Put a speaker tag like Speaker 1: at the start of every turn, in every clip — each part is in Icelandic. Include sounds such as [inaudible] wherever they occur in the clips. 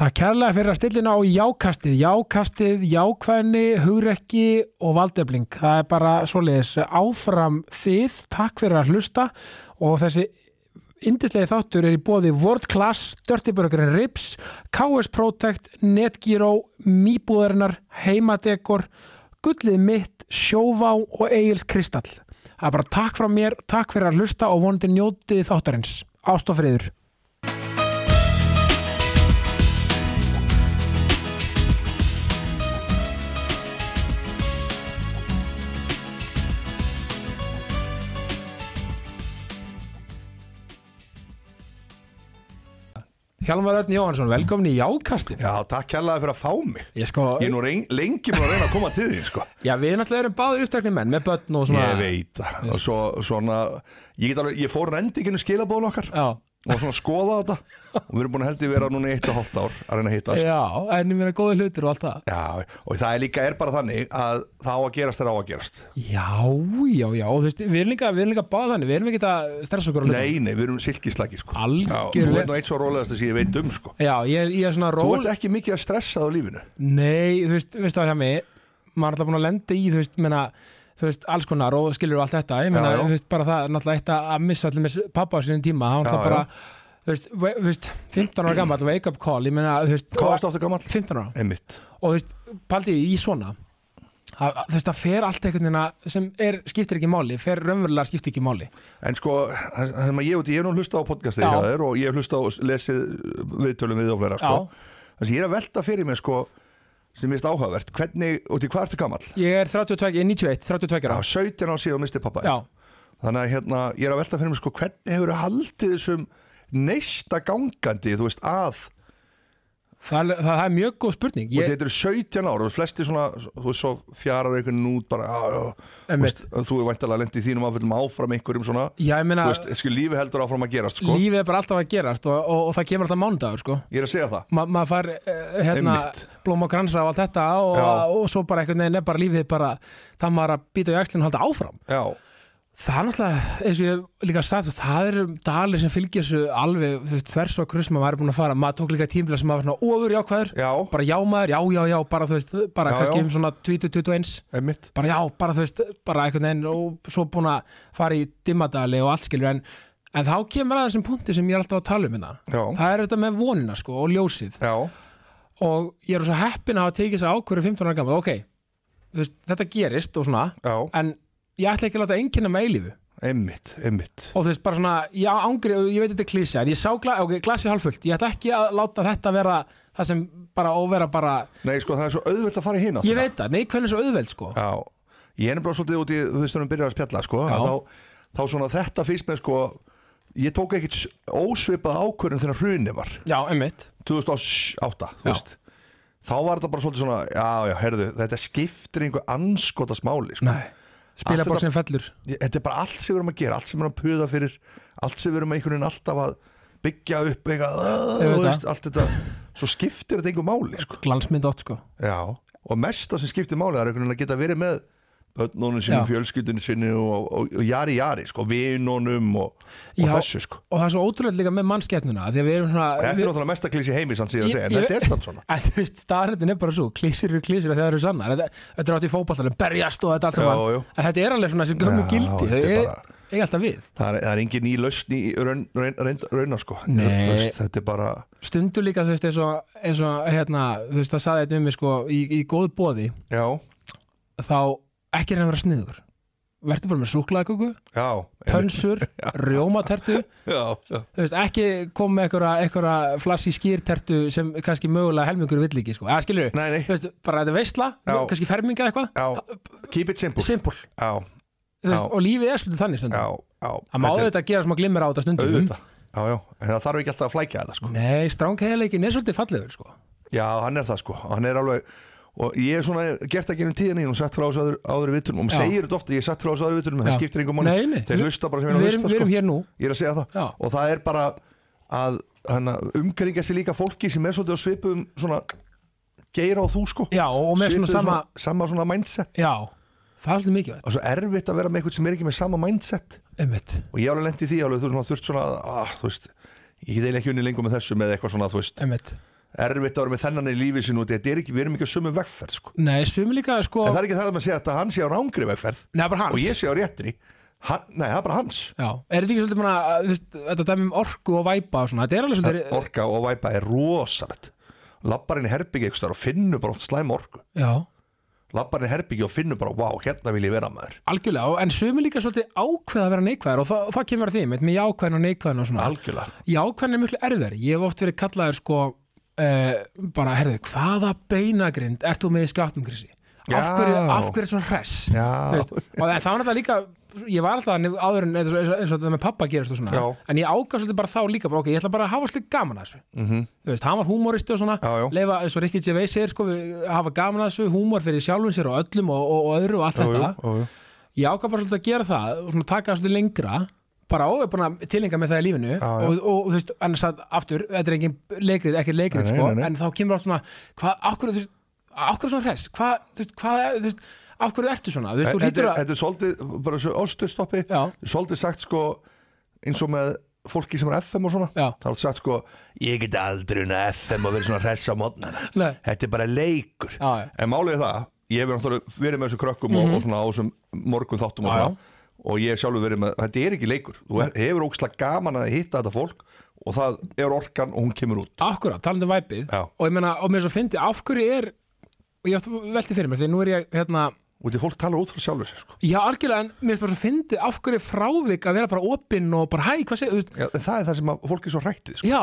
Speaker 1: Takk kærlega fyrir að stillina á jákastið, jákastið, jákvæðni, hugrekki og valdefling. Það er bara svoleiðis áfram þið, takk fyrir að hlusta og þessi indislegi þáttur er í bóði World Class, Dirty Burger and Ribs, KS Protect, Netgyro, Mýbúðarinnar, Heimadekor, Gullið mitt, Sjóvá og Egil's Kristall. Það er bara takk frá mér, takk fyrir að hlusta og vonandi njótið þáttarins. Ástofriður. Hjalmar Örn Jóhansson, velkomin í jákastið.
Speaker 2: Já, takk hérlega fyrir að fá mig
Speaker 1: Ég sko,
Speaker 2: Ég er nú reyn, lengi búin að reyna að koma til þín sko.
Speaker 1: já við náttúrulega erum báðir upptöknir menn með börn og svona
Speaker 2: Ég veit það Og svo, svona, ég, get alveg, ég fór rendinginu skilabóðun okkar
Speaker 1: Já,
Speaker 2: Og svona skoða þetta Og við erum búin að held ég vera núna í eitt og hálft ár Að reyna að hittast
Speaker 1: já, en ég meina góði hlutir og allt það.
Speaker 2: Já, og það er líka er bara þannig að það á að gerast er á að gerast
Speaker 1: Já, já, já, og þú veist, við erum líka, við erum líka báð þannig, við erum ekki að stressa okkur á hlutum.
Speaker 2: Nei, nei, við erum silkislaki sko.
Speaker 1: Algjörlega.
Speaker 2: Já, Þú veit nú eitt svo rólegast sem ég veit um sko.
Speaker 1: Já, ég er, ég er svona
Speaker 2: Þú
Speaker 1: ról,
Speaker 2: ert ekki mikið að stressa á lífinu
Speaker 1: nei, þú veist, veistu það hjá mig, maður er alltaf búin að lenda í, þú veist, meina, þú veist, alls konar og skilur allt þetta, ég meina,
Speaker 2: Já, já.
Speaker 1: þú veist, bara það, er náttúrulega eitt að missa allir með pappa á sínum tíma, hann
Speaker 2: Já,
Speaker 1: alltaf bara, þú veist, ve- þú veist, 15 ára gammal, wake up call, ég meina, þú veist,
Speaker 2: Hvað
Speaker 1: og-
Speaker 2: varst aftur gamall?
Speaker 1: 15 ára,
Speaker 2: Einmitt
Speaker 1: og þú veist, paldi í svona, að, að, þú veist, það fer allt einhvern veginn að, sem er, skiptir ekki máli, fer raunverulega skiptir ekki máli.
Speaker 2: En sko, það það sem að ég, ég hef nú hlustað á podcastið
Speaker 1: Já.
Speaker 2: hjá þér og ég hef hlustað og lesið viðtölum við og fleira sko.
Speaker 1: Já.
Speaker 2: Það sem ég er að velta fyrir mér sko, sem mist áhugavert, hvernig, út í hvað ertu gamall?
Speaker 1: Ég er 32, ég er 91, 32
Speaker 2: Já,
Speaker 1: ára.
Speaker 2: 17 á síðan misti pappa.
Speaker 1: Já,
Speaker 2: Þannig að hérna, ég er að velta fyrir mér sko, hvernig hefur haldið þessum neista gangandi, þú veist, að
Speaker 1: það, er- það, það er mjög góð spurning
Speaker 2: og
Speaker 1: ég,
Speaker 2: þetta eru 17 ára og flesti svona, þú veist, svo fjarar einhvern veginn út bara, á, á,
Speaker 1: Einmitt.
Speaker 2: þú er væntalega lendið þínum áfællum áfram einhverjum svona,
Speaker 1: Já, ég meina,
Speaker 2: þú veist, sko, lífi heldur áfram að gerast sko,
Speaker 1: lífið er bara alltaf að gerast og, og, og það kemur alltaf mánudagur, sko
Speaker 2: ég er að segja það
Speaker 1: Ma, maður fær uh, hérna,
Speaker 2: Einmitt.
Speaker 1: blóm og kransra og allt þetta og,
Speaker 2: Já.
Speaker 1: og, svo bara einhvern veginn er bara lífið bara það maður að býta í axlinn og halda áfram
Speaker 2: Já,
Speaker 1: það er náttúrulega, eins og ég hef líka sagt það eru dalir sem fylgja þessu alveg þú veist, þvers og krusma maður er búin að fara maður tók líka tímla sem maður var svona ofur jákvæður
Speaker 2: já,
Speaker 1: bara já maður, já, já, já, bara þú veist bara
Speaker 2: Já,
Speaker 1: kannski
Speaker 2: já.
Speaker 1: um svona 20-21
Speaker 2: einmitt
Speaker 1: bara já, bara þú veist, bara einhvern veginn og svo búin að fara í dimmadali og allt skilur en, en þá kemur að þessum punkti sem ég er alltaf að tala um hérna
Speaker 2: Já.
Speaker 1: það er þetta með vonina sko og ljósið
Speaker 2: Já,
Speaker 1: og ég er svo heppin að hafa tekið þess að ákvöru 15 ára gammal, ok þú veist, þetta gerist og svona
Speaker 2: já,
Speaker 1: en ég ætla ekki að láta einkenna með eilífu
Speaker 2: einmitt, einmitt
Speaker 1: og þú veist, bara svona, ég ángri ég veit þetta er klísja, en ég sá gla, ok, glasið halvfullt ég ætla ekki að láta þetta vera það sem bara, og vera bara
Speaker 2: Nei, sko, það er svo auðvelt að fara í hinn
Speaker 1: ég veit það, nei, hvernig er svo auðveld sko
Speaker 2: Já, ég er nefnilega svolítið út í þú veist þegar við byrjar að spjalla, sko að þá, þá svona þetta fyrst með, sko Ég tók ekkit s- ósvipað ákvörðum þegar hrunið var
Speaker 1: já, emmitt,
Speaker 2: 2008, þú
Speaker 1: Já.
Speaker 2: veist Þá var þetta bara svolítið svona, já, já, herðu Þetta skiptir einhver anskotas máli, sko
Speaker 1: nei spilabóksin fellur
Speaker 2: Ég- Þetta er bara allt sem við erum að gera, allt sem við erum að puða fyrir Allt sem við erum einhvern veginn alltaf að byggja upp eitthvað, þú
Speaker 1: Auðvitað.
Speaker 2: veist, allt þetta Svo skiptir þetta einhver máli, sko
Speaker 1: glansmynd átt sko
Speaker 2: Já, og mesta sem skiptir máli það er einhvern veginn að geta verið með börnunum sinni,
Speaker 1: Já.
Speaker 2: fjölskyldunum sinni og, og, og jari jari, sko, vinunum og, og
Speaker 1: Já.
Speaker 2: þessu, sko
Speaker 1: og það er svo ótrúlega líka með mannskeppnuna því að við erum
Speaker 2: Þetta
Speaker 1: svona
Speaker 2: er náttúrulega mesta klísi heimi sann
Speaker 1: Ég-
Speaker 2: síðan að segja, en
Speaker 1: ég-
Speaker 2: þetta er samt svona
Speaker 1: En þú veist, staðarindin er bara svo, klísir eru klísir að það eru sannar, þetta, þetta er átt í fótballtalum berjast og þetta allt saman,
Speaker 2: Jú, jú.
Speaker 1: en þetta er alveg svona sem gömmu
Speaker 2: Já,
Speaker 1: gildi, þau
Speaker 2: þetta er
Speaker 1: er
Speaker 2: bara-
Speaker 1: ekki alltaf við
Speaker 2: Það er, það er engin ný lausn í raun, raun, raun, raunar, sko
Speaker 1: Nei.
Speaker 2: Þú veist, Þetta er bara,
Speaker 1: stundu líka, þú veist, eins og, eins og hérna, þú veist, það saði þetta um mig sko í, í góð bóði,
Speaker 2: já,
Speaker 1: þá ekki reyna að vera sniður verður bara með súklaðaköku,
Speaker 2: já einmitt. [laughs]
Speaker 1: pönsur rjómatertu,
Speaker 2: Já, já,
Speaker 1: þú veist, ekki kom með einhverja, einhverja flassi skýrtertu sem kannski mögulega helmingur vill ekki, sko, eða skilur
Speaker 2: nei, nei,
Speaker 1: þú veist, bara þetta er veistla,
Speaker 2: Já.
Speaker 1: kannski ferminga eitthvað
Speaker 2: já Keep it simple,
Speaker 1: simpul,
Speaker 2: já,
Speaker 1: þú veist,
Speaker 2: Já.
Speaker 1: og lífið er svolítið þannig
Speaker 2: já,
Speaker 1: stundum,
Speaker 2: já
Speaker 1: það má
Speaker 2: Þetta er
Speaker 1: auðvitað gera smá glimmer á þetta stundum
Speaker 2: auðvitað Já, já, en það þarf ekki alltaf að flækja þetta, sko
Speaker 1: nei, strángheðileikin er svolítið fallegur sko.
Speaker 2: Já, hann er það sko, hann er alveg og ég er svona gert að gera um tíðan í og sagt frá þessu áður, áður vittunum og maður
Speaker 1: Já.
Speaker 2: segir þetta ofta, ég er sagt frá þessu áður vittunum
Speaker 1: Já.
Speaker 2: það skiptir einhver
Speaker 1: Nei, nei.
Speaker 2: mann, þeir
Speaker 1: Vi-
Speaker 2: hlusta bara sem
Speaker 1: við
Speaker 2: ég er að
Speaker 1: erum,
Speaker 2: hlusta
Speaker 1: við
Speaker 2: sko,
Speaker 1: erum hér nú
Speaker 2: ég er að segja það
Speaker 1: Já.
Speaker 2: og það er bara að hana, umgeringa sér líka fólki sem er svolítið á svipum svona geira á þú sko
Speaker 1: já, og með svona
Speaker 2: Svipuðu
Speaker 1: sama
Speaker 2: sama svona mindset
Speaker 1: já, það er svolítið mikið
Speaker 2: og svo erfitt að vera með eitthvað sem er ekki með sama mindset
Speaker 1: einmitt,
Speaker 2: og ég hef alveg ah, lendi því alveg þú veist, maður þurft svona að, að, þú veist, ég get eiginlega ekki unni lengur með þessu með eitthvað svona þú veist
Speaker 1: einmitt
Speaker 2: erfitt að vera með þennan í lífi sínu og þetta er ekki, við erum ekki að sömu vegferð sko.
Speaker 1: Nei, sumi líka sko
Speaker 2: en það er ekki það að maður segja að hann sé á rángri vegferð
Speaker 1: Nei, bara hans
Speaker 2: og ég sé á réttri hann, nei, það er bara hans
Speaker 1: Já, er þetta ekki svolítið bara, að, þú veist, þetta dæmi um orku og væpa og svona, þetta er alveg
Speaker 2: Það
Speaker 1: svolítið
Speaker 2: orka og væpa er rosalegt labbar inn í herbyggi eitthvað og finnur bara oft slæm orku
Speaker 1: Já,
Speaker 2: labbar inn í herbyggi og finnur bara, wow, hérna vil ég vera maður
Speaker 1: algjörlega, og- en sumi líka svolítið ákveða að vera neikvæðar og það, það kemur að því, með með jákvæðan og neikvæðan og svona
Speaker 2: algjörlega,
Speaker 1: Jákvæðan er miklu erðar, ég hef oft verið kallaður sko, uh, bara, herðu, hvaða beinagrind ert þú með í skapnum, Krissi? Af
Speaker 2: Já.
Speaker 1: hverju, af hverju er svona hress?
Speaker 2: Já.
Speaker 1: Þú veist, og það það var náttúrulega líka ég var alltaf þannig áður en eins og, eins og, eins og þetta með pappa gerist og svona
Speaker 2: Já.
Speaker 1: en ég ákast þetta bara þá líka, bara, ok, ég ætla bara að hafa slik gaman að þessu -hmm. þú veist, hann var húmóristi og svona
Speaker 2: Mhm. Já, já.
Speaker 1: leifa, eins og Rikki Gervais segir, sko, við- hafa gaman að þessu húmór fyrir sjálfum sér og öllum og, og, og öðru og allt þetta
Speaker 2: jú, jú.
Speaker 1: ég ákast bara svolítið að gera það og svona taka það svolítið lengra bara og er búin að tilhenga með það í lífinu
Speaker 2: Já, já.
Speaker 1: Og, og þú veist, annars að aftur þetta er engin leikrið, ekkert leikrið
Speaker 2: Nei, nei,
Speaker 1: sko,
Speaker 2: nei, nei.
Speaker 1: en þá kemur allt svona hvað, akkur, þú veist, akkur svona hress hvað, þú veist, hvað, þú veist, akkur ertu svona þú veist, þú
Speaker 2: Þetta
Speaker 1: hlýtur
Speaker 2: er-
Speaker 1: að
Speaker 2: þetta er svolítið, bara svo ostustoppi
Speaker 1: Já.
Speaker 2: svolítið sagt sko eins og með fólki sem er FM og svona
Speaker 1: Já.
Speaker 2: þá er sagt sko, ég get aldrei unna FM og verið svona hress á mótnana
Speaker 1: Nei.
Speaker 2: þetta er bara leikur
Speaker 1: Já, já.
Speaker 2: en málið er það, ég hef náttúrulega verið með þessu krökkum og, og svona á þessum morgun þáttum og
Speaker 1: Já,
Speaker 2: svona og ég hef sjálfur verið með, þetta er ekki leikur þú er, hefur ókslega gaman að hitta þetta fólk og það er orkan og hún kemur út
Speaker 1: Akkurát, talandi um væpið
Speaker 2: Já.
Speaker 1: og ég meina, og mér er svo fyndi, af hverju er og ég átti velti fyrir mér, því nú er ég hérna,
Speaker 2: og því fólk talar út frá sjálfur sér sko.
Speaker 1: já algjörlega en mér er bara svo fyndi, af hverju er frávik að vera bara opinn og bara hæ, hvað segir, þú veist
Speaker 2: Já, en það er það sem að fólk er svo hrættið sko.
Speaker 1: já,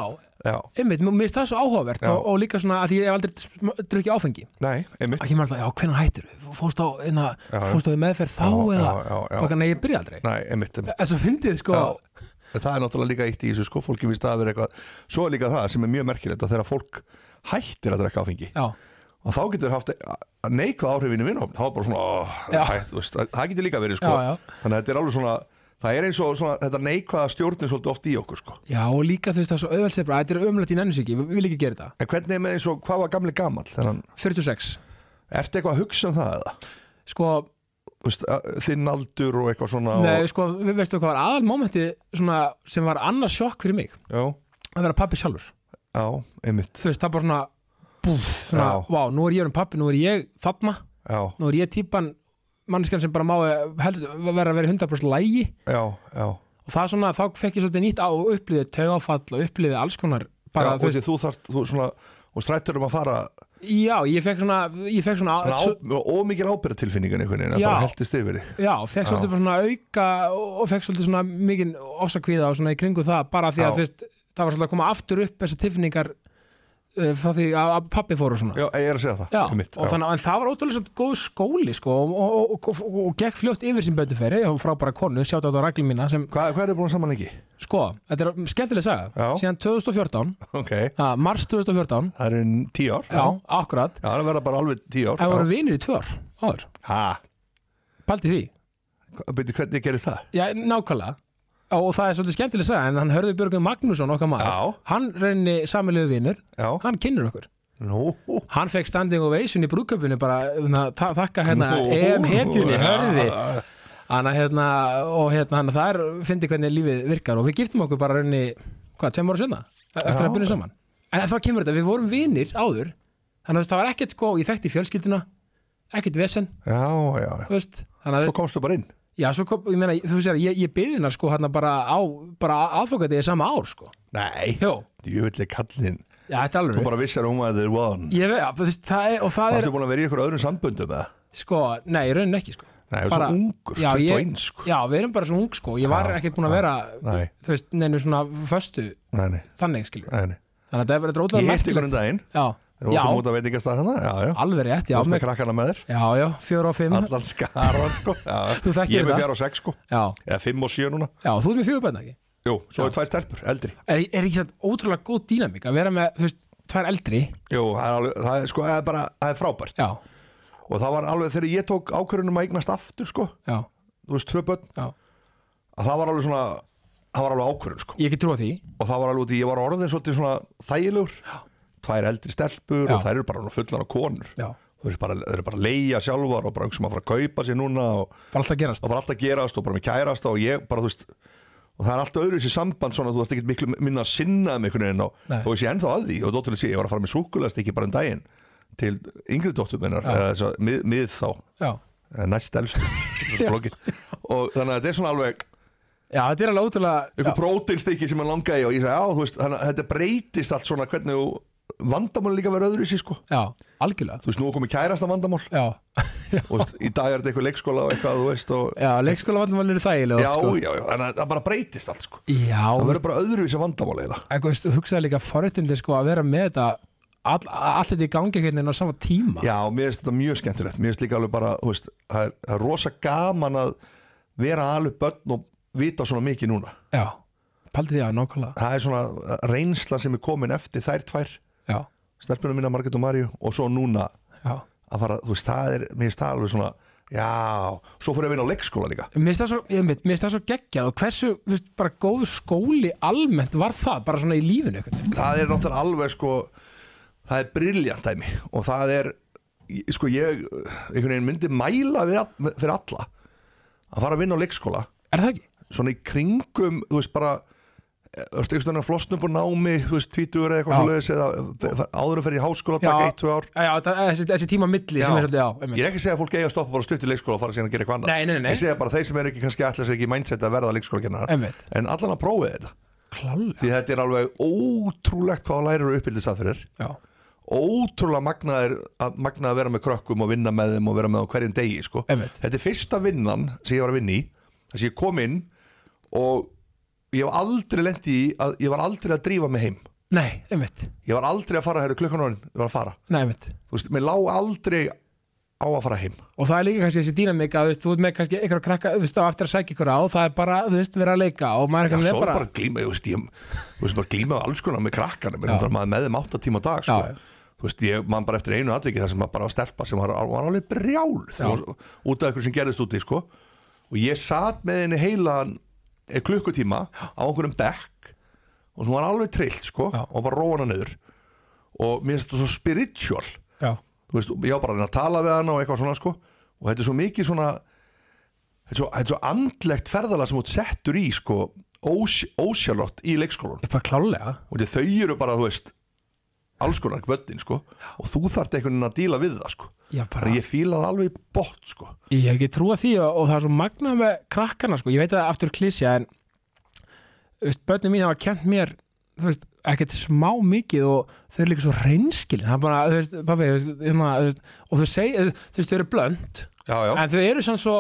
Speaker 2: Já.
Speaker 1: einmitt, mér finnst það svo áhugavert
Speaker 2: Já.
Speaker 1: og, og líka svona að því ég hef aldrei sm- drukkið áfengi
Speaker 2: Nei, einmitt
Speaker 1: að ég maður alltaf, já, hvenær hættur, fórst á einna,
Speaker 2: Já, já.
Speaker 1: fórst á í meðferð þá
Speaker 2: Já,
Speaker 1: eða,
Speaker 2: já, já, já.
Speaker 1: Fokkan, nei, ég byrja aldrei,
Speaker 2: Nei, einmitt, einmitt.
Speaker 1: en svo fyndið sko,
Speaker 2: Já, en það er náttúrulega líka eitt í þessu sko, fólki finnst það að vera eitthvað Svo er líka það sem er mjög merkilegt að þegar fólk hættir að drekka áfengi
Speaker 1: já,
Speaker 2: og þá getur haft neikvað áhrifinu vinnum þá er bara svona, ó,
Speaker 1: Já.
Speaker 2: hætt, þú veist, það- það getur líka verið sko.
Speaker 1: Já, já.
Speaker 2: þannig að þetta er alveg svona það er eins og svona, þetta neikvaða stjórnir svolítið oft í okkur sko.
Speaker 1: já, og líka þú veist það er svo auðvelsið bara, þetta er ömlætt í nennisíki, við viljum ekki gera þetta
Speaker 2: en hvernig er með eins og hvað var gamli gamall þannig,
Speaker 1: 46,
Speaker 2: ertu eitthvað að hugsa um það eða?
Speaker 1: sko,
Speaker 2: Þú Veist, að- þinn aldur og eitthvað svona
Speaker 1: Nei,
Speaker 2: og,
Speaker 1: sko, við veistu hvað var aðal mómenti svona, sem var annars sjokk fyrir mig
Speaker 2: já,
Speaker 1: að vera pappi sjálfur
Speaker 2: já, einmitt
Speaker 1: þú veist, það bara svona, búf, svona
Speaker 2: Já.
Speaker 1: vá, nú er ég um pappi, nú er ég þarna
Speaker 2: já,
Speaker 1: nú er ég típan manneskjan sem bara má eh, held, vera að vera í 100% lægi
Speaker 2: já, já,
Speaker 1: og það er svona, þá fekk ég svolítið nýtt á og upplýðið taugafall og upplýðið alls konar
Speaker 2: já
Speaker 1: bara,
Speaker 2: og
Speaker 1: þú
Speaker 2: því
Speaker 1: veist,
Speaker 2: þú þarft þú svona, og strættur um að fara
Speaker 1: já, ég fekk svona ég fekk svona,
Speaker 2: Þannig
Speaker 1: svo,
Speaker 2: að ó- ómikil ábyrðatilfinningan einhvern veginn, að
Speaker 1: Já.
Speaker 2: bara heldist yfir þig
Speaker 1: já, fekk svolítið bara svona auka og, og fekk svolítið svona mikinn ofsakvíða og svona í kringu það, bara því
Speaker 2: Já.
Speaker 1: að þú veist, það var svolítið að koma aftur upp þessar tilfinningar uh, frá því að, að pappi fór og svona
Speaker 2: Já, ég er að segja það
Speaker 1: Já,
Speaker 2: einmitt,
Speaker 1: og þannig, en það var ótrúlega svolítið góð skóli sko, og, og, og, og, og gekk fljótt yfir sem betur fyrir og frábæra konu, sjátt á þetta ragli mína sem,
Speaker 2: Hvað, hvað er þið búin saman lengi?
Speaker 1: sko, þetta er skemmtileg saga
Speaker 2: Já.
Speaker 1: síðan 2014,
Speaker 2: Ok,
Speaker 1: að, mars 2014
Speaker 2: það eru enn tíu ár
Speaker 1: já, akkurat,
Speaker 2: Já, það verða bara alveg tíu ár
Speaker 1: en voru vinir í tvö ár áður,
Speaker 2: Hæ,
Speaker 1: paldi því
Speaker 2: byrju, hvernig gerir það?
Speaker 1: já, nákvæmlega og, og það er svolítið skemmtileg saga, en hann hörði Björgum Magnússon okkar maður,
Speaker 2: Já.
Speaker 1: hann reyni samilegu vinur,
Speaker 2: Já,
Speaker 1: hann kynir okkur
Speaker 2: nú,
Speaker 1: hann fekk standing ovation í brúköpunni bara na, ta þakka hérna
Speaker 2: Nú.
Speaker 1: EM hetjunni,
Speaker 2: Já. [laughs]
Speaker 1: hörði Hanna, hérna, og hérna, hann, það er fyndi hvernig lífið virkar og við giftum okkur bara raunni, hvað, tveim ára sjöna eftir
Speaker 2: Já.
Speaker 1: að byrja saman en þá kemur þetta, við vorum vinir áður þannig að þú veist, það var ekkert sko, ég þekkti fjölskylduna ekkert vesen,
Speaker 2: já, já
Speaker 1: þú veist þannig að,
Speaker 2: Svo
Speaker 1: svo,
Speaker 2: komstu bara inn
Speaker 1: já, svo kom, ég meina, þú veist, ég, ég byrði hennar sko, hérna bara á, bara aðfokkandi í sama ár, sko,
Speaker 2: Nei,
Speaker 1: Jó.
Speaker 2: djúvillig kallinn
Speaker 1: já, þetta er
Speaker 2: Þú
Speaker 1: alveg
Speaker 2: bara vissar um að þið er one
Speaker 1: ég veit, já, þú veist, það er, og það er
Speaker 2: Varstu búin að vera í ykkur öðrum samböndum eða?
Speaker 1: sko, nei, í rauninni ekki, sko
Speaker 2: Nei, þú er
Speaker 1: Bara-
Speaker 2: svo ungur,
Speaker 1: já,
Speaker 2: 21
Speaker 1: ég-
Speaker 2: sko
Speaker 1: já, við erum bara svo ung, sko, ég var
Speaker 2: Já,
Speaker 1: ekkert búin að
Speaker 2: já,
Speaker 1: vera
Speaker 2: nei.
Speaker 1: þú veist, neinu svona föstu
Speaker 2: Nei, nei,
Speaker 1: þannig, skilur
Speaker 2: nei, nei
Speaker 1: þannig að þetta er verið dróðlega
Speaker 2: Ég hitt ykkur um daginn
Speaker 1: já,
Speaker 2: Þú
Speaker 1: já,
Speaker 2: varst mútið að veit ekki að staða hana Já, já
Speaker 1: alveg rétt, já,
Speaker 2: Þú varst með
Speaker 1: með,
Speaker 2: krakkana með þér
Speaker 1: já, já, fjóra og fimm
Speaker 2: Allan skaran sko Já.
Speaker 1: [laughs] Þú þekkir
Speaker 2: Ég er
Speaker 1: þetta.
Speaker 2: með fjara og sex sko
Speaker 1: já,
Speaker 2: Eða fimm og sjö núna
Speaker 1: já, þú ert með fjóra bæna, ekki?
Speaker 2: Jú, svo
Speaker 1: Já.
Speaker 2: er tvær stelpur, eldri
Speaker 1: Er, er ekki satt ótrúlega góð dýnamík að vera með, þú veist, tvær eldri
Speaker 2: Jú, það er, alveg, það er, sko, það er bara það er frábært
Speaker 1: já,
Speaker 2: Og það var alveg þegar ég tók ákvörunum að eignast aftur sko
Speaker 1: já,
Speaker 2: Þú veist, tvö börn
Speaker 1: já
Speaker 2: að Það var alveg svona Það var alveg ákvörun sko
Speaker 1: ég ekki trúa því,
Speaker 2: Og það var alveg út í, ég var orðin svolítið svona þægilegur Tvær eldri stelpur
Speaker 1: Já.
Speaker 2: og þær eru bara svona fullar af konur
Speaker 1: já,
Speaker 2: Þau eru bara, þau eru bara að leia sjálfar og bara hugsa um að fara að kaupa sér núna og
Speaker 1: bara alltaf að gerast
Speaker 2: það var alltaf að gerast og bara mér kærast og ég bara þú veist og það er alltaf öðru þessi samband svona þú ert ekkert miklu minna að sinna um einhvern veginn og
Speaker 1: Nei.
Speaker 2: þó ég sé ennþá að því og dótturinn sé ég var að fara með súkulast ekki bara um daginn til yngri dóttur minnar eða þess að mið, mið þá
Speaker 1: já.
Speaker 2: eða
Speaker 1: [laughs]
Speaker 2: næst elstu þetta er flókið. og þannig að þetta er svona alveg
Speaker 1: já, þetta er alveg ótrúlega
Speaker 2: einhver próteinstykki sem hann langaði í og ég sagði já þú veist þannig að þetta breytist allt svona hvernig þú vandamál líka verður öðru þessi sko
Speaker 1: Já, algjörlega
Speaker 2: þú veist nú er komið kærasta vandamál
Speaker 1: Já,
Speaker 2: og þú veist, í dag er þetta eitthvað leikskóla og eitthvað þú veist og
Speaker 1: já leikskóla vandamál eru þægilega
Speaker 2: já
Speaker 1: oft, sko.
Speaker 2: já já þannig að það bara breytist allt sko
Speaker 1: já
Speaker 2: það verður bara öðru þessi vandamál eða
Speaker 1: en þú veist, hugsaði líka forréttindi sko að vera með þetta all, allt þetta í gangi einhvern veginn á sama tíma
Speaker 2: Já, mér finnst þetta mjög skemmtilegt Mér finnst líka alveg bara, þú veist, það er, það er rosa gaman að vera alveg börn og vita svona mikið núna
Speaker 1: já. paldi því að nákvæmlega
Speaker 2: Það er svona reynsla sem er komin eftir þær tvær
Speaker 1: Já,
Speaker 2: stelpunum mína Margit og Marju og svo núna
Speaker 1: já
Speaker 2: að fara, þú veist, það er, mér finnst það alveg svona Já, svo fór ég að vinna á leikskóla líka
Speaker 1: Mér finnst það svo, ég veit, mér finnst það svo geggjað og hversu, þú veist, bara góðu skóli almennt var það, bara svona í lífinu einhvern veginn.
Speaker 2: Það er náttúrulega alveg sko það er briljant dæmi og það er, ég- sko ég einhvern veginn myndi mæla við, all- fyrir alla að fara að vinna á leikskóla
Speaker 1: Er það ekki?
Speaker 2: svona í kringum þú veist bara Örstu einhvern veginn að flosnum búin námi, þú veist, tvítugur eða eitthvað
Speaker 1: Já.
Speaker 2: svo leiðis eða áður að fer í háskóla, taka eitt, tvö ár.
Speaker 1: já, já þetta- þessi, þessi tíma milli sem er svolítið, já,
Speaker 2: Ég
Speaker 1: einmitt.
Speaker 2: er ekki að segja að fólk eigi að stoppa bara stutt í leikskóla og fara síðan að gera eitthvað annað.
Speaker 1: Nei, nei, nei.
Speaker 2: Ég segja bara þeir sem er ekki kannski ætla sér ekki í mindset að verða leikskóla
Speaker 1: Einmitt.
Speaker 2: En allan að prófið þetta.
Speaker 1: Klálega,
Speaker 2: Því þetta er alveg ótrúlegt hvað lærir og uppbyldis aðferðir.
Speaker 1: já,
Speaker 2: Ótrúlega magnaðir að magna að vera með krökkum og vinna með þeim og vera með á hverjum degi, sko.
Speaker 1: Einmitt.
Speaker 2: Þetta er fyrsta vinnan sem ég var að vinna í, þess að ég kom inn og ég var aldrei lendi í að ég var aldrei að drífa mig heim.
Speaker 1: nei, einmitt
Speaker 2: Ég var aldrei að fara, herru, klukkan orðin, ég var að fara.
Speaker 1: Nei, einmitt
Speaker 2: Þú veist, mér lá aldrei á að fara heim.
Speaker 1: og það er líka kannski þessi dýnamik að þú veist, þú ert með kannski einhverja krakka, þú veist, á eftir að sækja ykkur á það er bara, þú veist, vera að leika og maður
Speaker 2: Já,
Speaker 1: einhvern
Speaker 2: svo
Speaker 1: veginn
Speaker 2: er
Speaker 1: er
Speaker 2: bara að glíma, þú veist, ég, þú veist, bara glíma við alls konar með krakkanum, en
Speaker 1: Já.
Speaker 2: þetta er maður með þeim átta tíma á dag, sko.
Speaker 1: Já, já.
Speaker 2: Þú veist, ég man bara eftir einu atvikið þar sem maður bara var stelpa sem var, var alveg brjál þegar var, út af ykkur sem gerðist úti, sko. Og ég satt með henni heilan eh, klukkutíma á einhverjum bekk og sem var alveg trillt, sko,
Speaker 1: Já.
Speaker 2: og bara róa hana niður. Og mér finnst þetta svo spiritual.
Speaker 1: já,
Speaker 2: þú veist, ég var bara að reyna að tala við hann og eitthvað svona sko og þetta er svo mikið svona þetta er svo, þetta er svo andlegt ferðalega sem þú ert settur í sko ós, ósjálótt í leikskólan
Speaker 1: bara klálega
Speaker 2: og þetta þau eru bara, þú veist alls konar kvöldin sko og þú þarft einhvern veginn að díla við það sko
Speaker 1: já, bara,
Speaker 2: Þannig að ég fílaði alveg í bótt sko
Speaker 1: ég hef ekki trúa því og, og það er svo magnað með krakkana, sko, ég veit að það er aftur klísja en, þú veist, börnum mín hafa kent mér, þú veist, ekkert smá mikið og þau eru líka svo reynskilin það er bara, þú veist, pabbi, þú veist, hérna, þú veist og þau segja, þú veist, þau eru blönd
Speaker 2: Já, já,
Speaker 1: en þau eru sann svo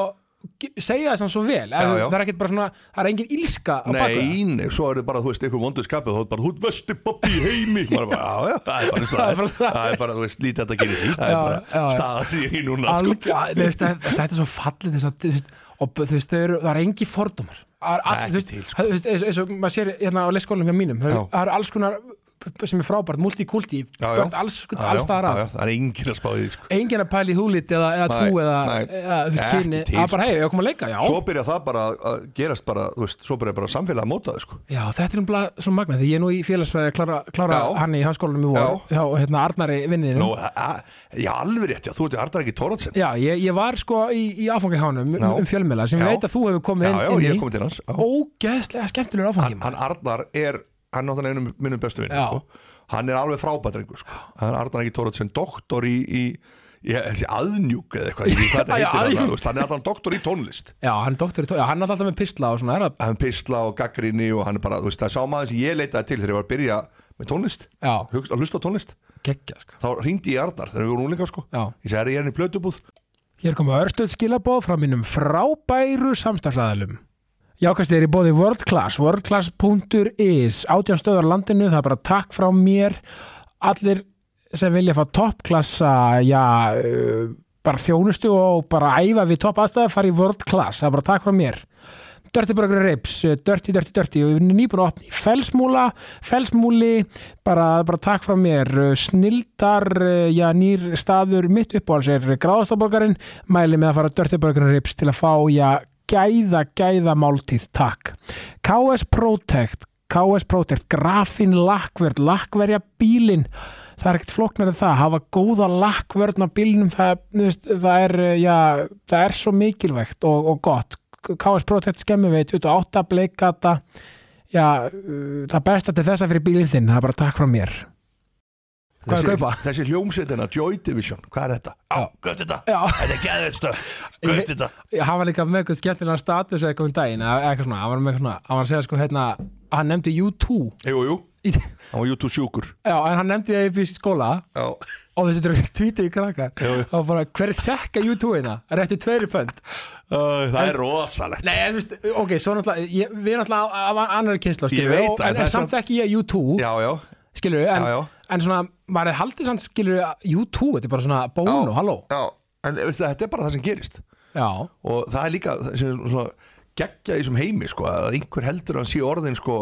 Speaker 1: segja það sann svo vel,
Speaker 2: Já, já.
Speaker 1: það er ekkert bara svona það er engin ílska á baka
Speaker 2: nei, nei, svo er þetta bara, þú veist, einhver vondu skapið þá er bara, þú ert vestu pappi í heimi Maður bara, já, já, það er bara
Speaker 1: Það er bara
Speaker 2: staðan
Speaker 1: staðan.
Speaker 2: það er bara, þú veist, lítið þetta að gera í því það
Speaker 1: Já,
Speaker 2: er bara
Speaker 1: já, já.
Speaker 2: staðan sem ég er í núna sko.
Speaker 1: Alga, veist, það, þetta er svo fallið þess að, þú veist, og þú veist, þau eru, það er engi fordómar Það er all-
Speaker 2: Ekki
Speaker 1: þú veist,
Speaker 2: til, sko.
Speaker 1: það- þú veist, eins, eins og maður sér hérna á leikskólanum hjá mínum það
Speaker 2: Já.
Speaker 1: eru- það eru alls konar sem er frábært, multikulti
Speaker 2: Já, já.
Speaker 1: börn alls,
Speaker 2: Já, já,
Speaker 1: alls staðar
Speaker 2: já,
Speaker 1: að
Speaker 2: já, það er enginn að spá í því sko
Speaker 1: engin að pæla í húlit eða, eða trú
Speaker 2: Nei,
Speaker 1: eða,
Speaker 2: nei.
Speaker 1: eða þú veist,
Speaker 2: Ekki
Speaker 1: kyni
Speaker 2: til, sko.
Speaker 1: að bara hei, ég kom að leika, já
Speaker 2: svo byrja það bara að gerast bara, þú veist, svo byrja bara samfélagi að móta þau sko.
Speaker 1: Já, þetta er umlað svo magnað, því ég er nú í félagsfræði að klára, klára
Speaker 2: Já.
Speaker 1: hann í háskólanum í vor hjá hérna Arnari vinninum
Speaker 2: Nú, a- a- já, alveg rétt, já, þú ert í Ardaræki Tóratsen
Speaker 1: Já, ég, ég var sko í, í áfangi hánum
Speaker 2: Já.
Speaker 1: um fjölmiðla sem
Speaker 2: Já.
Speaker 1: ég veit að þú hefur komið inn,
Speaker 2: Já, já,
Speaker 1: inn
Speaker 2: ég
Speaker 1: í.
Speaker 2: hef komið til hans já.
Speaker 1: ógeðslega skemmtilegur áfangi
Speaker 2: Hann Arnar er, hann er náttúrulega einu minnum bestu vinn
Speaker 1: Já.
Speaker 2: sko. Hann er alveg frábæð drengur sko. Hann er Ardaræki Tóratsen, doktor í, í ég, þessi aðnjúk eða eitthvað, ég veit hvað
Speaker 1: Já,
Speaker 2: þetta heitir
Speaker 1: aðjúnk.
Speaker 2: hann, þú veist, hann er alltaf doktor í tónlist
Speaker 1: Já, hann er doktor í tónlist, já, hann er alltaf með pistla og svona, er að,
Speaker 2: hann pistla og gaggrinni og hann er bara, þú veist, það er sá maður sem ég leitaði til þegar ég var að byrja með tónlist,
Speaker 1: já,
Speaker 2: hugst, að hlusta á tónlist
Speaker 1: geggja, sko.
Speaker 2: þá hringdi ég í Arnar þegar við vorum úlingar sko.
Speaker 1: Já.
Speaker 2: ég sagði, er ég henni í plötubúð
Speaker 1: Hér koma örstuð skilabóð frá mínum frábæru samstagsæðalum. Jákast er í bóði World Class, worldclass.is, átjánstöðar landinu, það er bara takk frá mér. Allir sem vilja fá toppklassa, já, uh, bara þjónustu og bara æfa við topp aðstæða, fara í World Class, það er bara takk frá mér. Dirty Burger Rips, eh, Dirty, Dirty, Dirty og við erum nýbúin að opna í felsmúla felsmúli, bara, bara takk frá mér, eh, snildar eh, já, nýr staður mitt uppáhalds er gráðastaborgarinn, mæli með að fara á Dirty Burger Rips til að fá já, gæða, gæða máltíð, takk KS Protect KS Protect, grafin lakkverð, lakkverja bílinn það er ekkert flóknar en það, hafa góða lakkvörn á bílinum, það, þú veist, það er eh, já, það er svo mikilvægt og, og gott KS Protect skemmiveit 28 bleikata já, uh, það besta til þessa fyrir bílinn þinn, það er bara takk frá mér Hvað er að kaupa?
Speaker 2: Þessi hljómsveitina, Joy Division, hvað er þetta? Á, gött þetta,
Speaker 1: Já,
Speaker 2: þetta er geðið stöf Gött
Speaker 1: Ég-
Speaker 2: þetta
Speaker 1: hann var líka með eitthvað skemmtilega status eitthvað um daginn, eða eitthvað svona, hann var með eitthvað svona hann var að segja sko hérna, hann nefndi U2
Speaker 2: Jú, jú,
Speaker 1: í,
Speaker 2: hann var YouTube sjúkur
Speaker 1: já, en hann nefndi það upp í skóla
Speaker 2: Já,
Speaker 1: og þessi þetta [laughs] eru tvítið í krakkar
Speaker 2: Jú, jú.
Speaker 1: og bara, hver er þekka hérna?" U2-ina? Er þetta tveiri pönd?
Speaker 2: það er rosalegt
Speaker 1: Nei, en þú veist, ok, svo náttúrulega ég, við erum náttúrulega af annar kynsla
Speaker 2: Ég veit
Speaker 1: og, en,
Speaker 2: það, það er
Speaker 1: en samt
Speaker 2: samt-
Speaker 1: ekki ég U2
Speaker 2: Já, já,
Speaker 1: skilur en,
Speaker 2: Já, já.
Speaker 1: en svona, maður er haldið samt skilur U2, þetta er bara svona bónu,
Speaker 2: Já.
Speaker 1: halló
Speaker 2: já En eh, veistu, þetta er bara það sem gerist
Speaker 1: já,
Speaker 2: og það er líka það sem er svona, geggja í þessum heimi sko, að einhver heldur að hann sé orðin sko,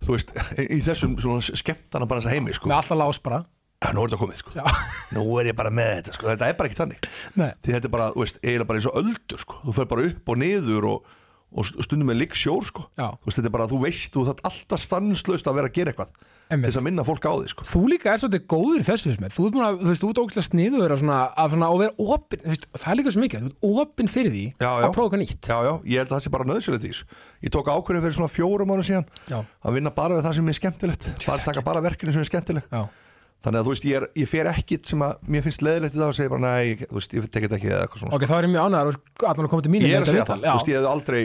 Speaker 2: þú veist í þessum skemmtana bara þessa heimi sko.
Speaker 1: með alltaf lás bara
Speaker 2: ja, nú er þetta komið sko.
Speaker 1: já, [laughs]
Speaker 2: nú er ég bara með þetta sko. þetta er bara ekki þannig
Speaker 1: nei,
Speaker 2: því þetta er bara, þú veist, eiginlega bara eins og öldur sko. þú fer bara upp og niður og, og stundum með líksjór sko.
Speaker 1: Já.
Speaker 2: þú veist, þetta er bara, þú veist, þú þarf alltaf stanslaust að vera að gera eitthvað til
Speaker 1: Einmitt.
Speaker 2: þess að minna fólk á því sko.
Speaker 1: þú líka er svolítið góður í þessu þessum þú ert búin að, þú veist, þú ert ógæslega sniðu vera svona, að svona, og vera opinn, þú veist, það er líka svo mikið þú ert opinn fyrir því
Speaker 2: Já, já.
Speaker 1: að prófa eitthvað nýtt
Speaker 2: Já, já, ég held að það sé bara nöðsynlegt í þessu. Ég tók ákvörðin fyrir svona fjórum ára síðan
Speaker 1: Já.
Speaker 2: að vinna bara við það sem er skemmtilegt, bara taka bara verkinu sem er skemmtilegt.
Speaker 1: já,
Speaker 2: Þannig að þú veist, ég, er, ég fer ekkit sem að mér finnst leðilegt í dag og segja bara, nei, ég, þú veist, ég tekit ekki eða eitthvað svona.
Speaker 1: ok, þá er ég mjög ánæður og allan að koma til mín
Speaker 2: Ég er að segja það, þú veist,
Speaker 1: já,
Speaker 2: ég hef aldrei,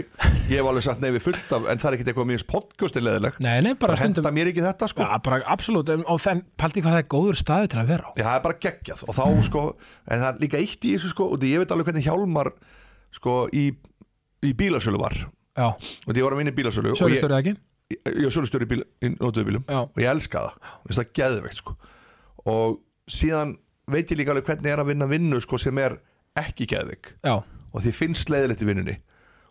Speaker 2: ég hef alveg sagt nei við fullt af, en það er ekkit eitthvað mjög podcasti leðileg.
Speaker 1: nei, nei, bara stundum
Speaker 2: Henta mér ekki þetta, sko.
Speaker 1: já, bara absolutt, um, og þenn, paldi hvað það er góður staðu til að vera á
Speaker 2: Já, það er bara geggjað og þá sko, en það er líka eitt í þessu sko, og því ég veit alveg hvernig Hjálmar sko í, í bílasölu var
Speaker 1: já,
Speaker 2: og því ég var að vinna í bílasölu og ég-
Speaker 1: sölustörið ekki
Speaker 2: ég, ég sölustjóri bíl, í notuðu bílum
Speaker 1: Já.
Speaker 2: og ég elska það, Mér finnst það geðveikt sko. og síðan veit ég líka alveg hvernig er að vinna vinnu sko, sem er ekki geðveik
Speaker 1: já,
Speaker 2: og því finnst leiðilegt í vinnunni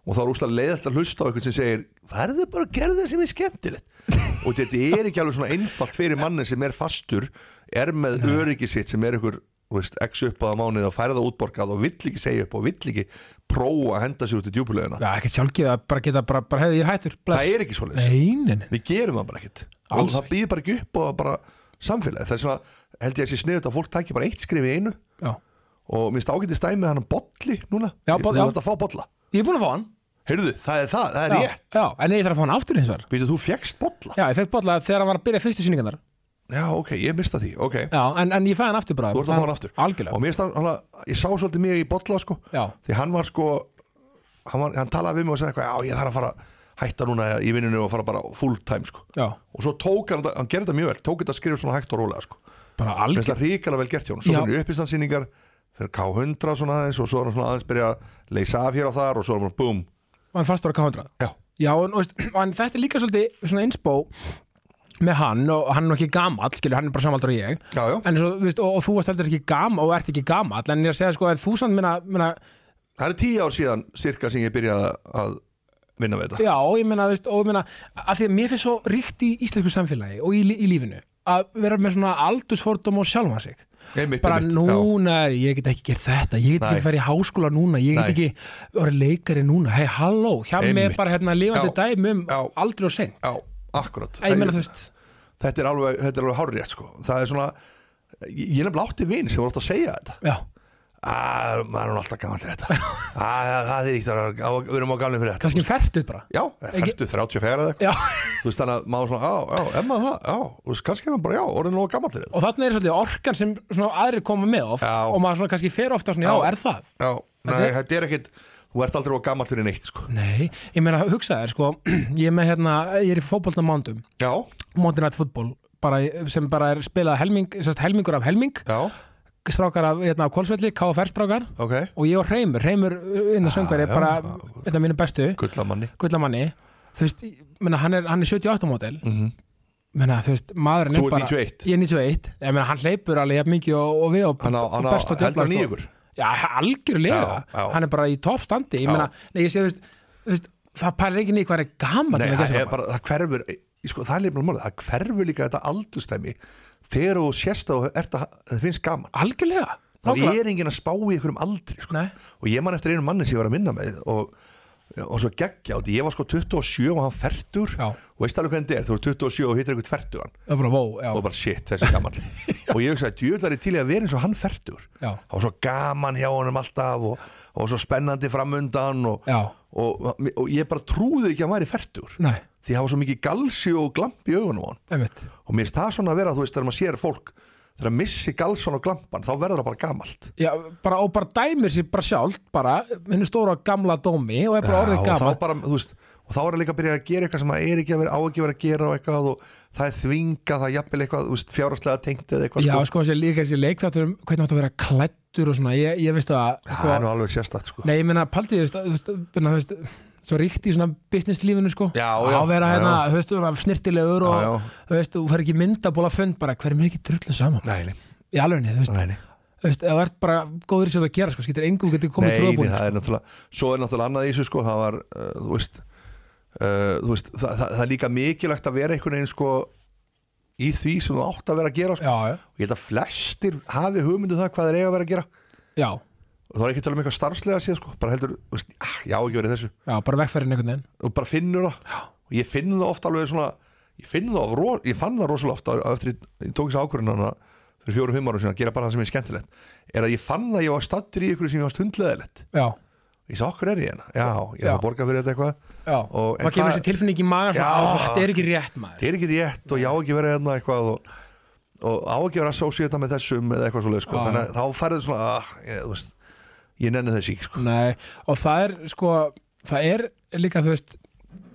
Speaker 2: og þá er úslega leiðilegt að hlusta á eitthvað sem segir verður bara að gera það sem
Speaker 1: [laughs]
Speaker 2: er skemmtilegt og þetta er ekki alveg svona einfalt fyrir manni sem er fastur, er með öryggi sitt sem er ykkur þú veist, x upp á mánuð og færða útborgað og vill ekki segja upp og vill ekki prófa að henda sér út í djúpulegina
Speaker 1: já, ekkert sjálfgefið að bara geta bara, bara hefði ég hættur, bless
Speaker 2: það er ekki svoleiðis
Speaker 1: Neinin
Speaker 2: við gerum það bara ekkert og
Speaker 1: Alls
Speaker 2: það býður bara ekki upp og bara samfélagi það er svona, held ég að sé sniðut að fólk tækja bara eitt skrif í einu
Speaker 1: Já.
Speaker 2: og mér finnst ágætið stæmið hann um bolli núna
Speaker 1: Já,
Speaker 2: Ég-
Speaker 1: boll-
Speaker 2: þú
Speaker 1: já.
Speaker 2: ert að fá bolla
Speaker 1: Ég er búin að fá hann
Speaker 2: heyrðu, það er það, það er
Speaker 1: já,
Speaker 2: rétt
Speaker 1: já, En ég þarf að fá hann aftur hins vegar
Speaker 2: býtu, þú fjekkst bolla já.
Speaker 1: Já, ég fekk bolla þegar hann var að byrja fyrstu sýningarnar
Speaker 2: ok, ég mista því, ok
Speaker 1: Já, en, en ég fæði hann aftur bara
Speaker 2: þú ert að fá hann aftur
Speaker 1: Algjörlega
Speaker 2: og mér finnst hann, hann, ég sá svolítið mér í bolla sko,
Speaker 1: Já,
Speaker 2: því hann var sko hann, var, hann talaði við mig og sagði eitthvað, já, ég þarf að fara að hætta núna í vinninu og fara bara full time sko
Speaker 1: já,
Speaker 2: og svo tók hann, þetta- hann gerði þetta mjög vel tók þetta skrif svona hægt og rólega sko
Speaker 1: bara
Speaker 2: Mér finnst
Speaker 1: algjörlega
Speaker 2: það ríkala vel gert hjá hún Svo
Speaker 1: Já.
Speaker 2: fyrir uppistansýningar Fyrir K100 svona aðeins Og svo er hann svona aðeins byrja að leysa af hér og þar Og svo er hann bara búm
Speaker 1: Og hann fastur á K100
Speaker 2: Já,
Speaker 1: Já, en, og veist, [clears throat] en þetta er líka svolítið svona insbó með hann og hann er nú ekki gamall skilur, hann er bara samaldur og ég
Speaker 2: já, já
Speaker 1: en svo, veist, og, og þú varst heldur ekki gamall og ert ekki gamall en ég er að segja sko, er þú samt minna, minna
Speaker 2: Það er tíu ár síðan cirka sem ég byrjaði að vinna við þetta
Speaker 1: Já, ég meina, veist, og ég meina að því að mér finnst svo ríkt í íslensku samfélagi og í, lí- í lífinu að vera með svona aldursfordum og sjálfa sig
Speaker 2: Einmitt,
Speaker 1: bara
Speaker 2: einmitt,
Speaker 1: núna er, ég get ekki gert þetta ég get
Speaker 2: Nei.
Speaker 1: ekki farið í háskóla núna ég get
Speaker 2: Nei.
Speaker 1: ekki orðið leikari núna hei, halló, hjá mig er
Speaker 2: Einmitt.
Speaker 1: bara hérna lifandi
Speaker 2: Já.
Speaker 1: dæmi um
Speaker 2: Já.
Speaker 1: aldrei og seint
Speaker 2: Já, akkurat
Speaker 1: Æ, ég meina, þú veist,
Speaker 2: Þetta er alveg, þetta er alveg hárrétt sko Það er svona Ég ég er nefnilega átti vin sem var alltaf að segja þetta
Speaker 1: já,
Speaker 2: Æ, maður er nú alltaf gaman til þetta Æ, það það er ekkert að vera- á- við erum á galnum fyrir þetta
Speaker 1: kannski fertuð bara
Speaker 2: Já, færtu 34 eða eitthvað
Speaker 1: já.
Speaker 2: Þú veist þannig að maður svona, já, já, emma það, já Þú veist, kannski er maður bara, já, orðin nóg gammal til þetta
Speaker 1: og þannig er svolítið orkan sem svona aðrir koma með oft
Speaker 2: Já.
Speaker 1: og maður svona kannski fer ofta svona, já,
Speaker 2: Já.
Speaker 1: er það
Speaker 2: Já, nei, þetta er ekkit Þú ert aldrei á gammal fyrir neitt, sko
Speaker 1: nei, ég meina, hugsa þér, sko [clears throat] ég er með hérna, ég er í fótbolna mándum
Speaker 2: Já,
Speaker 1: Monday Night Football bara, sem bara er spilað helming, sérst, helmingur af helming
Speaker 2: já,
Speaker 1: strákar af, hérna, af Kolsvelli, KFR strákar
Speaker 2: ok
Speaker 1: og ég og Reymur, Reymur uh, inn að söngveri
Speaker 2: já.
Speaker 1: bara einn af mínu bestu
Speaker 2: Gullamanni
Speaker 1: gullamanni þú veist, ég meina, hann, er, hann er 78 mótel mm
Speaker 2: Mhm.
Speaker 1: meina, þú veist, maðurinn er
Speaker 2: Þú ert
Speaker 1: bara
Speaker 2: 91
Speaker 1: ég er 91, ég meina, hann hleypur alveg jafn mikið og, og við og,
Speaker 2: Hann á,
Speaker 1: og
Speaker 2: hann á,
Speaker 1: best og
Speaker 2: heldur
Speaker 1: djöflast og-
Speaker 2: nýjur
Speaker 1: já, algjörlega,
Speaker 2: Já, já.
Speaker 1: hann er bara í toppstandi ég
Speaker 2: Já.
Speaker 1: meina, nei, ég sé, þú veist, þú veist það parir ekki nýtt hvað er gammal
Speaker 2: Nei, það er bara, það hverfur í- sko, Það er lífnum málið, það hverfur líka þetta aldurstæmi Þegar þú sérst að þú ert að það finnst gaman
Speaker 1: algjörlega,
Speaker 2: Það er enginn að spá í einhverjum aldri, sko
Speaker 1: Nei.
Speaker 2: Og ég man eftir einu manni sem ég var að minna með Og, og svo geggja, og því ég var sko 27 og hann fertur
Speaker 1: Já.
Speaker 2: Og veist alveg hvernig þetta er, þú er 27 og hittir einhvern tvertugan
Speaker 1: það er bara, vó, já,
Speaker 2: og bara shit þessi
Speaker 1: [laughs]
Speaker 2: gammal og ég hugsaði djöðlar í til í að vera eins og hann fertur
Speaker 1: Já.
Speaker 2: það var svo gaman hjá honum alltaf og og svo spennandi framundan og,
Speaker 1: Já.
Speaker 2: og, og ég bara trúði ekki að hann væri færtur
Speaker 1: Nei,
Speaker 2: því hafa svo mikið galsi og glamp í augunum á hann
Speaker 1: einmitt
Speaker 2: og mér finnst það svona að vera, þú veist, þegar maður sér fólk þegar að missi galsan og glampan, þá verður það bara gamalt
Speaker 1: Já, bara, og bara dæmir sér bara sjálf bara, henni stóra gamla dómi og er bara
Speaker 2: Já,
Speaker 1: orðið
Speaker 2: og þá
Speaker 1: gamla
Speaker 2: bara, þú veist og þá er það líka að byrja að gera eitthvað sem það er ekki að vera á ekki að vera að gera og eitthvað og það er þvinga, það er jafnvel eitthvað, þú veist, fjárhastlega tengt eða eitthvað
Speaker 1: Já,
Speaker 2: sko.
Speaker 1: sko, þessi líka þessi leik þáttur um hvernig átt að vera klættur og svona, ég, ég veist það
Speaker 2: það er nú alveg sérstætt sko.
Speaker 1: sko. Nei, ég meina, paldið, þú veist, þú veist, þú veist, þú veist svo ríkt í svona businesslífinu, sko
Speaker 2: Já, já,
Speaker 1: að vera
Speaker 2: já,
Speaker 1: hérna, þú veist, svona snirtilegur
Speaker 2: Já,
Speaker 1: og, þú veist, þú fer ekki myndabóla fund bara, hver er mér ekki drullu saman
Speaker 2: Nei, nei,
Speaker 1: í alvegni, þú veist,
Speaker 2: nei, nei.
Speaker 1: þú veist, það ert bara góður í sér að gera, sko, skýtur engum getur komið
Speaker 2: nei, nei,
Speaker 1: trúðabúin,
Speaker 2: það er náttúrulega svo er náttúrulega annað í þessu sko, það var, uh, þú veist, uh, þú veist það, það, það er líka mikilvægt að vera einhvern veginn sko, í því sem þú átt að vera að gera sko.
Speaker 1: já, já,
Speaker 2: ég held að flestir hafi hugmyndu það hvað þeir eiga að vera að gera
Speaker 1: já,
Speaker 2: og það er ekki að tala um eitthvað starfslega síðan sko. bara heldur, þú veist, ah, já ekki verið þessu
Speaker 1: já, bara vegferðin einhvern veginn,
Speaker 2: og bara finnur það já. og ég finn það ofta alveg svona ég, finn það of ro, ég fann það rosalega ofta á- eftir ég- ég tók þess ákvörðunana fyrir fjórum fimm árum sinna að gera bara það sem er skemmtilegt er að ég fann að ég var stattur í ykkur sem ég var stundleðilegt
Speaker 1: já,
Speaker 2: ég sá okkur er ég hérna, já, ég
Speaker 1: Já.
Speaker 2: er að borga fyrir þetta eitthvað
Speaker 1: já,
Speaker 2: Og- en
Speaker 1: maður kemur
Speaker 2: hvað-
Speaker 1: þessi tilfinning í maður,
Speaker 2: Já.
Speaker 1: þetta er ekki rétt
Speaker 2: það
Speaker 1: maður,
Speaker 2: er ekki rétt og ég á ekki að vera hérna eitthvað og, og á ekki að vera associata með þessum eða eitthvað svoleið sko,
Speaker 1: Já.
Speaker 2: þannig að þá færðu svona ah, ég, þú veist, ég nenni þessi ekki sko.
Speaker 1: nei, og það er, sko, það er líka, þú veist,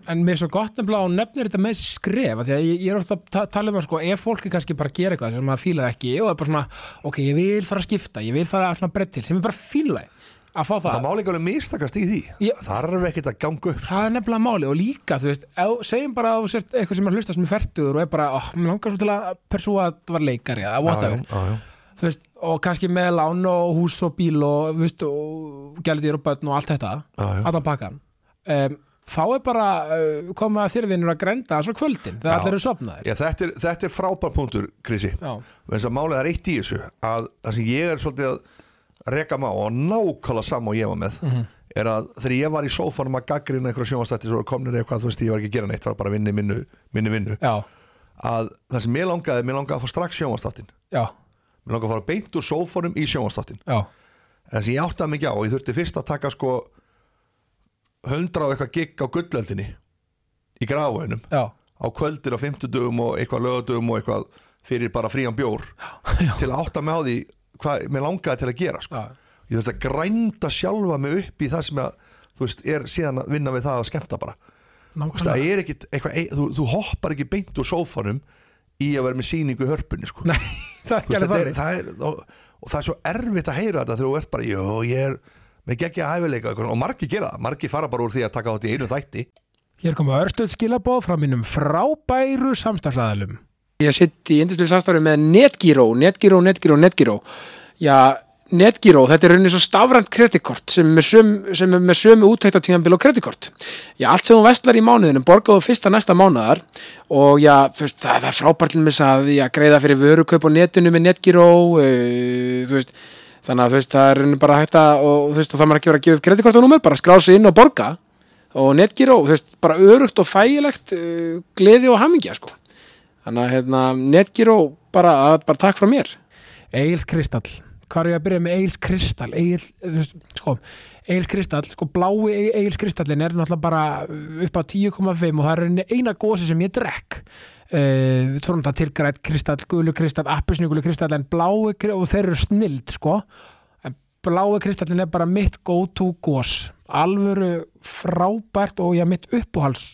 Speaker 1: en mér er svo gott nefnilega og nefnir þetta með skref af því að ég, ég er ofta að ta- tala um að sko ef fólki kannski bara gera eitthvað sem maður fílar ekki og er bara svona, ok, ég vil fara að skipta ég vil fara að svona breytt til, sem er bara fíla að fá það,
Speaker 2: það má líka alveg mistakast í því
Speaker 1: Ég-
Speaker 2: það er ekkert að ganga upp
Speaker 1: það er nefnilega máli og líka, þú veist, ef, segjum bara að þú sért eitthvað sem er að hlusta sem er færtur og er bara, oh, mér langar svo til að persúa að það var leikari eða
Speaker 2: já,
Speaker 1: whatever,
Speaker 2: já, já.
Speaker 1: þú veist, og kannski með lán og hús og bíl og, þú veist, og gældir og börn og allt þetta,
Speaker 2: Já, já.
Speaker 1: allan pakkan um, þá er bara uh, koma þér vinnur að grenda svo kvöldin þegar
Speaker 2: Já.
Speaker 1: allir eru sopnaðir
Speaker 2: Já, þetta er, þetta er frábær punktur, Krissi
Speaker 1: Já.
Speaker 2: þess að málið er eitt í þessu að það sem ég er svolítið að reka má og nákvæmlega sama og ég var með er að þegar ég var í sófanum að gaggrina einhverja sjónvastætti svo komnir eitthvað, þú veist, ég var ekki að gera neitt var bara að vinna í minnu, minnu vinnu
Speaker 1: Já,
Speaker 2: að það sem mér langaði, mér langaði að fá strax sjónvastættin
Speaker 1: já,
Speaker 2: mér langaði að fara beint úr sófanum í sjónvastættin
Speaker 1: já
Speaker 2: það sem ég áttaði mikið á og ég þurfti fyrst að taka sko 100 og eitthvað gig á gullöldinni í grafaunum
Speaker 1: Já,
Speaker 2: á kvöldir á fimmtudugum og eitthvað lögadugum og eitthvað fyrir bara frían bjór til að átta mig á því hvað mér langaði til að gera sko.
Speaker 1: já,
Speaker 2: ég þurfti að grænda sjálfa mig upp í það sem að, þú veist, er síðan að vinna við það að skemmta bara Þú veist,
Speaker 1: nákvæmlega
Speaker 2: það er ekkit, eitthvað, e- þú, þú hoppar ekki beint úr sófanum í að vera með sýningu í hörpunni sko.
Speaker 1: Nei, [laughs] það
Speaker 2: Þú
Speaker 1: gerði það
Speaker 2: veist, það er, það er, og, og það er svo erfitt að heyra þetta þegar þú ert bara, jú, ég er með geggja hæfileika og eitthvað, og margir gera það, margir fara bara úr því að taka þátt í einu þætti
Speaker 1: Hér koma örstuð skilabóð frá mínum frábæru samstagsæðalum. Ég sitt í yndislu samstarfi með Netgyro, Netgyro, Netgyro, Netgyro. Já, Netgyro, þetta er rauninni svo stafrænt kreditkort sem er með sömu, sem er með sömu úttæktatíðanbíl og kreditkort. Já, allt sem hún vestlar í mánuðinu borgaðu fyrsta næsta mánuðar og já, þú veist, það, það er frábært til með að já, greiða fyrir vörukaup á netinu með Netgyro, uh, þú veist, þannig að þú veist, það er rauninni bara hægt að, og þú veist, og það maður ekki verið að gefa upp kreditkortanúmer, bara skrá sig inn og borga og Netgyro, þú veist, bara örugt og þægilegt uh, gleði og hamingja sko. þannig að hérna, Netgyro bara, að, bara takk frá mér Egil Kristall, hvað er ég að byrja með Egil Kristall Egil, þú veist, sko Egil Kristall, sko blái E- Egil Kristallin er náttúrulega bara upp á 10,5 og það er rauninni eina gósi sem ég drekk Uh, við tónum þetta tilgrætt kristall, gulu kristall appisnugulu kristall en blái kri- og þeir eru snild sko en blái kristallin er bara mitt go to gós alvöru frábært og ég mitt uppáhals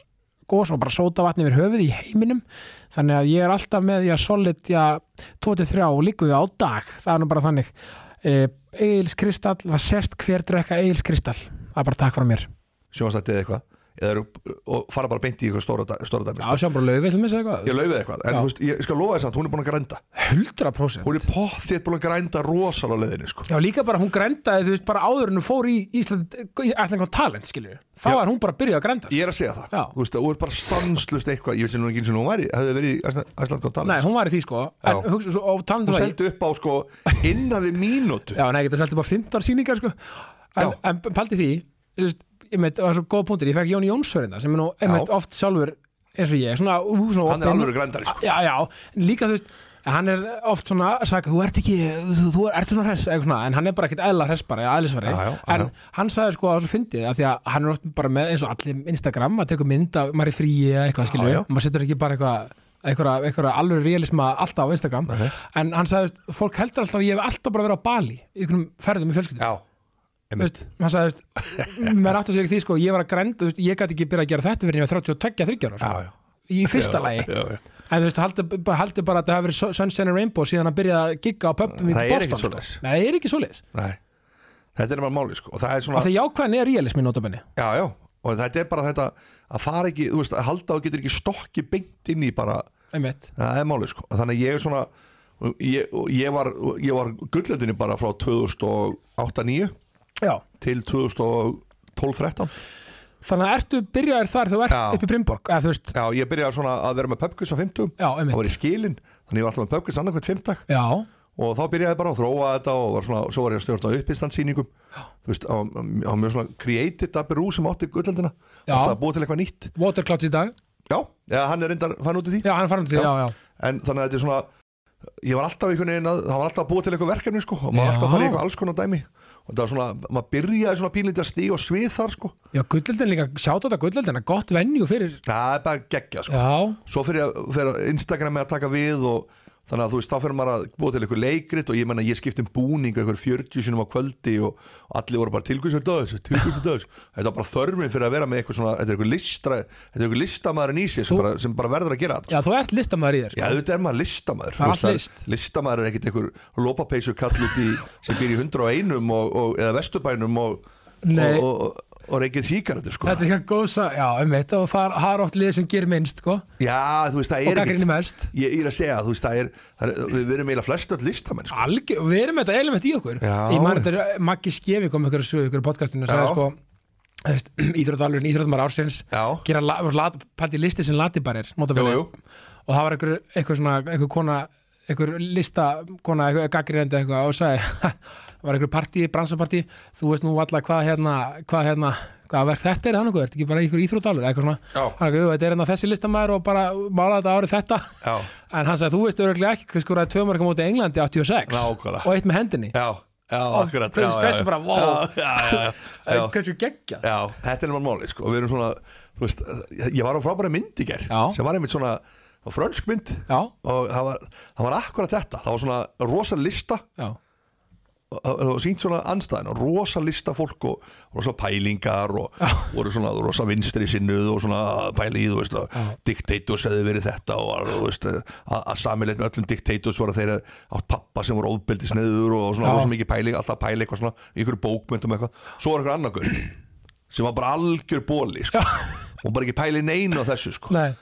Speaker 1: gós og bara sóta vatni yfir höfuð í heiminum þannig að ég er alltaf með já, solid já, 23 og líku á dag það er nú bara þannig e, Egils kristall, það sést hver drekka Egils kristall það er bara takk frá mér
Speaker 2: sjónvastætti eða eitthvað eða eru, og fara bara beint í eitthvað stóra, dæ- stóra dæmi sko.
Speaker 1: Já, sjá bara löfi, ætlum við segja
Speaker 2: ég laufið eitthvað, en
Speaker 1: Já.
Speaker 2: þú veist, ég skal lofa þess að hún er búin að grænda
Speaker 1: 100%
Speaker 2: hún er potþétt búin að grænda rosalega á leiðinni sko.
Speaker 1: Já, líka bara hún grendaði, þú veist, bara áður en hún fór í Ísland, í Æslandkon Talent, skilju þá
Speaker 2: Já.
Speaker 1: var hún bara að byrja að grenda sko.
Speaker 2: ég er að segja það,
Speaker 1: Já.
Speaker 2: þú veist, að hún er bara stanslust eitthvað, ég veist nú ekki eins og hún væri hefði verið í Æsland Góð
Speaker 1: Nei,
Speaker 2: Talent
Speaker 1: hún var í því, sko en,
Speaker 2: Já.
Speaker 1: hugsa, svo, og talandi um
Speaker 2: hún
Speaker 1: það, ég-
Speaker 2: seldi upp á sko innan við mínútu
Speaker 1: Já, nei, ég geta selgt upp á 15 sýningar sko. en,
Speaker 2: Já.
Speaker 1: en paldi því þú veist, ég meitt, það var svo góð punktur, ég fekk Jón Jónsfjörðina sem er nú einmitt oft sjálfur eins og ég, svona, ú, svona
Speaker 2: hann er
Speaker 1: opinn.
Speaker 2: alveg grændari sko.
Speaker 1: Já, já, en líka þú veist En hann er oft svona að sagði, þú ert ekki, þú, þú ert svona hress eitthvað svona, en hann er bara ekkert eðla hress bara, eða eðlisvari
Speaker 2: Já, já, já,
Speaker 1: en
Speaker 2: já.
Speaker 1: hann sagði sko að þessu fyndið af því að hann er oft bara með eins og allir Instagram að teka mynd af, maður er frí eða eitthvað skilur
Speaker 2: já.
Speaker 1: maður setur ekki bara eitthvað einhverja, einhverja alveg realisma alltaf á Instagram
Speaker 2: Nei.
Speaker 1: en hann sagði, fólk heldur alltaf að ég hef alltaf bara verið á Bali, í einhvernum ferðum í fjölskyldum
Speaker 2: já,
Speaker 1: veist,
Speaker 2: einmitt
Speaker 1: hann sagði, veist, maður átti sig ekki því sko, ég var að grænda, þú veist, ég gæti ekki byrjað að gera þetta fyrir en ég var 32-30 ára,
Speaker 2: já,
Speaker 1: sko,
Speaker 2: já,
Speaker 1: í fyrsta lagi
Speaker 2: já, já.
Speaker 1: En þú veist, haldi, haldi bara að það hafi verið Sun- Sunshine and Rainbow síðan að byrja að gigga á pöppum í
Speaker 2: Það er ekki
Speaker 1: Boston sko.
Speaker 2: svoleiðis.
Speaker 1: Nei, það er ekki svoleiðis
Speaker 2: Nei. þetta er bara máli sko. og það er svona
Speaker 1: Af því jákvæðan er realismi notabenni
Speaker 2: já, já, og þetta er bara þetta að fara ekki, þú veist, að halda og getur ekki stokki beint inn í bara,
Speaker 1: Einmitt
Speaker 2: það er máli sko. Og þannig að ég er svona og ég, og ég var, og ég var gullendinni bara frá 2008-9
Speaker 1: Já
Speaker 2: til 2012-13
Speaker 1: Þannig að ertu byrjaðir þar þegar þú ert
Speaker 2: Já.
Speaker 1: upp í Brimborg eða þú veist
Speaker 2: já, ég byrjaði svona að vera með pubquiz á 50
Speaker 1: Já,
Speaker 2: það var
Speaker 1: einmitt
Speaker 2: í skilin, þannig ég var alltaf með pubquiz annarkvæmt 50
Speaker 1: Já
Speaker 2: og þá byrjaði ég bara að þróa þetta og var svona, svo var ég að stjórna uppistandsýningum þú veist, á, á mjög svona creative Dabbi Rú sem átti gullöldina og
Speaker 1: Já.
Speaker 2: það búið til eitthvað nýtt
Speaker 1: Waterclouds í dag
Speaker 2: já, eða hann er reyndar fann út í því
Speaker 1: Já, hann farin til því Já,
Speaker 2: Já.
Speaker 1: já
Speaker 2: en þannig að þetta er svona ég var alltaf einhvern veginn að það var alltaf að búið til eitthvað verkefni sko, og maður
Speaker 1: Já.
Speaker 2: var alltaf að fara í eitthvað alls konar dæmi og það var svona, maður byrjaði svona pínlítið að stíg og svið þar sko,
Speaker 1: Já, gullöldin líka Sjáta þetta gullöldina Gott venju fyrir
Speaker 2: það er bara geggja sko.
Speaker 1: Já
Speaker 2: svo fyrir, að- fyrir Instagram að taka við og þannig að þú veist, þá fyrir maður að búa til eitthvað leikrit og ég menna, ég skipti um búning eitthvað 40 sinum á kvöldi og allir voru bara tilgjöðsir dags, tilgjöðsir dags þetta var bara þörfin fyrir að vera með eitthvað svona þetta er eitthvað, listra, þetta er eitthvað listamaðurinn í sér sem,
Speaker 1: Þú-
Speaker 2: bara, sem bara verður að gera þetta
Speaker 1: Já, þú ert listamæður í þér
Speaker 2: Já,
Speaker 1: sko.
Speaker 2: auðvitað er maður listamaður
Speaker 1: Það er
Speaker 2: Þú
Speaker 1: allt
Speaker 2: veist,
Speaker 1: list.
Speaker 2: Listamaður er ekkit einhver lópapeysu kall út í sem býr í 101 og, og, eða vesturbænum og,
Speaker 1: Nei.
Speaker 2: og, og, og, og reykir síkaretur sko.
Speaker 1: Þetta er ekki góð sag Já, einmitt Og það er- það er oft lið sem ger minnst sko
Speaker 2: Já, þú veist, það
Speaker 1: Og
Speaker 2: er
Speaker 1: gagnrýni mest
Speaker 2: Ég, ég er að segja, þú veist, það er, það er við verum eiginlega flest öll listamenn sko.
Speaker 1: Algjör, við erum þetta element í okkur
Speaker 2: Já.
Speaker 1: Ég man þetta er Maggi Skefi kom ykkur að sögu ykkur í podcastinu og sagði
Speaker 2: Já.
Speaker 1: sko þú veist, [clears throat] Íþróttvalurinn, Íþróttmar ársins
Speaker 2: Já.
Speaker 1: gera la- voru lat- pælt í listi sem latibarir og
Speaker 2: Jú, jú,
Speaker 1: það var ykkur, ykkur svona ykkur kona, ykkur lista kona, ykkur gaggrinandi eitthvað og sagði [laughs] það var ykkur partí, bransapartí þú veist nú alltaf hvað hérna hvað hérna, hvað verð þetta er hann ykkur þetta ekki bara ykkur íþróttvalur eitthvað svona
Speaker 2: Já.
Speaker 1: Hann ykkur, "Jú, þetta er hérna þessi listamæður og bara mála þetta árið þetta
Speaker 2: já,
Speaker 1: En hann sagði, þú veist örgulega ekki hvað skoraði tvö marka móti Englandi 86
Speaker 2: Nákvæmlega.
Speaker 1: og eitt með hendinni
Speaker 2: já, já, akkurat já,
Speaker 1: hversu-
Speaker 2: já,
Speaker 1: hversu
Speaker 2: já.
Speaker 1: bara, vá.
Speaker 2: Já, já, já, já, já.
Speaker 1: Hversu geggja?
Speaker 2: Já, þetta er náttúrulega máli sko. og við erum svona, þú veist ég var á frábæra mynd í ger
Speaker 1: Já.
Speaker 2: sem var einmitt svona á frönsk mynd
Speaker 1: Já,
Speaker 2: og það var, það var akkurat þetta það var svona rosa lista
Speaker 1: já,
Speaker 2: og það var sínt svona anstæðin og rosa lista fólk og rosa pælingar og voru svona rosa vinstri sinnuð og svona pæli í þú veist að diktators hefði verið þetta og þú veist að, að samilegt með öllum diktators voru þeirra átt pappa sem voru óbeldi sniður og svona
Speaker 1: Já.
Speaker 2: rosa mikið pæling, alltaf pæli eitthvað svona í einhverju bókmyndum eitthvað, svo var einhver annakur sem var bara algjör bóli sko. og bara ekki pæli neina á þessu sko.
Speaker 1: nei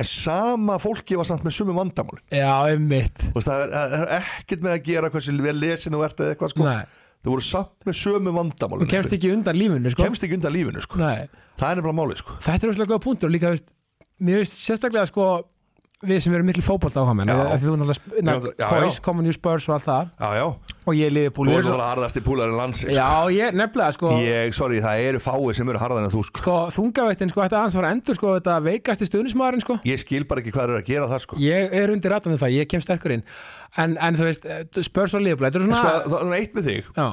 Speaker 2: en sama fólki var samt með sumum vandamál
Speaker 1: Já, einmitt
Speaker 2: Þú veist, það er, það er ekkert með að gera hversu vel lesin og ert eða eitthvað sko.
Speaker 1: Nei.
Speaker 2: það voru samt með sömu vandamál
Speaker 1: Þú kemst ekki undan lífinu, sko
Speaker 2: kemst ekki undan lífinu sko.
Speaker 1: Nei,
Speaker 2: það er nefnilega máli sko.
Speaker 1: þetta er óslega góða punktur og líka, veist, mér veist sérstaklega, sko við sem erum miklu fótbolt áhuga menn
Speaker 2: Já.
Speaker 1: því þú náttúrulega,
Speaker 2: náttúrulega- já,
Speaker 1: Kóis,
Speaker 2: já.
Speaker 1: Common New Spurs og allt það
Speaker 2: já já,
Speaker 1: og ég liði
Speaker 2: þú
Speaker 1: búið
Speaker 2: eru það harðasti púlarinn lands sko.
Speaker 1: Já, ég, nefnilega, sko
Speaker 2: ég, sorry, það eru fáið sem eru harðan en þú sko.
Speaker 1: sko, þungavættin, sko, þetta aðeins var endur, sko, þetta veikasti stuðnismæðurinn, sko
Speaker 2: ég skil bara ekki hvað þeir eru að gera það sko.
Speaker 1: Ég er undir ratan við það, ég kem sterkur inn En, en þú veist, eh, spörs og liðblæð Þetta er
Speaker 2: En
Speaker 1: svona
Speaker 2: sko, það er eitt með þig
Speaker 1: Já,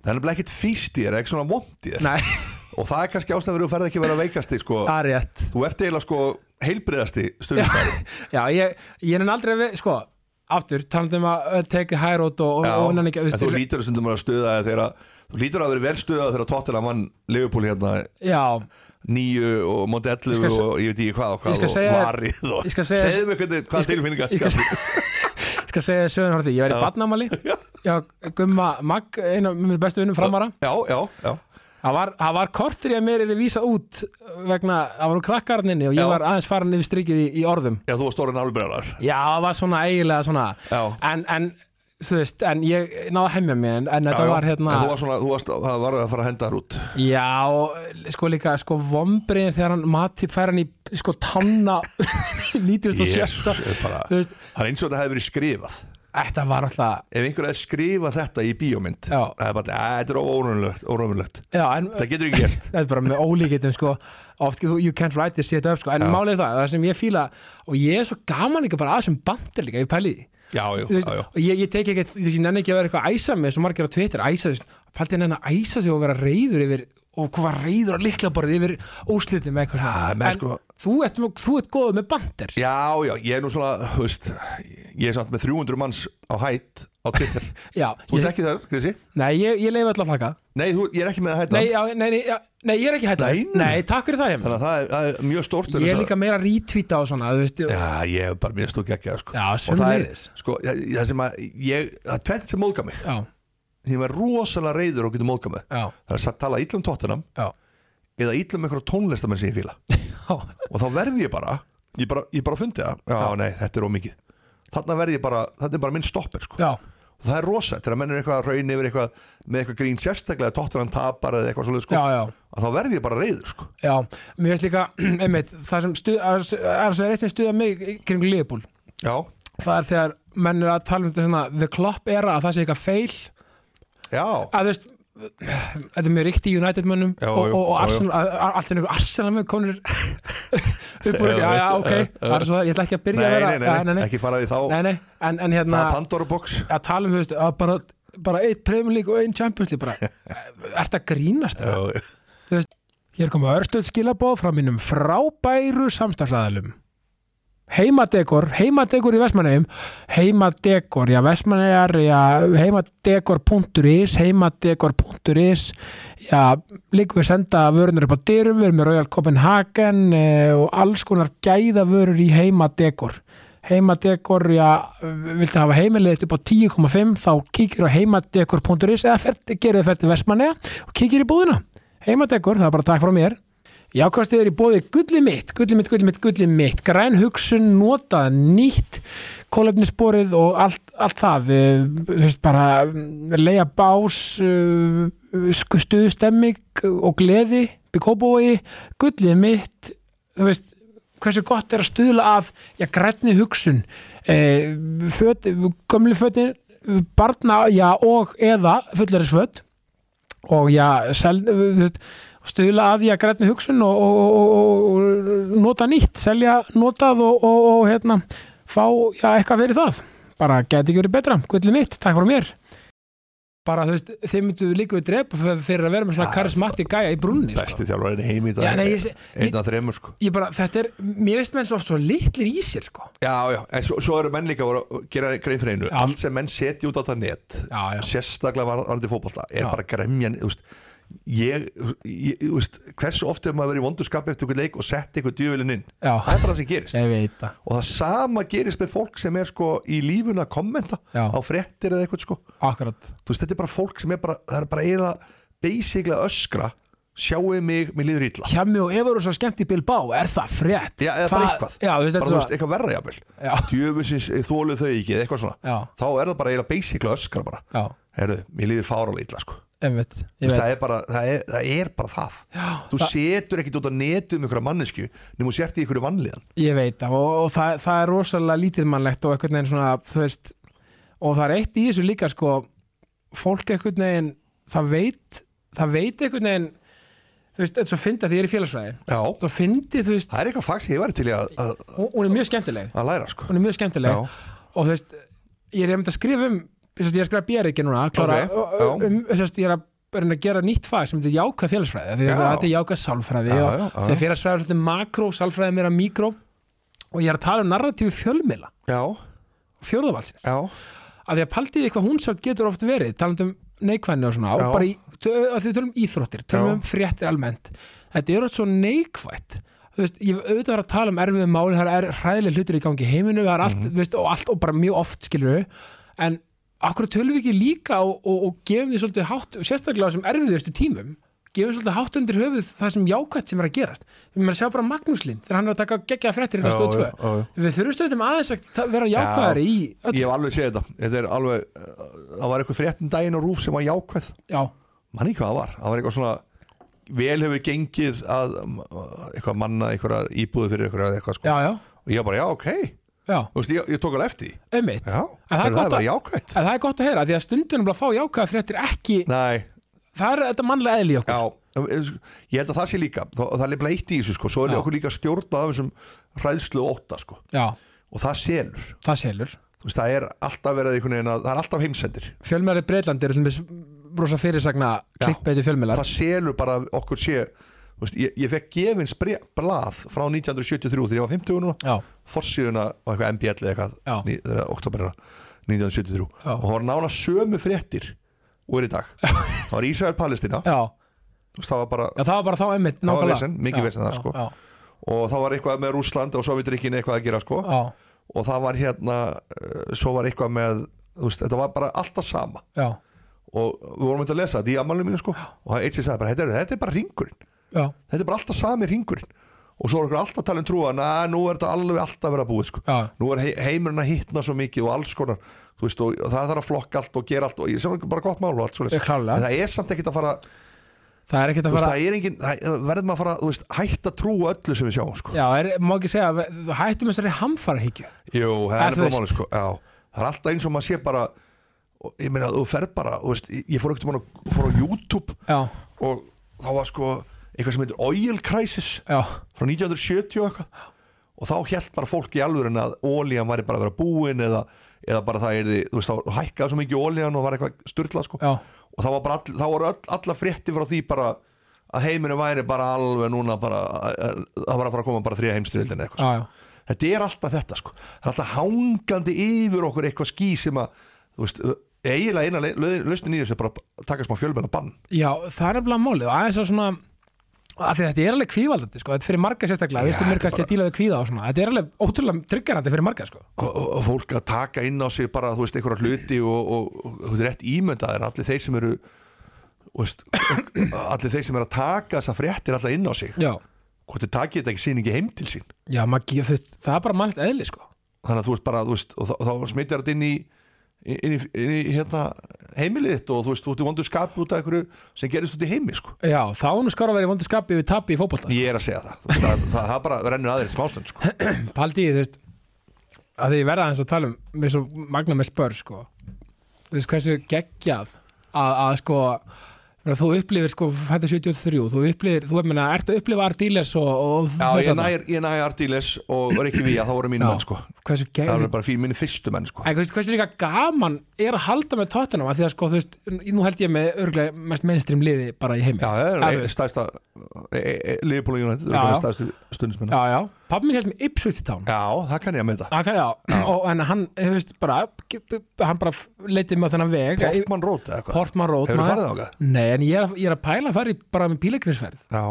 Speaker 2: það er nefnilega ekkert fýst í þér, ekkert svona vond í þér [laughs]
Speaker 1: nei,
Speaker 2: og það er kannski ástæðan fyrir að þú ferð ekki að vera veikasti sko.
Speaker 1: það er rétt
Speaker 2: þú ert eiginlega sko, heilbriðasti stundar
Speaker 1: Já, ég, ég er aldrei við, sko Aftur, talandi um að teki hærót og, og, og innan ekki
Speaker 2: en þú
Speaker 1: veist,
Speaker 2: lítur að stundum að vera stuða þegar að- þú lítur að vera vel stuða þegar tóttina mann Liverpool hérna
Speaker 1: Já,
Speaker 2: nýju og móti 11
Speaker 1: Ég skal se-
Speaker 2: og ég veit ekki hvað og
Speaker 1: Ég
Speaker 2: hvað
Speaker 1: skal
Speaker 2: og
Speaker 1: segja-
Speaker 2: varið og
Speaker 1: ég skal segja-
Speaker 2: segðu mér hvernig hvað
Speaker 1: ég skal-
Speaker 2: tilfinningar
Speaker 1: ég skal-
Speaker 2: skapir.
Speaker 1: [laughs] ég skal segja sögðan horfði Ég var í
Speaker 2: [laughs]
Speaker 1: barnamáli Já, Gumma Magg, einu af mjög bestu vinnum framara
Speaker 2: já, já, já,
Speaker 1: Það var, það var kortir ég að mér er að vísa út vegna, það var úr krakkarninni og ég
Speaker 2: Já.
Speaker 1: var aðeins farin yfir strikið í, í orðum
Speaker 2: já, þú var stórin alvegbrjálar
Speaker 1: Já, það var svona eiginlega svona
Speaker 2: Já.
Speaker 1: en, en, þú veist, en ég náði að hemja mig en, en þetta var hérna
Speaker 2: en þú var svona, þú varst, það var að fara að henda þar út
Speaker 1: Já, og sko líka sko vombriðin þegar hann Mati fær hann í sko [laughs] tanna 96
Speaker 2: Jesus, er bara-
Speaker 1: Þú veist,
Speaker 2: það er eins og þetta hefði verið skrifað
Speaker 1: Þetta var alltaf
Speaker 2: ef einhver hefði skrifað þetta í bíómynd
Speaker 1: Já.
Speaker 2: það er bara, "Æ, þetta er órómulegt órómulegt,
Speaker 1: Já, en
Speaker 2: það getur ekki gerst
Speaker 1: þetta er bara með ólíkitum sko oft þú- you can't write this shit up sko en málið er það, það sem ég fíla og ég er svo gaman líka bara aðeins um bandir líka, ég pæli því
Speaker 2: já, já,
Speaker 1: Þú veist,
Speaker 2: já, já.
Speaker 1: og ég, ég tek ekki, þú veist, ég nenni ekki að vera eitthvað að æsa mig eins og margir á Twitter, æsa, þú veist, paldi henni að æsa sig og vera reyður yfir og hvað var reyður á liklaborðið yfir úrslitum eða eitthvað
Speaker 2: Já,
Speaker 1: svona.
Speaker 2: menn sko-
Speaker 1: þú ert, nú- þú ert góð með bandir
Speaker 2: Já, já, ég er nú svona, þú veist, ég er samt með 300 manns á hætt á Twitter.
Speaker 1: já,
Speaker 2: Þú ert
Speaker 1: ég,
Speaker 2: ekki þar, Krissi?
Speaker 1: nei, ég, ég leiði alltaf að flaka
Speaker 2: Nei, þú, ég er ekki með að hætta.
Speaker 1: nei, já, nei, nei, já, nei, ég er ekki hættur
Speaker 2: Nei, nei.
Speaker 1: nei, takk fyrir það
Speaker 2: Þannig
Speaker 1: ég,
Speaker 2: að það er, það er mjög stórt. til
Speaker 1: ég
Speaker 2: þess
Speaker 1: er
Speaker 2: að-
Speaker 1: líka meira að retweeta og svona, þú veist,
Speaker 2: Já, ég er bara mjög stók ekki að, sko.
Speaker 1: Já,
Speaker 2: Og það er,
Speaker 1: sömuleiðis.
Speaker 2: sko, ég- það sem að, ég, það er tvent sem móðgað mig.
Speaker 1: já,
Speaker 2: Ég var rosalega reyður og getur móðgað mig.
Speaker 1: já,
Speaker 2: Það er að tala ítlum tóttunum
Speaker 1: já,
Speaker 2: eða ítlum einhverja tónlistamenn sem ég fíla.
Speaker 1: já.
Speaker 2: Og þá verði ég bara, ég bara, ég bara fundi það. Já, nei, þetta er ómikið. Þarna verði ég bara, þetta er bara minn stoppir, sko.
Speaker 1: já.
Speaker 2: og það er rosa, þegar mennur eitthvað að raun yfir eitthvað með eitthvað grín sérstaklega tóttur hann tapar eða eitthvað svolítið sko,
Speaker 1: Já, já.
Speaker 2: að þá verði ég bara reyður sko
Speaker 1: Já, mér finnst líka, einmitt, það sem stuð, að, að, að eitt sem stuða mig í kring liðbúl,
Speaker 2: já,
Speaker 1: það er þegar menn er að tala um þetta svona the klopp era að það sé eitthvað feil
Speaker 2: já,
Speaker 1: að þú veist þetta er mjög ríkt í United mönnum
Speaker 2: Já,
Speaker 1: og,
Speaker 2: jú,
Speaker 1: og, og
Speaker 2: já,
Speaker 1: Arsenal, að- að- allt er einhver Arsenal menn konur [laughs] upp úr, já,
Speaker 2: Já,
Speaker 1: já,
Speaker 2: já,
Speaker 1: ok það er svo það, ég ætla ekki að
Speaker 2: nei,
Speaker 1: byrja að
Speaker 2: nei,
Speaker 1: vera
Speaker 2: nei, nei,
Speaker 1: já, nei, nei,
Speaker 2: ekki fara því þá
Speaker 1: nei, nei, en, en
Speaker 2: það
Speaker 1: hérna
Speaker 2: er Pandora box já,
Speaker 1: að tala um, þú veist, að bara bara eitt Premier League og einn Champions League
Speaker 2: [laughs]
Speaker 1: bara, ert að grínast það
Speaker 2: já,
Speaker 1: Hér koma örstuð skilabóð frá mínum frábæru samstagsæðalum. Heimadekor, heimadekor í Vestmanneum, heimadekor, já Vestmannegar, já heimadekor.is, heimadekor.is, já líka við senda vörunur upp á dyrum, við erum með Royal Copenhagen eh, og alls konar gæðavörur í heimadekor. Heimadekor, já, viltu hafa heimilið upp á 10,5 þá kíkir á heimadekor.is eða ferð, gerir þið ferð til Vestmannega og kíkir í búðina heimadekur, það er bara takk frá mér Jákvæmstuð er í bóði gulli mitt, gulli mitt, gulli mitt, gulli mitt, græn hugsun, notað, nýtt, kólefnisborið og allt, allt það, Eh, þú veist bara, leia bás, eh, sk- stuðstemming og gleði, byggkóbói, gulli mitt, þú veist, hversu gott er að stuðla að, já, grænni hugsun, eh, föt, gömlu fötin, barna, já, og eða fullerisföt, og já, sel, þú veist, stuðla að ég að grænni hugsun og, og, og, og, og nota nýtt, selja notað og, og, og hérna, fá já, eitthvað fyrir það. Bara geti ekki verið betra, gullið mitt, takk frá mér. Bara þú veist, þeir myndu líka við drepa fyrir- fyrir að vera með svona
Speaker 2: Já,
Speaker 1: karismatti gæja í brunni.
Speaker 2: besti þjálfarinn í heimi í dag
Speaker 1: Já, nei, ég, ég, ég,
Speaker 2: einn af þreymur sko
Speaker 1: ég bara, þetta er, mér veist menn svo oft svo litlir í sér, sko.
Speaker 2: já, já, en svo, svo eru menn líka voru að gera grein fyrir einu
Speaker 1: Já.
Speaker 2: allt sem menn setja út á það net
Speaker 1: Já, já.
Speaker 2: sérstaklega var- varandi fótballta er
Speaker 1: Já.
Speaker 2: bara gremjan, þú veist ég, ég, þú veist, hversu oft hefur maður verið í vondurskapi eftir ykkur leik og sett ykkur djöfilinn inn
Speaker 1: Já.
Speaker 2: það er bara það sem gerist
Speaker 1: Ég veit það.
Speaker 2: og það sama gerist með fólk sem er sko í lífuna að kommenta
Speaker 1: Já.
Speaker 2: á fréttir eða eitthvað sko
Speaker 1: Akkurat.
Speaker 2: þú veist þetta er bara fólk sem er bara það er bara eiginlega basically að öskra sjáu mig, mér líður illa
Speaker 1: Hjá mig og ef eru svo skemmt í Bilbá, er það frétt?
Speaker 2: já, eða bara
Speaker 1: Hvað-
Speaker 2: eitthvað
Speaker 1: Já, þú veist, þetta
Speaker 2: bara, þú
Speaker 1: er
Speaker 2: veist,
Speaker 1: svo.
Speaker 2: eitthvað verra jafnvel
Speaker 1: Já,
Speaker 2: djöfusins þólu eh, þau ekki eða eitthvað svona
Speaker 1: já,
Speaker 2: þá er það bara eiginlega basically að öskra bara
Speaker 1: já,
Speaker 2: herðu, mér líður fáralega illa sko
Speaker 1: einmitt.
Speaker 2: Þú
Speaker 1: Ég
Speaker 2: veist,
Speaker 1: veit.
Speaker 2: það, er bara, það, er, það er bara það já, þú setur ekkit út að netu um einhverja mannesku nema þú sért í einhverju vanlíðan
Speaker 1: Ég veit það og, og það, það er rosalega lítið mannlegt og einhvern veginn svona, þú veist og það er eitt í þessu líka sko fólk einhvern veginn, það veit það veit einhvern veginn þú veist, þetta er svo fyndið að því ég er í félagsfræði
Speaker 2: já,
Speaker 1: svo fyndið, þú veist,
Speaker 2: það er eitthvað fag sem ég væri til í að, að,
Speaker 1: hún, hún er mjög skemmtileg
Speaker 2: að læra sko
Speaker 1: hún er mjög skemmtileg
Speaker 2: Já.
Speaker 1: og þú veist, ég er einmitt að skrifa um þú veist, ég er að skrifa bér ekki núna klára,
Speaker 2: Ok,
Speaker 1: okay. um, þú veist, ég er að reyna að gera nýtt fag sem þetta er jákað félagsfræði því
Speaker 2: Já.
Speaker 1: að þetta er jákað sálfræði
Speaker 2: Já,
Speaker 1: og
Speaker 2: já, já.
Speaker 1: þegar félagsfræði er svolítið makró, sálfræði er meira mikró og ég er að tala um narratífu fjölmila
Speaker 2: já,
Speaker 1: fjórðavalsins.
Speaker 2: já
Speaker 1: Af því að paldið eitthvað hún samt getur oft verið, talandum neikvæðni og svona,
Speaker 2: Já.
Speaker 1: og bara í, tö- að því við tölum um íþróttir, tölum
Speaker 2: Já.
Speaker 1: um fréttir almennt. Þetta er oft svo neikvætt. Þú veist, ég hef auðvitað var að tala um erfiðum málin, það er hræðileg hlutir í gangi í heiminu, það er
Speaker 2: Mhm.
Speaker 1: allt, þú veist, og allt og bara mjög oft, skilur við, en akkur tölum við ekki líka og, og, og gefum því svolítið hátt, sérstaklega á þessum erfiðustu tímum, gefum svolítið hátt undir höfuð það sem jákvætt sem er að gerast. Við maður sjá bara Magnúslinn, þegar hann er að taka geggja fréttir í
Speaker 2: Já,
Speaker 1: það stöð
Speaker 2: já, já,
Speaker 1: 2. Við þurfum stöðum aðeins að ta- vera jákvæðari í öllu.
Speaker 2: Ég hef alveg séð þetta Þetta er alveg uh, Það var eitthvað fréttin daginn og rúf sem var jákvæð
Speaker 1: Já,
Speaker 2: Mann ekki hvað það var Það var eitthvað svona Vel hefur gengið að um, uh, Eitthvað manna einhverjar íbúðu fyrir einhverjar eða eitthvað sko
Speaker 1: já, já,
Speaker 2: Og ég var bara já ok Þú
Speaker 1: já,
Speaker 2: veist ég, ég tók alveg eftir því.
Speaker 1: einmitt
Speaker 2: Já
Speaker 1: það er
Speaker 2: En
Speaker 1: gott að-
Speaker 2: það er bara jákvæð
Speaker 1: En það er gott að heyra, því að stundunum að fá jákvæða fréttir ekki,
Speaker 2: Nei
Speaker 1: það er þetta mannlega eðli í okkur
Speaker 2: Já Ég held að það sé líka Þó- Það er nefnilega eitt í þessu sko Svo er
Speaker 1: Já.
Speaker 2: okkur líka stjórnað af þessum Hræðslu og óta sko
Speaker 1: Já,
Speaker 2: Og það selur
Speaker 1: það selur
Speaker 2: Þú þú veist, það er alltaf verið einhvern veginn að það er alltaf heimsendir
Speaker 1: Fjölmæri Breitland eru til dæmis brosa fyrirsagna
Speaker 2: Já.
Speaker 1: klikkbeiti fjölmælar
Speaker 2: það selur bara að okkur sé þú veist, ég, ég fekk gefins bre- blað frá 1973 þegar ég var 50 núna
Speaker 1: Já,
Speaker 2: forsíðuna og eitthvað MBL eða eitthvað
Speaker 1: Já.
Speaker 2: ný- þegar oktober er 1973
Speaker 1: Já.
Speaker 2: og það var nála sömu fréttir og er í
Speaker 1: [laughs]
Speaker 2: dag það var Ísrael-Palestina
Speaker 1: já,
Speaker 2: þú veist, það var bara
Speaker 1: já, það var bara þá einmitt
Speaker 2: var
Speaker 1: nákvæmlega.
Speaker 2: vesen, mikið
Speaker 1: Já,
Speaker 2: vesen það,
Speaker 1: já,
Speaker 2: sko.
Speaker 1: Já,
Speaker 2: og það var eitthvað með Rússland og Sovjetríkin eitthvað að gera sko
Speaker 1: já,
Speaker 2: og það var hérna eh, svo var eitthvað með þú veist, þetta var bara alltaf sama
Speaker 1: já,
Speaker 2: og við vorum eitthvað að lesa þetta í ammálinu mínu sko og það eitt sem sagði bara þetta er, þetta er bara ringurinn
Speaker 1: já,
Speaker 2: þetta er bara alltaf sami ringurinn og svo er okkur alltaf að tala um trúan að nú er þetta alveg alltaf að vera búið sko
Speaker 1: já,
Speaker 2: nú er hei- heimurinn að hittna svo mikið og alls konar þú veist, og það þarf að flokka allt og gera allt og ég sem er bara gott mál og allt svo
Speaker 1: Ég, klárlega.
Speaker 2: en það er samt ekkert að fara,
Speaker 1: það er ekkert
Speaker 2: þú
Speaker 1: að
Speaker 2: veist,
Speaker 1: fara
Speaker 2: það er engin það það verður maður að fara, þú veist, hætt að trúa öllu sem við sjáum sko.
Speaker 1: Já, er, má ekki segja, við- hættum þessari hamfarahyggju
Speaker 2: Jú, það
Speaker 1: Það
Speaker 2: er
Speaker 1: þú
Speaker 2: bara
Speaker 1: veist.
Speaker 2: máli sko. Já, það er alltaf eins og maður sé bara og ég meina, þú ferð bara, þú veist ég- ég fór ekkert mann og fór á YouTube
Speaker 1: Já,
Speaker 2: og þá var sko eitthvað sem heitir Oil Crisis
Speaker 1: já,
Speaker 2: frá 1970 og eitthvað og þá held bara fólk í alvörin að ólían væri bara að vera búin eða, eða bara það er því, þú veist, þá hækkaði svo mikið ólían og var eitthvað styrlað sko
Speaker 1: já,
Speaker 2: og þá var bara, all, þá voru all, alla frétti frá því bara að heiminu væri bara alveg núna bara, það var að fara að koma bara þrija heimstyrjöldin eitthvað sko.
Speaker 1: já, já.
Speaker 2: þetta er alltaf þetta sko, það er alltaf hangandi yfir okkur eitthvað ský sem að þú veist, eiginlega eina lausnin í þessu er bara að taka smá fjölmenn bann
Speaker 1: Já, það er nefnilega málið og aðeins að svona af því að þetta er alveg kvíðvaldandi sko, þetta er fyrir marga sérstaklega, veistu mér
Speaker 2: þetta er
Speaker 1: kannski að díla við kvíða og svona, þetta er alveg ótrúlega tryggarandi fyrir marga sko.
Speaker 2: og, og og fólk að taka inn á sig bara, þú veist, einhverja hluti og, og, og þú veist, rétt ímyndaðir, allir þeir sem eru þú veist, allir þeir sem eru að taka þessa fréttir allar inn á sig
Speaker 1: Já,
Speaker 2: hvort þið takið þetta ekki síningi heim til sín
Speaker 1: já, maður, þú, veist, það er bara mannlegt eðli sko.
Speaker 2: þannig að þú veist bara, þú veist, og þá, þá smittir þetta inn í inn í, inn í hérna, heimilið þitt og þú veist, þú ert í vondu skapi út af einhverju sem gerist út í heimi, sko
Speaker 1: Já, þá er nú skar að vera í vondu skapi við tapi í fótbolta,
Speaker 2: ég er að segja það, þú veist, það, það, það bara rennur aðeins smástund, sko
Speaker 1: paldi í þú veist að því ég verða aðeins að tala um með svo magna með spör sko. þú veist hversu geggjað að, að sko meina, þú upplifir sko fættu 73 þú upplifir, þú meina, ert að upplifa Ardiles og, og
Speaker 2: Já,
Speaker 1: þess
Speaker 2: ég
Speaker 1: að-
Speaker 2: næ, ég næ Ardiles og Rikki Vía, það voru mínu
Speaker 1: Já.
Speaker 2: menn, sko
Speaker 1: hversu
Speaker 2: það
Speaker 1: geggjað
Speaker 2: voru bara fyrir mínu fyrstu menn, sko
Speaker 1: En hversu, hversu líka gaman er að halda með Tottenham að því að sko, þú veist, nú held ég með örglega mest mainstream liði bara í heimi
Speaker 2: Já, það
Speaker 1: Eða,
Speaker 2: er
Speaker 1: þú
Speaker 2: einn
Speaker 1: veist.
Speaker 2: stærsta e, e, e, Liverpool og United,
Speaker 1: Já,
Speaker 2: það er
Speaker 1: já.
Speaker 2: stærstu stundismenn
Speaker 1: já, já. Pappi minn held með Ipswich Town
Speaker 2: Já, það kann ég að mynda
Speaker 1: Akka, já. Og, en hann, þú veist, bara hann bara leitið með þennan veg
Speaker 2: Portman Road eða eitthvað
Speaker 1: Portman Road
Speaker 2: Hefur
Speaker 1: maður.
Speaker 2: farið þangað?
Speaker 1: Nei, en ég er, að- ég er að pæla að fara í bara með pílagrinsferð
Speaker 2: Já,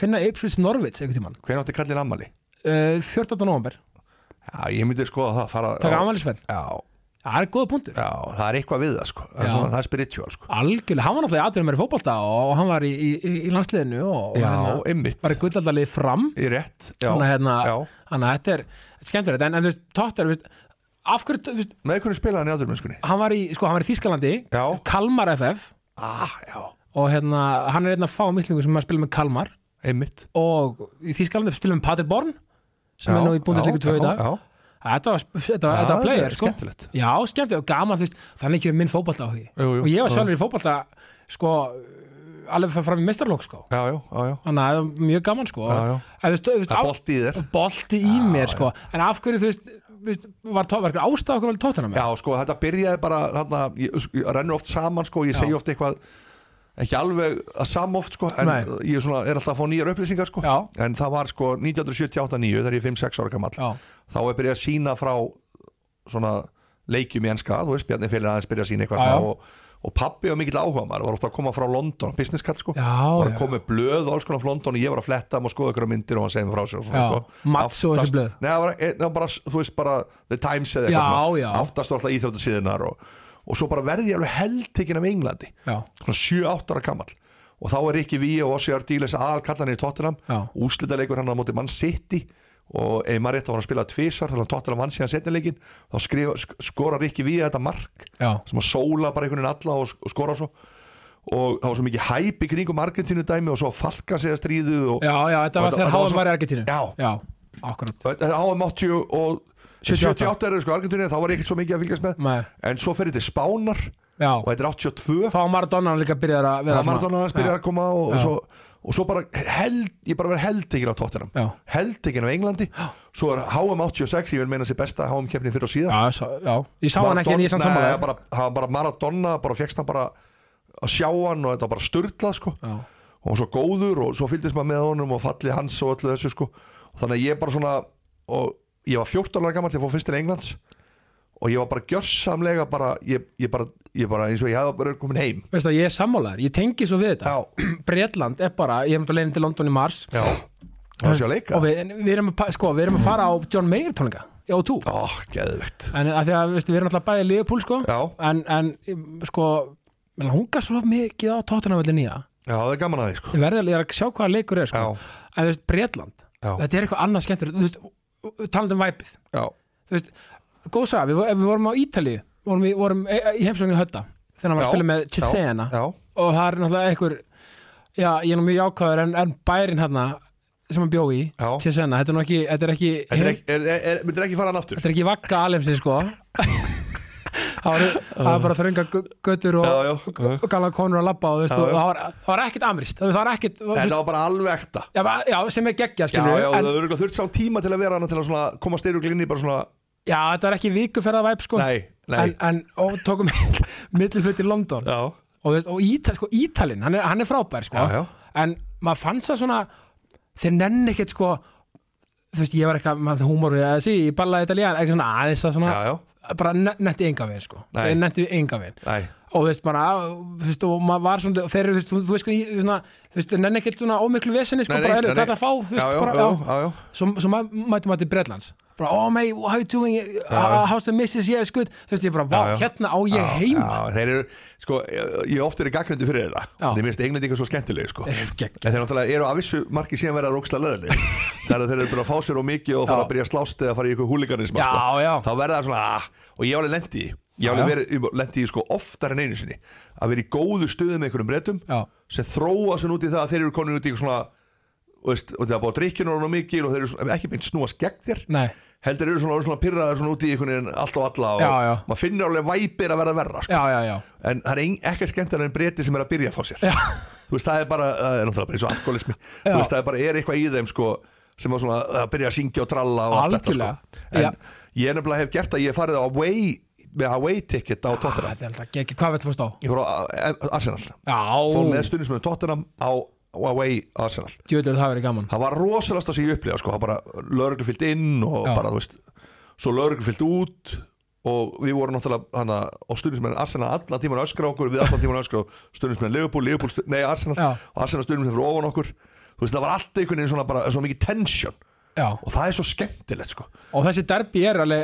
Speaker 1: finna Ipswich Norwich einhvern tímann
Speaker 2: hvernig átti kallin ammali?
Speaker 1: uh, 14. november,
Speaker 2: Já, ég myndi skoða það fara,
Speaker 1: taka
Speaker 2: já,
Speaker 1: afmælisferð
Speaker 2: já,
Speaker 1: Það er góða punktur
Speaker 2: já, það er eitthvað við það sko Það
Speaker 1: Já.
Speaker 2: er, svona, það er spiritual sko
Speaker 1: Algjörlega, hann var náttúrulega í atvinnum í fótbolta og hann var í, í, í- í landsliðinu og, og
Speaker 2: Já,
Speaker 1: hérna,
Speaker 2: einmitt,
Speaker 1: var í gullaldalið fram
Speaker 2: í rétt Já,
Speaker 1: Þannig að hérna-
Speaker 2: já
Speaker 1: Þannig að þetta er þetta er skemmtilegt en, en þú veist, Totter, þú veist, af hverju þú veist,
Speaker 2: Með hvernig spilaði hann í aðurmennskunni?
Speaker 1: hann var í, sko, hann var í Þískalandi
Speaker 2: Já,
Speaker 1: Kalmar FF
Speaker 2: ah, já,
Speaker 1: og hérna, hann er einn af fáum íslingum sem að spila með Kalmar
Speaker 2: einmitt
Speaker 1: og í Þískalandi spila með Paderborn sem er nú í búndisleiku 2 í dag
Speaker 2: Já,
Speaker 1: þetta var, sp- þetta var, þetta var
Speaker 2: þetta
Speaker 1: player,
Speaker 2: er
Speaker 1: sko
Speaker 2: skemmtilegt
Speaker 1: Já, skemmtilegt og gaman, þú veist, þannig ekki við minn fótbolta áhugi
Speaker 2: Jú, jú,
Speaker 1: og ég var
Speaker 2: jú.
Speaker 1: sjálfur í fótbolta, sko alveg fyrir fram í mestarlók, sko
Speaker 2: Já, já, já, já,
Speaker 1: þannig að það var mjög gaman, sko
Speaker 2: já, já.
Speaker 1: En, þú veist, þú veist,
Speaker 2: Það
Speaker 1: á-
Speaker 2: er bolt í þér
Speaker 1: bolti í mér sko en af hverju þú veist, þú veist var, tó, var einhver ástæða okkur vel tóttina með
Speaker 2: Já, sko, þetta byrjaði bara þarna, ég, sko, ég rennur oft saman, sko, ég segi oft eitthvað ekki alveg að sama oft, sko en
Speaker 1: Nei.
Speaker 2: ég er svona, er alltaf að fá nýjar upplýsingar, sko
Speaker 1: Já.
Speaker 2: en það var, sko, 1978-9 þegar ég er 5-6 ára gamall
Speaker 1: Já.
Speaker 2: þá er byrjað að sína frá svona leikjum í enska, þú veist, Bjarni fyrir aðeins byrjað að sína eitthvað
Speaker 1: Já, já.
Speaker 2: svona og, og pappi var mikill áhuga maður, var ofta að koma frá London business card, sko,
Speaker 1: Já,
Speaker 2: var
Speaker 1: já.
Speaker 2: að koma með blöð og alls konar frá London og ég var að fletta um og skoða ykkur myndir og hann segja mig frá sér og
Speaker 1: Já,
Speaker 2: svona, sko.
Speaker 1: Mats og þessi
Speaker 2: Aftast-
Speaker 1: blöð.
Speaker 2: Nei, það var, eh, það var bara, þú veist, bara The Times eða
Speaker 1: Já,
Speaker 2: eitthvað svona.
Speaker 1: já.
Speaker 2: Aftast var alltaf íþjóttasíðinar og, og svo bara verði ég alveg heldtekinn af Englandi
Speaker 1: já,
Speaker 2: Svona 7-8 ára gamall Og þá er ekki við og Ossi Ardíles aðal kallanir í Tottenham
Speaker 1: Já.
Speaker 2: Úslitaleikur hann á móti mann City og ef maður rétt þá var hann að spila tvisvar þannig að Tottenham vann síðan setnileikin þá skrifa, sk skorar ekki við þetta mark
Speaker 1: já,
Speaker 2: sem að sóla bara einhvern veginn alla og, sk- og skora svo og það var svo mikið hæp í kringum Argentínu dæmi og svo falka segja stríðuð og
Speaker 1: já, já þetta
Speaker 2: Og
Speaker 1: var þegar
Speaker 2: þetta- þetta var
Speaker 1: háðum
Speaker 2: svo-
Speaker 1: var í Argentínu
Speaker 2: Já.
Speaker 1: já akkurat
Speaker 2: Þetta er HM 80 og
Speaker 1: 78.
Speaker 2: 78 er sko Argentínu þá var ég ekkert svo mikið að fylgjast með
Speaker 1: Nei,
Speaker 2: en svo fer þetta í Spánar
Speaker 1: já,
Speaker 2: og þetta er 82
Speaker 1: þá var Maradona líka byrjar að vera
Speaker 2: það var þannig að hans byrja að koma og, og, svo, og svo bara held, ég bara verið heldtekinn á Tottenham
Speaker 1: Já.
Speaker 2: heldtekinn á Englandi svo er HM86, ég vil meina sér besta HM keppni fyrir og síðan
Speaker 1: Já, sá- já, ég sá hann ekki en ég sann
Speaker 2: Maradona-
Speaker 1: samanlega
Speaker 2: nei, bara, hann bara Maradona, bara fegst hann bara að sjá hann og þetta var bara styrlað sko.
Speaker 1: Já.
Speaker 2: og hann var svo góður og svo fylgdist maður með honum og fallið hans og öllu þessu sko. og þannig að ég bara svona og ég var 14 ára gammal til að fór fyrst til Englands og ég var bara gjörsamlega bara, ég, ég bara, ég bara eins og ég hefði bara komin heim
Speaker 1: Veistu að ég er sammálaður, ég tengi svo við þetta
Speaker 2: já,
Speaker 1: [clears throat] Bretland er bara, ég er um að leiðin til London í mars
Speaker 2: já, það var sér að leika
Speaker 1: og við, en við, erum, að pa- sko, við erum að fara á John Mayer tónleika Já, og tú
Speaker 2: Ó, geðvikt
Speaker 1: En að því að, veistu, við erum alltaf bæði liðupúl, sko
Speaker 2: Já.
Speaker 1: En, en sko, menn, hún gaf svo mikið á tóttunafellin nýja
Speaker 2: Já, það er gaman að því sko
Speaker 1: Ég verði ég er að sjá hvaða leikur er, sko
Speaker 2: Já.
Speaker 1: En þú veist, Bretland
Speaker 2: Já.
Speaker 1: Þetta er eitthvað annað skemmtur Þú veist, talandi um væpið
Speaker 2: Já,
Speaker 1: Þú veist, góð sá, við, við vorum á Ítalíu Vorum, við vorum e- í heimsóknu í Hötta Þegar hann var
Speaker 2: Já.
Speaker 1: að spila með
Speaker 2: já,
Speaker 1: Chisena
Speaker 2: já,
Speaker 1: og það er náttúrulega einhver já, ég er nú mjög jákvæður en, en bærin hérna sem hann bjó í
Speaker 2: Já.
Speaker 1: til senna, þetta er nú ekki þetta er ekki,
Speaker 2: Þetta er ekki- er- er- er- myndir ekki fara hann aftur
Speaker 1: þetta er ekki vakka alemsi
Speaker 2: [laughs]
Speaker 1: sko það var, það var bara þrönga gö- götur og,
Speaker 2: Já, já.
Speaker 1: og gala konur að labba og, þú veist,
Speaker 2: Já,
Speaker 1: og
Speaker 2: já.
Speaker 1: það, var, það var ekkit amrist það var ekkit þú veist,
Speaker 2: Þetta var bara alveg ekta
Speaker 1: já, bara- já, sem er geggja
Speaker 2: Já,
Speaker 1: skilur
Speaker 2: já,
Speaker 1: en,
Speaker 2: það er örugglega þurft sá tíma til að vera hann til að svona koma styruglinni bara svona
Speaker 1: já, þetta var ekki vikuferða væp sko
Speaker 2: Nei, nei
Speaker 1: en, en og tókum [laughs] milliflutt í London
Speaker 2: Já,
Speaker 1: og, þú veist, og Íta, sko, Ítalinn, hann, er- hann er frábær sko.
Speaker 2: Já, já.
Speaker 1: en maður fannst það svona þeir nenni ekkert sko þú veist, ég var eitthvað, maður húmóru að sí, ég ballaði italían, eitthvað svona aðeins það svona,
Speaker 2: já, já,
Speaker 1: bara ne- netti enga við sko.
Speaker 2: Nei.
Speaker 1: þeir netti enga við
Speaker 2: nei
Speaker 1: og þú veist, bara, þú veist, og maður var svona og þeir eru, þú veist, þú- þú veist, hvernig ég- svona, þú veist, þeir nenni ekkert svona ómiklu vesinni, sko,
Speaker 2: Nei, nei,
Speaker 1: bara, er
Speaker 2: nei,
Speaker 1: þetta
Speaker 2: nei.
Speaker 1: að fá, þú veist,
Speaker 2: Já, já,
Speaker 1: bara,
Speaker 2: já, já, já
Speaker 1: svo, svo ma- mætum maður til Bretlands bara, oh mate, how you doing,
Speaker 2: já.
Speaker 1: how's the missus, yeah, it's good þú veist, ég bara,
Speaker 2: Já,
Speaker 1: vá,
Speaker 2: já.
Speaker 1: hérna á ég heima
Speaker 2: Já, þeir eru, sko, ég- ég ofta er gagnröndu fyrir
Speaker 1: Já.
Speaker 2: þetta Þeir minnst englendingar svo skemmtilegi,
Speaker 1: [laughs]
Speaker 2: sko En
Speaker 1: Gegg-
Speaker 2: þeir náttúrulega eru að vissu marki síðan vera
Speaker 1: [laughs]
Speaker 2: róksla leðinni Það er að þeir eru bara að fá sér og mikið og fara
Speaker 1: Já.
Speaker 2: að byrja að slást eða fara í ykkur húliganism
Speaker 1: Já, já.
Speaker 2: sko. Þá verða það svona, ah, og ég álega lendi í því. Ég
Speaker 1: Já, já.
Speaker 2: álega lendi í því, sko oftar en einu sinni Að vera í góðu stuðu með einhverjum breytum
Speaker 1: Já.
Speaker 2: Sem þróa sér út í það að þeir eru konin út í eitthvað svona og veist, og það er búið að drikkjuna og mikið og þeir eru svona, ekki beint snúast gegn þér
Speaker 1: Nei.
Speaker 2: heldur eru svona, svona pyrraðar svona út í einhvern veginn allt og alla og
Speaker 1: Já, já.
Speaker 2: maður finnur alveg væpir að verða verra sko.
Speaker 1: já, já, já
Speaker 2: en það er ein- ekkert skemmtilega en breyti sem er að byrja að fá sér
Speaker 1: Já.
Speaker 2: þú veist það er bara, það er náttúrulega bara eins og alkoholismi þú veist það er bara, er eitthvað í þeim sko sem að svona að byrja að syngja og tralla og allt þetta sko
Speaker 1: Algjörlega.
Speaker 2: en
Speaker 1: Já.
Speaker 2: ég nefnilega hef gert að ég hef farið á away, með away ticket á
Speaker 1: Ah,
Speaker 2: Tottenham
Speaker 1: Þetta er alltaf geggjum, hvað veit fórst á?
Speaker 2: ég fór á eh, Arsenal fór
Speaker 1: Já,
Speaker 2: með stundins með Tottenham á á away Arsenal
Speaker 1: djöður það verið gaman
Speaker 2: það var rosalast að sé ég upplifa sko, það bara lögreglu fyllt inn og
Speaker 1: Já.
Speaker 2: bara þú veist svo lögreglu fyllt út og við vorum náttúrulega hana, og stundismenn Arsenal allan tíman að öskra á okkur við allan tíman að öskra og stundismenn Leopold, Leopold, stu, nei Arsenal
Speaker 1: Já.
Speaker 2: og Arsenal stundismenn fyrir ofan okkur þú veist það var alltaf einhvern veginn svona bara svona mikið tension
Speaker 1: Já,
Speaker 2: og það er svo skemmtilegt sko
Speaker 1: og þessi derbi er alveg,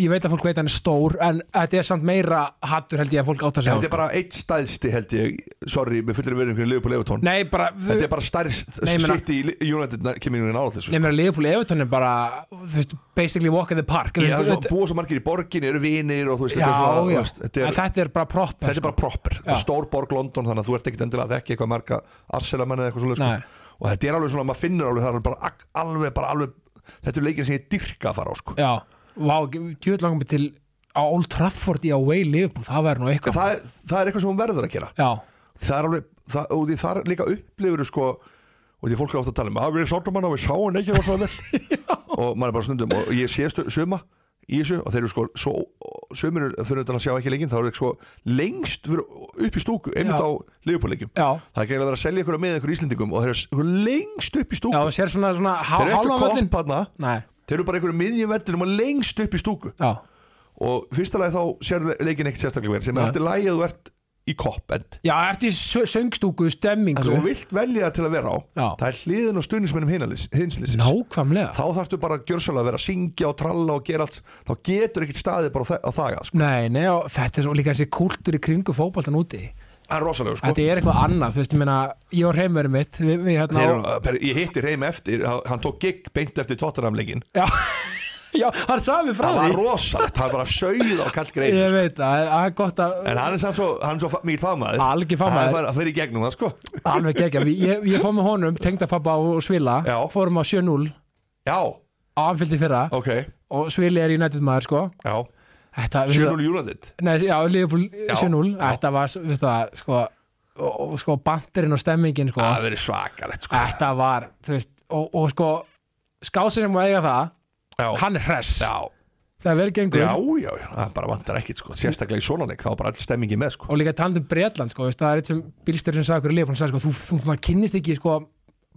Speaker 1: ég veit að fólk veit að hann er stór en þetta er samt meira hattur held ég að fólk átt að segja
Speaker 2: þetta er bara eitt stæðsti held ég sorry, með fullir verið einhverjum Leopold Leopold
Speaker 1: Nei, bara,
Speaker 2: þetta er bara stærst
Speaker 1: Nei, ég meina-
Speaker 2: shit í United kemur inn á þessu sko.
Speaker 1: nefnir að Leopold Everton er bara þú veist, basically walk in the park
Speaker 2: Já,
Speaker 1: Þú
Speaker 2: svo,
Speaker 1: veist,
Speaker 2: búa svo margir í borgin, eru vinir og þú veist,
Speaker 1: já,
Speaker 2: þetta er svona, þú
Speaker 1: já.
Speaker 2: veist, þetta
Speaker 1: En
Speaker 2: er,
Speaker 1: þetta er bara proper
Speaker 2: þetta er bara proper, þetta er stór borg London þannig að þú ert ekkert endilega að þekki eitthvað marga Arsenal-menn eða eitthvað
Speaker 1: Nei.
Speaker 2: svolítið sko. og þetta er alveg svona, maður finnur alveg það er bara ak- alveg, bara alveg þetta er leikin sem ég dyrka að fara á sko.
Speaker 1: Já, vá, djöður langum til á Old Trafford í á Way Liverpool það verður nú eitthvað
Speaker 2: það, er- það er eitthvað sem hún verður að gera
Speaker 1: Já,
Speaker 2: það er alveg, það, og því það er líka upplifur sko, og því fólk er ofta að tala um að við sátum hana og við sáum hann ekki og
Speaker 1: [laughs]
Speaker 2: svo vel og maður er bara stundum og ég sé stu, suma í þessu og þeir eru sko svo, sumir eru- fyrir utan að sjá ekki leikinn þá eru þeir sko lengst fyrir, upp í stúku
Speaker 1: Já.
Speaker 2: einmitt á leifupóleikjum
Speaker 1: Já.
Speaker 2: það er gæmlega að vera að selja ykkur með ykkur íslendingum og þeir eru sko lengst upp í
Speaker 1: já,
Speaker 2: stúku
Speaker 1: það sér svona, svona há,
Speaker 2: þeir eru ekki
Speaker 1: hálfan völlinn.
Speaker 2: kopp hana
Speaker 1: Nei,
Speaker 2: þeir eru bara einhverjum miðjum vellinum og lengst upp í stúku
Speaker 1: já,
Speaker 2: og fyrsta lagi þá sér leikinn ekkert sérstaklega verið sem
Speaker 1: Nei.
Speaker 2: er alltaf lagi að þú ert í kopp en
Speaker 1: já, eftir söngstúku,
Speaker 2: það sem þú
Speaker 1: stemmingu
Speaker 2: vilt velja til að vera á
Speaker 1: Já.
Speaker 2: það er hliðin og stuðnismennum hinsliðsins
Speaker 1: Nákvæmlega
Speaker 2: þá þarftu bara að gjörsalega að vera að syngja og tralla og gera allt þá getur ekkert staðið bara á þa- á þaga sko.
Speaker 1: Nei, nei, og þetta er svo líka þessi kultúr í kringu fótboltan úti.
Speaker 2: það er rosalega sko.
Speaker 1: Þetta er eitthvað annað, þú veist, ég meina, ég og reymverið mitt, við, við hérna...
Speaker 2: Þeir, eru- eh, per- ég hitti Reim eftir, hann hann tók gig beint eftir Tottenham-leikin
Speaker 1: Já, já, hann sagði mér frá
Speaker 2: það var
Speaker 1: því.
Speaker 2: rosalegt, það var bara sauð á kallt greið
Speaker 1: [laughs] Ég veit það, það er gott að
Speaker 2: en hann er samt svo, hann er svo fa- mikill fagmaður
Speaker 1: Algjör fagmaður.
Speaker 2: hann fyrir í gegnum það sko
Speaker 1: alveg gegja. Við- Ég, ég fór með honum, tengdapappa og Svila,
Speaker 2: Já.
Speaker 1: fórum á 7-0
Speaker 2: já,
Speaker 1: á Anfildi fyrra
Speaker 2: ok,
Speaker 1: og Svili er United maður, sko.
Speaker 2: já
Speaker 1: Þetta,
Speaker 2: 7-0 United
Speaker 1: Nei, já, Liverpool
Speaker 2: Já,
Speaker 1: 7-0,
Speaker 2: já.
Speaker 1: þetta var, veist það, sko, og, og sko bandirinn og stemmingin sko,
Speaker 2: það verið svakalegt sko.
Speaker 1: þetta var, þú veist og, og sko, skásin sem var eiga það
Speaker 2: já,
Speaker 1: hann er hress,
Speaker 2: já,
Speaker 1: það er verið gengur
Speaker 2: já, já, já, það bara vantar ekkit sko. sérstaklega í svona leik, þá var bara all stemmingi með sko.
Speaker 1: og líka talandum Bretland sko, veist, það er eitt sem bílstjörn sem sagði okkur í Liverpool hann sagði sko, þú, þú maður kynnist ekki sko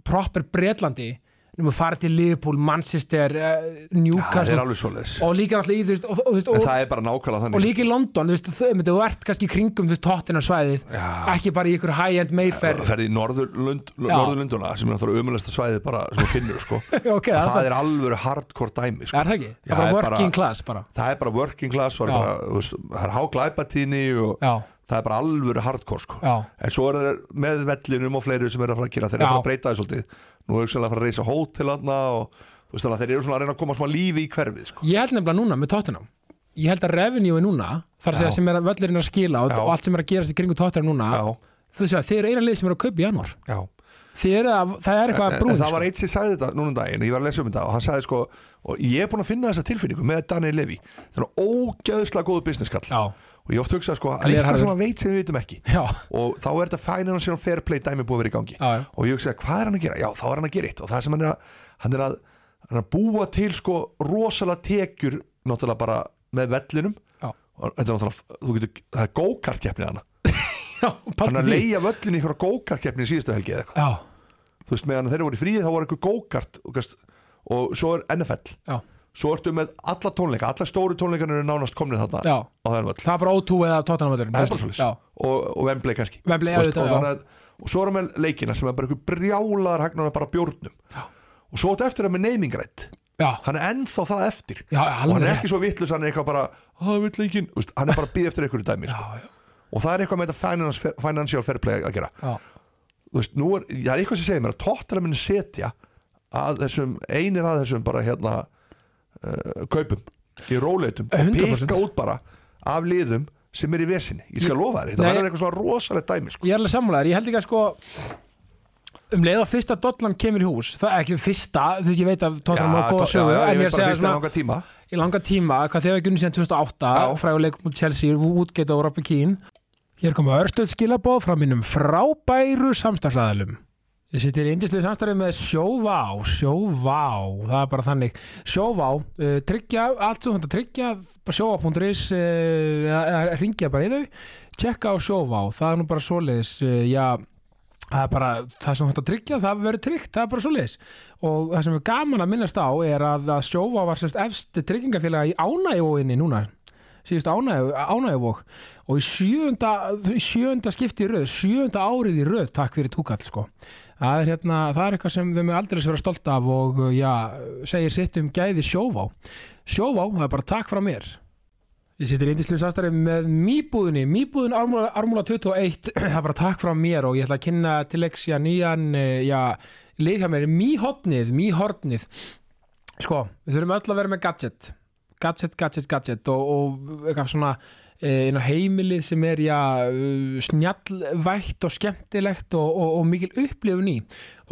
Speaker 1: proper Bretlandi nema þú farið til Liverpool, Manchester uh,
Speaker 2: það
Speaker 1: Newcastle
Speaker 2: er alveg svoleiðis
Speaker 1: og líka náttúrulega í þú veist, og, og, þú veist,
Speaker 2: en
Speaker 1: og,
Speaker 2: það er bara nákvæmlega
Speaker 1: og
Speaker 2: þannig
Speaker 1: líka í London þú veist, þau- þú ert kannski í kringum þú veist tóttina svæðið
Speaker 2: Já.
Speaker 1: ekki bara í ykkur high-end Mayfair
Speaker 2: það ferði í Norðurlund,
Speaker 1: Já.
Speaker 2: Norðurlunduna sem er náttúrulega umjöðlega svæðið bara sem þú finnur
Speaker 1: [laughs]
Speaker 2: sko.
Speaker 1: ok,
Speaker 2: það,
Speaker 1: það,
Speaker 2: það er alvöru hardcore dæmi sko.
Speaker 1: er það ekki
Speaker 2: Já,
Speaker 1: það er bara
Speaker 2: það er
Speaker 1: working
Speaker 2: bara-
Speaker 1: class bara
Speaker 2: það er bara working class það
Speaker 1: Já.
Speaker 2: er bara, þú veist, það er háglæpatíni og
Speaker 1: já,
Speaker 2: það er bara alvöru hardcore sko.
Speaker 1: já,
Speaker 2: en svo er það með vellinum og fleiri sem eru að fara að gera þeir
Speaker 1: Já.
Speaker 2: eru að fara að breyta þessu svolítið nú er hugsanlega að fara að reysa hótel aðna og þú veist þannig að þeir eru svona að reyna að koma smá lífi í hverfið sko.
Speaker 1: ég held nefnilega núna með tóttinam ég held að revenue núna þar að segja
Speaker 2: Já.
Speaker 1: sem er að völlurinn er að skila og,
Speaker 2: Já.
Speaker 1: og allt sem er að gerast í kringum tóttinam núna
Speaker 2: já,
Speaker 1: þú veist að þið eru eina lið sem eru að kaupa í janúar
Speaker 2: já.
Speaker 1: Þið eru að, það er eitthvað að sko.
Speaker 2: en
Speaker 1: brúðin
Speaker 2: Eh, það var eitt sem sagði þetta núna um daginn og ég var að lesa um þetta og hann sagði sko og ég er búin að finna þessa tilfinningu með Daniel Levy það er ógæðislega góðu businesskall
Speaker 1: Já,
Speaker 2: og ég oft hugsa sko að
Speaker 1: Glerharður.
Speaker 2: eitthvað sem hann veit sem við vitum ekki
Speaker 1: já,
Speaker 2: og þá er þetta finance and fair play dæmi búið að vera í gangi
Speaker 1: Já, já.
Speaker 2: og ég hugsa hvað er hann að gera, já þá er hann að gera eitt og það sem hann er að, hann er að, hann er að búa til sko rosalega tekjur náttúrulega bara með vellinum
Speaker 1: Já.
Speaker 2: og þetta er náttúrulega, þú getur það er go-kart-keppni hann
Speaker 1: já
Speaker 2: hann er
Speaker 1: pældu
Speaker 2: að
Speaker 1: því.
Speaker 2: leia völlin í einhverja go-kart-keppni í síðustu helgi eða eitthvað,
Speaker 1: Já,
Speaker 2: þú veist meðan þeir voru í fríði þá voru einhver go-kart og, gast, og svo er NFL,
Speaker 1: já,
Speaker 2: svo ertu með alla tónleika, alla stóru tónleikan eru nánast komnið þarna
Speaker 1: já
Speaker 2: á þennan völl
Speaker 1: Það er bara O2 eða Tottenham
Speaker 2: það er bara svolítið
Speaker 1: Já,
Speaker 2: og, og Wembley kannski
Speaker 1: Wembley,
Speaker 2: Þú
Speaker 1: auðvitað,
Speaker 2: og,
Speaker 1: já.
Speaker 2: þannig að, og svo erum við leikina sem er bara einhver brjálaðar hagnaðar bara bjórnum já. og svo áttu eftir það með neymingrætt
Speaker 1: já,
Speaker 2: hann er ennþá það eftir
Speaker 1: já,
Speaker 2: og hann
Speaker 1: alveg
Speaker 2: er
Speaker 1: rétt.
Speaker 2: ekki svo vittlus, hann er eitthvað bara "Ah, ég vill leikinn," Þú veist, hann er bara að býða eftir einhverju dæmi sko.
Speaker 1: Já, já,
Speaker 2: og það er eitthvað með þetta finance, financial fair play að gera
Speaker 1: já,
Speaker 2: Þú veist, nú er, það er eitthvað sem segir mér að tóttara minn setja að þessum, einir að þessum bara hérna uh, kaupum í róleitum og
Speaker 1: 100%.
Speaker 2: pikka út bara af liðum sem er í vesinni, ég skal lofa þér þetta
Speaker 1: Nei.
Speaker 2: verður eitthvað svona rosalegt dæmi sko.
Speaker 1: Ég er alveg sammálaður, ég held ekki að sko um leið að fyrsta dollan kemur í hús það er ekki fyrsta, þú veist ég veit að Tottenham var góða
Speaker 2: tó-
Speaker 1: sögu,
Speaker 2: já, já,
Speaker 1: en
Speaker 2: ég
Speaker 1: ég er
Speaker 2: veit
Speaker 1: að
Speaker 2: bara
Speaker 1: segja
Speaker 2: fyrst að
Speaker 1: svona
Speaker 2: langa tíma
Speaker 1: í langa tíma, hvað þið hefur gunnið síðan 2008 fræguleik múl Chelsea, Woodgate og Robby Keane Hér koma örstöld skilabóð frá mínum frábæru samstagsæðalum Ég sittir í indislu samstarfið með Sjóvá, Sjóvá, það er bara þannig. Sjóvá, uh, tryggja, allt sem þetta tryggja, bara sjóvá.is, uh, eða- eða ringja bara í þau, tjekka á Sjóvá, það er nú bara svoleiðis, uh, já, það er bara, það sem þetta tryggja, það verður tryggt, það er bara svoleiðis. Og það sem er gaman að minnast á er að, að Sjóvá var sérst efst tryggingafélaga í ánægjóinni núna, síðust ánægjavók og í sjöunda, í sjöunda skipti í röð, sjöunda árið í röð takk fyrir túkall sko það er, hérna, það er eitthvað sem við með aldrei vera stolt af og uh, já, segir sitt um gæði sjóvá sjóvá, það er bara takk frá mér Ég sittir indislu sastarið með mýbúðinni, mýbúðin Ármúla, Ármúla 21, [clears throat] það er bara takk frá mér og ég ætla að kynna til leksja nýjan, eh, já, lið hjá mér, mýhotnið, mýhornið. Sko, við þurfum öll að vera með gadget, gadget, gadget, gadget og, og eitthvað svona eh, inn á heimilið sem er, já, eh, snjallvægt og skemmtilegt og, og, og mikil upplifun í.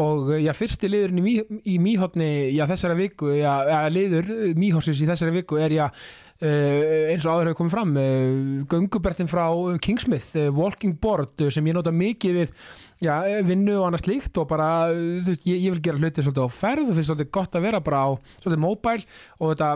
Speaker 1: Og eh, já, fyrsti liðurinn í, mý, í mýhotni, já, þessara viku, já, já liður eh, mýhorsins í þessara viku er, já, uh, eins og áður hefur komið fram uh, göngubertin frá Kingsmith uh, Walking Board uh, sem ég nota mikið við já, eh, vinnu og annað slíkt og bara, uh, þú veist, ég, ég vil gera hluti svolítið á ferð og finnst svolítið gott að vera bara á svolítið mobile og þetta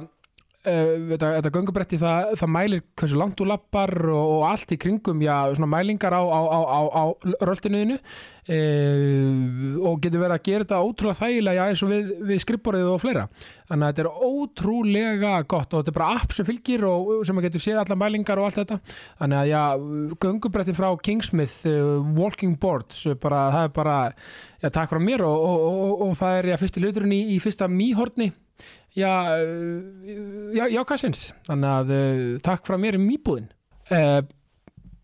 Speaker 1: Uh, þetta, þetta göngubretti það, það mælir hversu langt þú lappar og, og allt í kringum já, svona mælingar á, á, á, á, á röltinuðinu uh, og getur verið að gera þetta ótrúlega þægilega já, eins og við, við skrifborðið og fleira þannig að þetta er ótrúlega gott og þetta er bara app sem fylgir og sem maður getur séð alla mælingar og allt þetta þannig að já, göngubretti frá Kingsmith uh, Walking Boards uh, bara, það er bara, já, takk frá mér og, og, og, og, og það er já, fyrsti hluturinn í, í fyrsta mýhorni já, uh, já, já kassins þannig að uh, takk frá mér um íbúðin uh,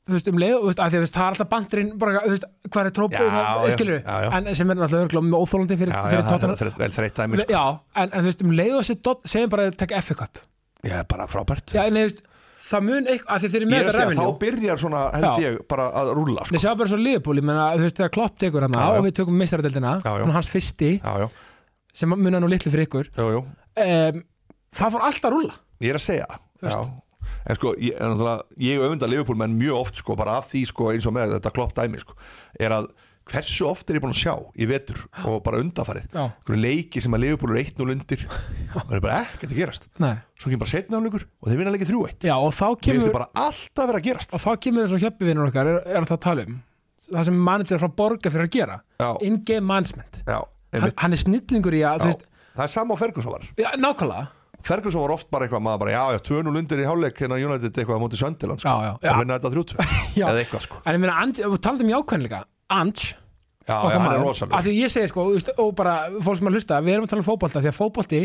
Speaker 1: þú veist um leið þú veist, að því, að, þú veist, það er alltaf bandurinn bara, þú veist, hvað er
Speaker 2: Já,
Speaker 1: trópið
Speaker 2: já,
Speaker 1: skilur
Speaker 2: já, já.
Speaker 1: en sem er náttúrulega örglum með óþólandi fyrir,
Speaker 2: já, já,
Speaker 1: fyrir
Speaker 2: það er
Speaker 1: Tottenham.
Speaker 2: þreytt- vel þreytt dæmi sko.
Speaker 1: já, en, en þú veist um leið og þessi segjum bara að taka FA Cup
Speaker 2: já, bara frábært
Speaker 1: já, en þú veist, það mun eitthvað að því þeir eru
Speaker 2: Ég
Speaker 1: með
Speaker 2: er að
Speaker 1: þetta
Speaker 2: segja,
Speaker 1: revenue
Speaker 2: þá byrjar svona held
Speaker 1: Já.
Speaker 2: ég bara að rúlla
Speaker 1: Nei,
Speaker 2: sko.
Speaker 1: sjá bara svo liðbúli, menna, þú veist, þegar Klopp tekur hana
Speaker 2: Já, já.
Speaker 1: og við tökum mistaradeldina,
Speaker 2: Já, já.
Speaker 1: hans fyrsti
Speaker 2: já, já,
Speaker 1: sem munar nú litlu fyrir ykkur eh,
Speaker 2: jú, jú.
Speaker 1: um, það fór alltaf að rúlla
Speaker 2: ég er að segja já. en sko, ég, en náttúrulega, ég öfunda Liverpool menn mjög oft sko, bara af því sko, eins og með þetta klopp dæmi sko, er að hversu oft er ég búin að sjá í vetur og bara undafarið,
Speaker 1: Já.
Speaker 2: einhverju leiki sem að Liverpool er 1-0 undir, það er bara ekkert að gerast,
Speaker 1: Nei.
Speaker 2: svo kemur bara setna álugur og þeir vinna leikið 3-1,
Speaker 1: Já, og þá
Speaker 2: mér finnst
Speaker 1: kemur
Speaker 2: það bara alltaf vera að gerast
Speaker 1: og þá kemur eins og hjöppivinnur okkar er, er það að tala um það sem manager er frá borga fyrir að gera
Speaker 2: Já.
Speaker 1: in-game management
Speaker 2: Já,
Speaker 1: hann,
Speaker 2: einmitt,
Speaker 1: hann er snillingur í að þú
Speaker 2: já.
Speaker 1: veist,
Speaker 2: það er sama á Ferguson var
Speaker 1: já, nákvæmlega
Speaker 2: Ferguson var oft bara eitthvað, maður bara, já, já, 2-0 undir í hálfleik hérna United eitthvað á móti Söndiland sko.
Speaker 1: Já, já, já.
Speaker 2: og vinna þetta 3-2
Speaker 1: [laughs] Já.
Speaker 2: eða eitthvað sko
Speaker 1: en ég meina, Ange- ef þú talaði um jákvæmleika Ange,
Speaker 2: Já, já,
Speaker 1: okkar
Speaker 2: hann er
Speaker 1: maður,
Speaker 2: rosalur
Speaker 1: af því ég segi sko þú veist, og bara fólk sem að hlusta, við erum að tala um fótbolta því að fótbolti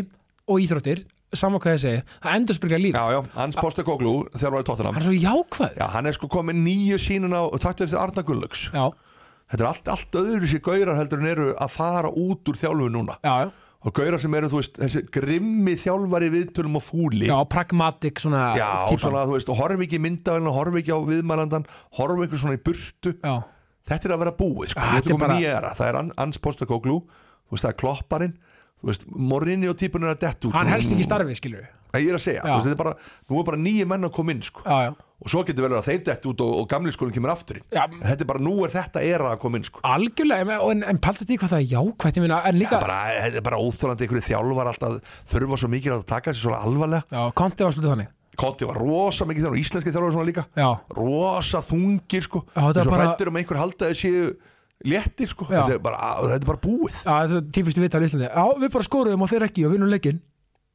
Speaker 1: og íþróttir saman hvað ég segi, það endur spyrja líf
Speaker 2: Já, já, Hans Postekoglu, þegar var í Tottenham
Speaker 1: hann er svo jákvæð
Speaker 2: Já, hann er sko komið nýju sínun á taktu eftir Arna Gullöks
Speaker 1: já,
Speaker 2: Þetta er allt, allt öðru sér gaurar heldur en eru að fara út úr þjálfu núna
Speaker 1: já, já,
Speaker 2: og gaurar sem eru, þú veist, þessi grimmi þjálfari viðtölum og fúli
Speaker 1: já pragmatik svona
Speaker 2: Já,
Speaker 1: típan.
Speaker 2: svona, þú veist, og horfi ekki myndavælinu horfi ekki á viðmælandan, horfi ekki svona í burtu
Speaker 1: já,
Speaker 2: Þetta er að vera búið, sko,
Speaker 1: Já,
Speaker 2: Þú
Speaker 1: þetta
Speaker 2: ert
Speaker 1: er
Speaker 2: komið
Speaker 1: bara-
Speaker 2: nýja era Það er An- Hans Postekoglu, þú veist, það er klopparinn Þú veist, morinni og típunir er að dett út
Speaker 1: hann
Speaker 2: Svona-
Speaker 1: helst ekki í starfi skilur við,
Speaker 2: Það ég er að segja,
Speaker 1: Já.
Speaker 2: þú veist, þetta er bara, nú er bara nýju menn að koma inn, sko
Speaker 1: já, já
Speaker 2: og svo getur vel verið að þeir dætt út og, og gamli skólinn kemur aftur inn
Speaker 1: Já.
Speaker 2: En þetta er bara, nú er þetta era að koma inn sko.
Speaker 1: algjörlega, en, en, en paltast því hvað það er jákvætt ég meina, en
Speaker 2: það
Speaker 1: líka,
Speaker 2: er bara, þetta er bara óþólandi einhverju þjálfar alltaf þurfa svo mikið að taka sér svona alvarlega
Speaker 1: já, konti var svolítið þannig
Speaker 2: Kotti var rosa mikið þjálfar og íslenski þjálfar svona líka
Speaker 1: já,
Speaker 2: rosa þungir sko
Speaker 1: Já, þetta er
Speaker 2: eins og
Speaker 1: bara-
Speaker 2: hrættur um að einhver halda þessi léttir sko,
Speaker 1: Já.
Speaker 2: þetta er, bara, þetta er bara búið
Speaker 1: já það er típistu viðtal í Íslandi já, við bara skoruðum og þeir ekki og vinnum leikinn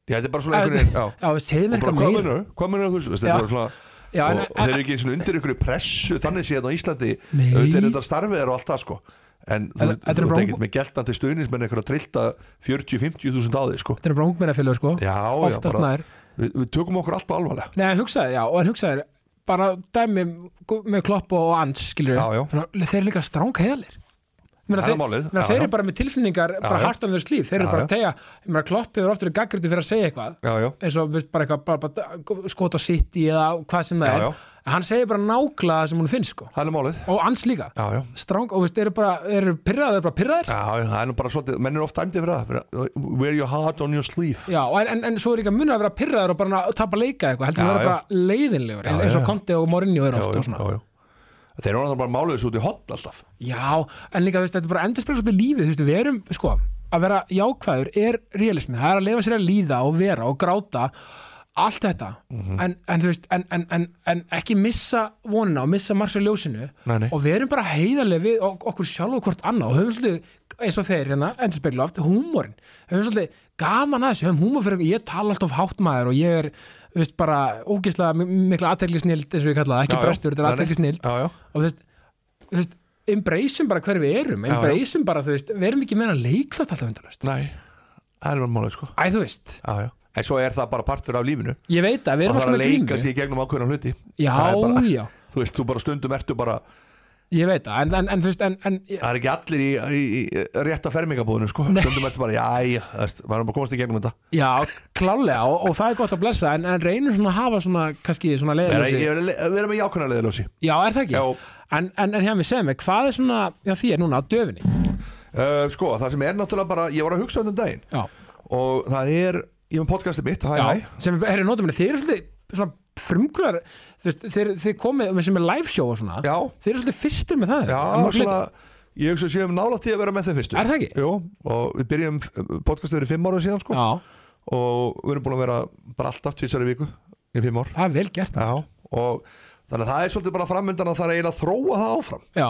Speaker 2: Já, þetta er bara svona einhverju
Speaker 1: já, já, segðu mér
Speaker 2: bara,
Speaker 1: eitthvað
Speaker 2: hvað
Speaker 1: meira
Speaker 2: mennur, hvað mennur þú veist,
Speaker 1: Já.
Speaker 2: þetta er bara svona
Speaker 1: já, en,
Speaker 2: og, og þeir
Speaker 1: en,
Speaker 2: eru ekki svona undir einhverju pressu þannig séð á Íslandi
Speaker 1: Nei.
Speaker 2: auðvitað er þetta starfið er og allt það sko en þú
Speaker 1: En
Speaker 2: veist,
Speaker 1: þetta er
Speaker 2: þú
Speaker 1: bara-
Speaker 2: ert ekkert með geltandi stuðnins með einhverju að trillta 40-50 þúsund á því sko
Speaker 1: þetta er bara ungmennafélög sko,
Speaker 2: já, já,
Speaker 1: oftast
Speaker 2: bara,
Speaker 1: nær
Speaker 2: við, við tökum okkur alltaf alvarlega
Speaker 1: nei, en hugsaður, já, og en hugsaður bara dæmi með klopp og ans skilur
Speaker 2: Já, já.
Speaker 1: þeir eru líka stráng heilir Meina,
Speaker 2: Það er
Speaker 1: þeir,
Speaker 2: málið,
Speaker 1: meina,
Speaker 2: já,
Speaker 1: þeir
Speaker 2: já.
Speaker 1: eru bara með tilfinningar bara
Speaker 2: já.
Speaker 1: hart on their sleeve, þeir eru
Speaker 2: Já,
Speaker 1: bara
Speaker 2: já.
Speaker 1: að tegja ég meina, klopp hefur oftur gaggriti fyrir að segja eitthvað
Speaker 2: já, já,
Speaker 1: eins og veist, bara eitthvað bara, bara, skota sitt í eða hvað sem það
Speaker 2: Já,
Speaker 1: er
Speaker 2: já.
Speaker 1: En hann segir bara nákvæmlega það sem hún finnst sko.
Speaker 2: það er málið
Speaker 1: og ans líka
Speaker 2: já, já,
Speaker 1: stráng og veist, eru bara eru pyrraðar, eru bara pyrraðar
Speaker 2: já, já, það er nú bara svolítið menn er ofta æmdi fyrir það fyrir, að- uh, wear your heart on your sleeve
Speaker 1: Já, en, en, en svo er líka munur að vera pyrraður og bara að tapa leika eitthvað, heldur að
Speaker 2: Já,
Speaker 1: vera
Speaker 2: já.
Speaker 1: bara leiðinlegur en,
Speaker 2: Já,
Speaker 1: eins og
Speaker 2: já.
Speaker 1: Conte og Mourinho eru
Speaker 2: já,
Speaker 1: oft
Speaker 2: já,
Speaker 1: og svona
Speaker 2: já, já. þeir eru náttúrulega bara máliðis út í hotn alltaf
Speaker 1: Já, en líka veist, þetta bara endur spila svolítið lífið, þú veist, við erum, sko, að vera jákvæður er realismi, það er að lifa sér að líða og vera og gráta, allt þetta,
Speaker 2: Mhm.
Speaker 1: en, en þú veist, en, en, en, en ekki missa vonina og missa margsa ljósinu
Speaker 2: Nei, nei.
Speaker 1: og við erum bara heiðarlega við ok- okkur sjálf og hvort annað og höfum svolítið eins og þeir hérna, endur spila oft, húmórin, höfum svolítið gaman að þessu, höfum húmór fyrir, ég tala alltaf hátt maður og ég er, þú veist, bara ógislega mikla aðteglisnild, eins og ég kalla það, ekki
Speaker 2: Já, já.
Speaker 1: brestur, þetta er
Speaker 2: Nei, nei.
Speaker 1: aðteglisnild
Speaker 2: já, já,
Speaker 1: og þú veist, þú veist embraceum bara hver við erum embraceum bara, þú veist, við erum ekki meina leik þetta alltaf endalust
Speaker 2: nei, það er bara máliðis sko
Speaker 1: Æ, þú veist,
Speaker 2: já, já, en svo er það bara partur af lífinu
Speaker 1: ég veit að við
Speaker 2: og
Speaker 1: erum
Speaker 2: það er
Speaker 1: alltaf
Speaker 2: að
Speaker 1: með
Speaker 2: leika
Speaker 1: grímu
Speaker 2: sig í gegnum ákveðna hluti
Speaker 1: Já,
Speaker 2: Það er bara-
Speaker 1: já,
Speaker 2: þú veist, þú bara stundum ertu bara
Speaker 1: ég veit að en, en, en þú veist, en, en
Speaker 2: það er ekki allir í, í, í rétta fermingabúðinu sko. stundum ertu bara, jæja, þú veist, maður er bara komast í gegnum þetta
Speaker 1: já, klálega og, og það er gott að blessa, en, en reynum svona að hafa svona, kannski svona
Speaker 2: Er-
Speaker 1: leiðlösi
Speaker 2: ég er að vera með jákvæmna leðilósi
Speaker 1: Já, er það ekki?
Speaker 2: Já.
Speaker 1: En, en, en hjá mig, segðu mig, hvað er svona já, því er núna á döfinni?
Speaker 2: uh, sko, það sem er náttúrulega bara, ég var að hugsa um þetta um daginn
Speaker 1: Já,
Speaker 2: og það er, ég er með podcastið mitt hæ,
Speaker 1: já
Speaker 2: hæ,
Speaker 1: sem er nótum þeir eru svolítið svona frumklar þú veist, þeir, þeir komið með sem er live show og svona
Speaker 2: já,
Speaker 1: þeir eru svolítið fyrstir með það
Speaker 2: já,
Speaker 1: að mörgu leyti.
Speaker 2: svona ég hugsa að séum nála því að vera með þeim fyrstu
Speaker 1: Er það ekki?
Speaker 2: Jú, og við byrjum podcastið fyrir fimm ára síðan sko,
Speaker 1: Já,
Speaker 2: og við erum búin að vera bara alltaf tvísari viku í fimm ár
Speaker 1: það er vel gert
Speaker 2: já, og þannig að það er svolítið bara framöndan að það er eiginlega að þróa það áfram
Speaker 1: Já,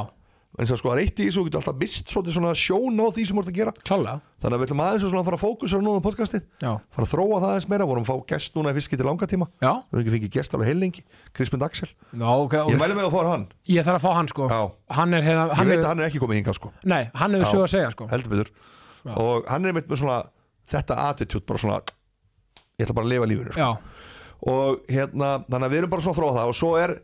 Speaker 2: eins og sko það er eitt í þessu, þú getur alltaf mist svolítið svona sjón á því sem þú ert að gera
Speaker 1: klálega
Speaker 2: þannig að við ætlum aðeins og svona að fara að fókusa núna á podcastið,
Speaker 1: Já,
Speaker 2: fara að þróa það aðeins meira vorum að fá gest núna í fiskið til langa tíma
Speaker 1: já,
Speaker 2: við höfum ekki fengið gest alveg heilengi, Krismund Axel
Speaker 1: Ná, ok, ok.
Speaker 2: ég mæli mig að fá hann,
Speaker 1: Ég þarf að fá hann sko
Speaker 2: já,
Speaker 1: Hann er hérna
Speaker 2: ég
Speaker 1: hann
Speaker 2: veit
Speaker 1: er,
Speaker 2: að hann er ekki komið hingað sko,
Speaker 1: Nei, hann hefur
Speaker 2: Já.
Speaker 1: sög að segja sko
Speaker 2: heldur betur
Speaker 1: Já.
Speaker 2: og hann er einmitt með svona þetta attitude, bara svona ég ætla bara að lifa lífinu sko.
Speaker 1: Já,
Speaker 2: og hérna, þannig að við erum bara svona að þróa það og svo er,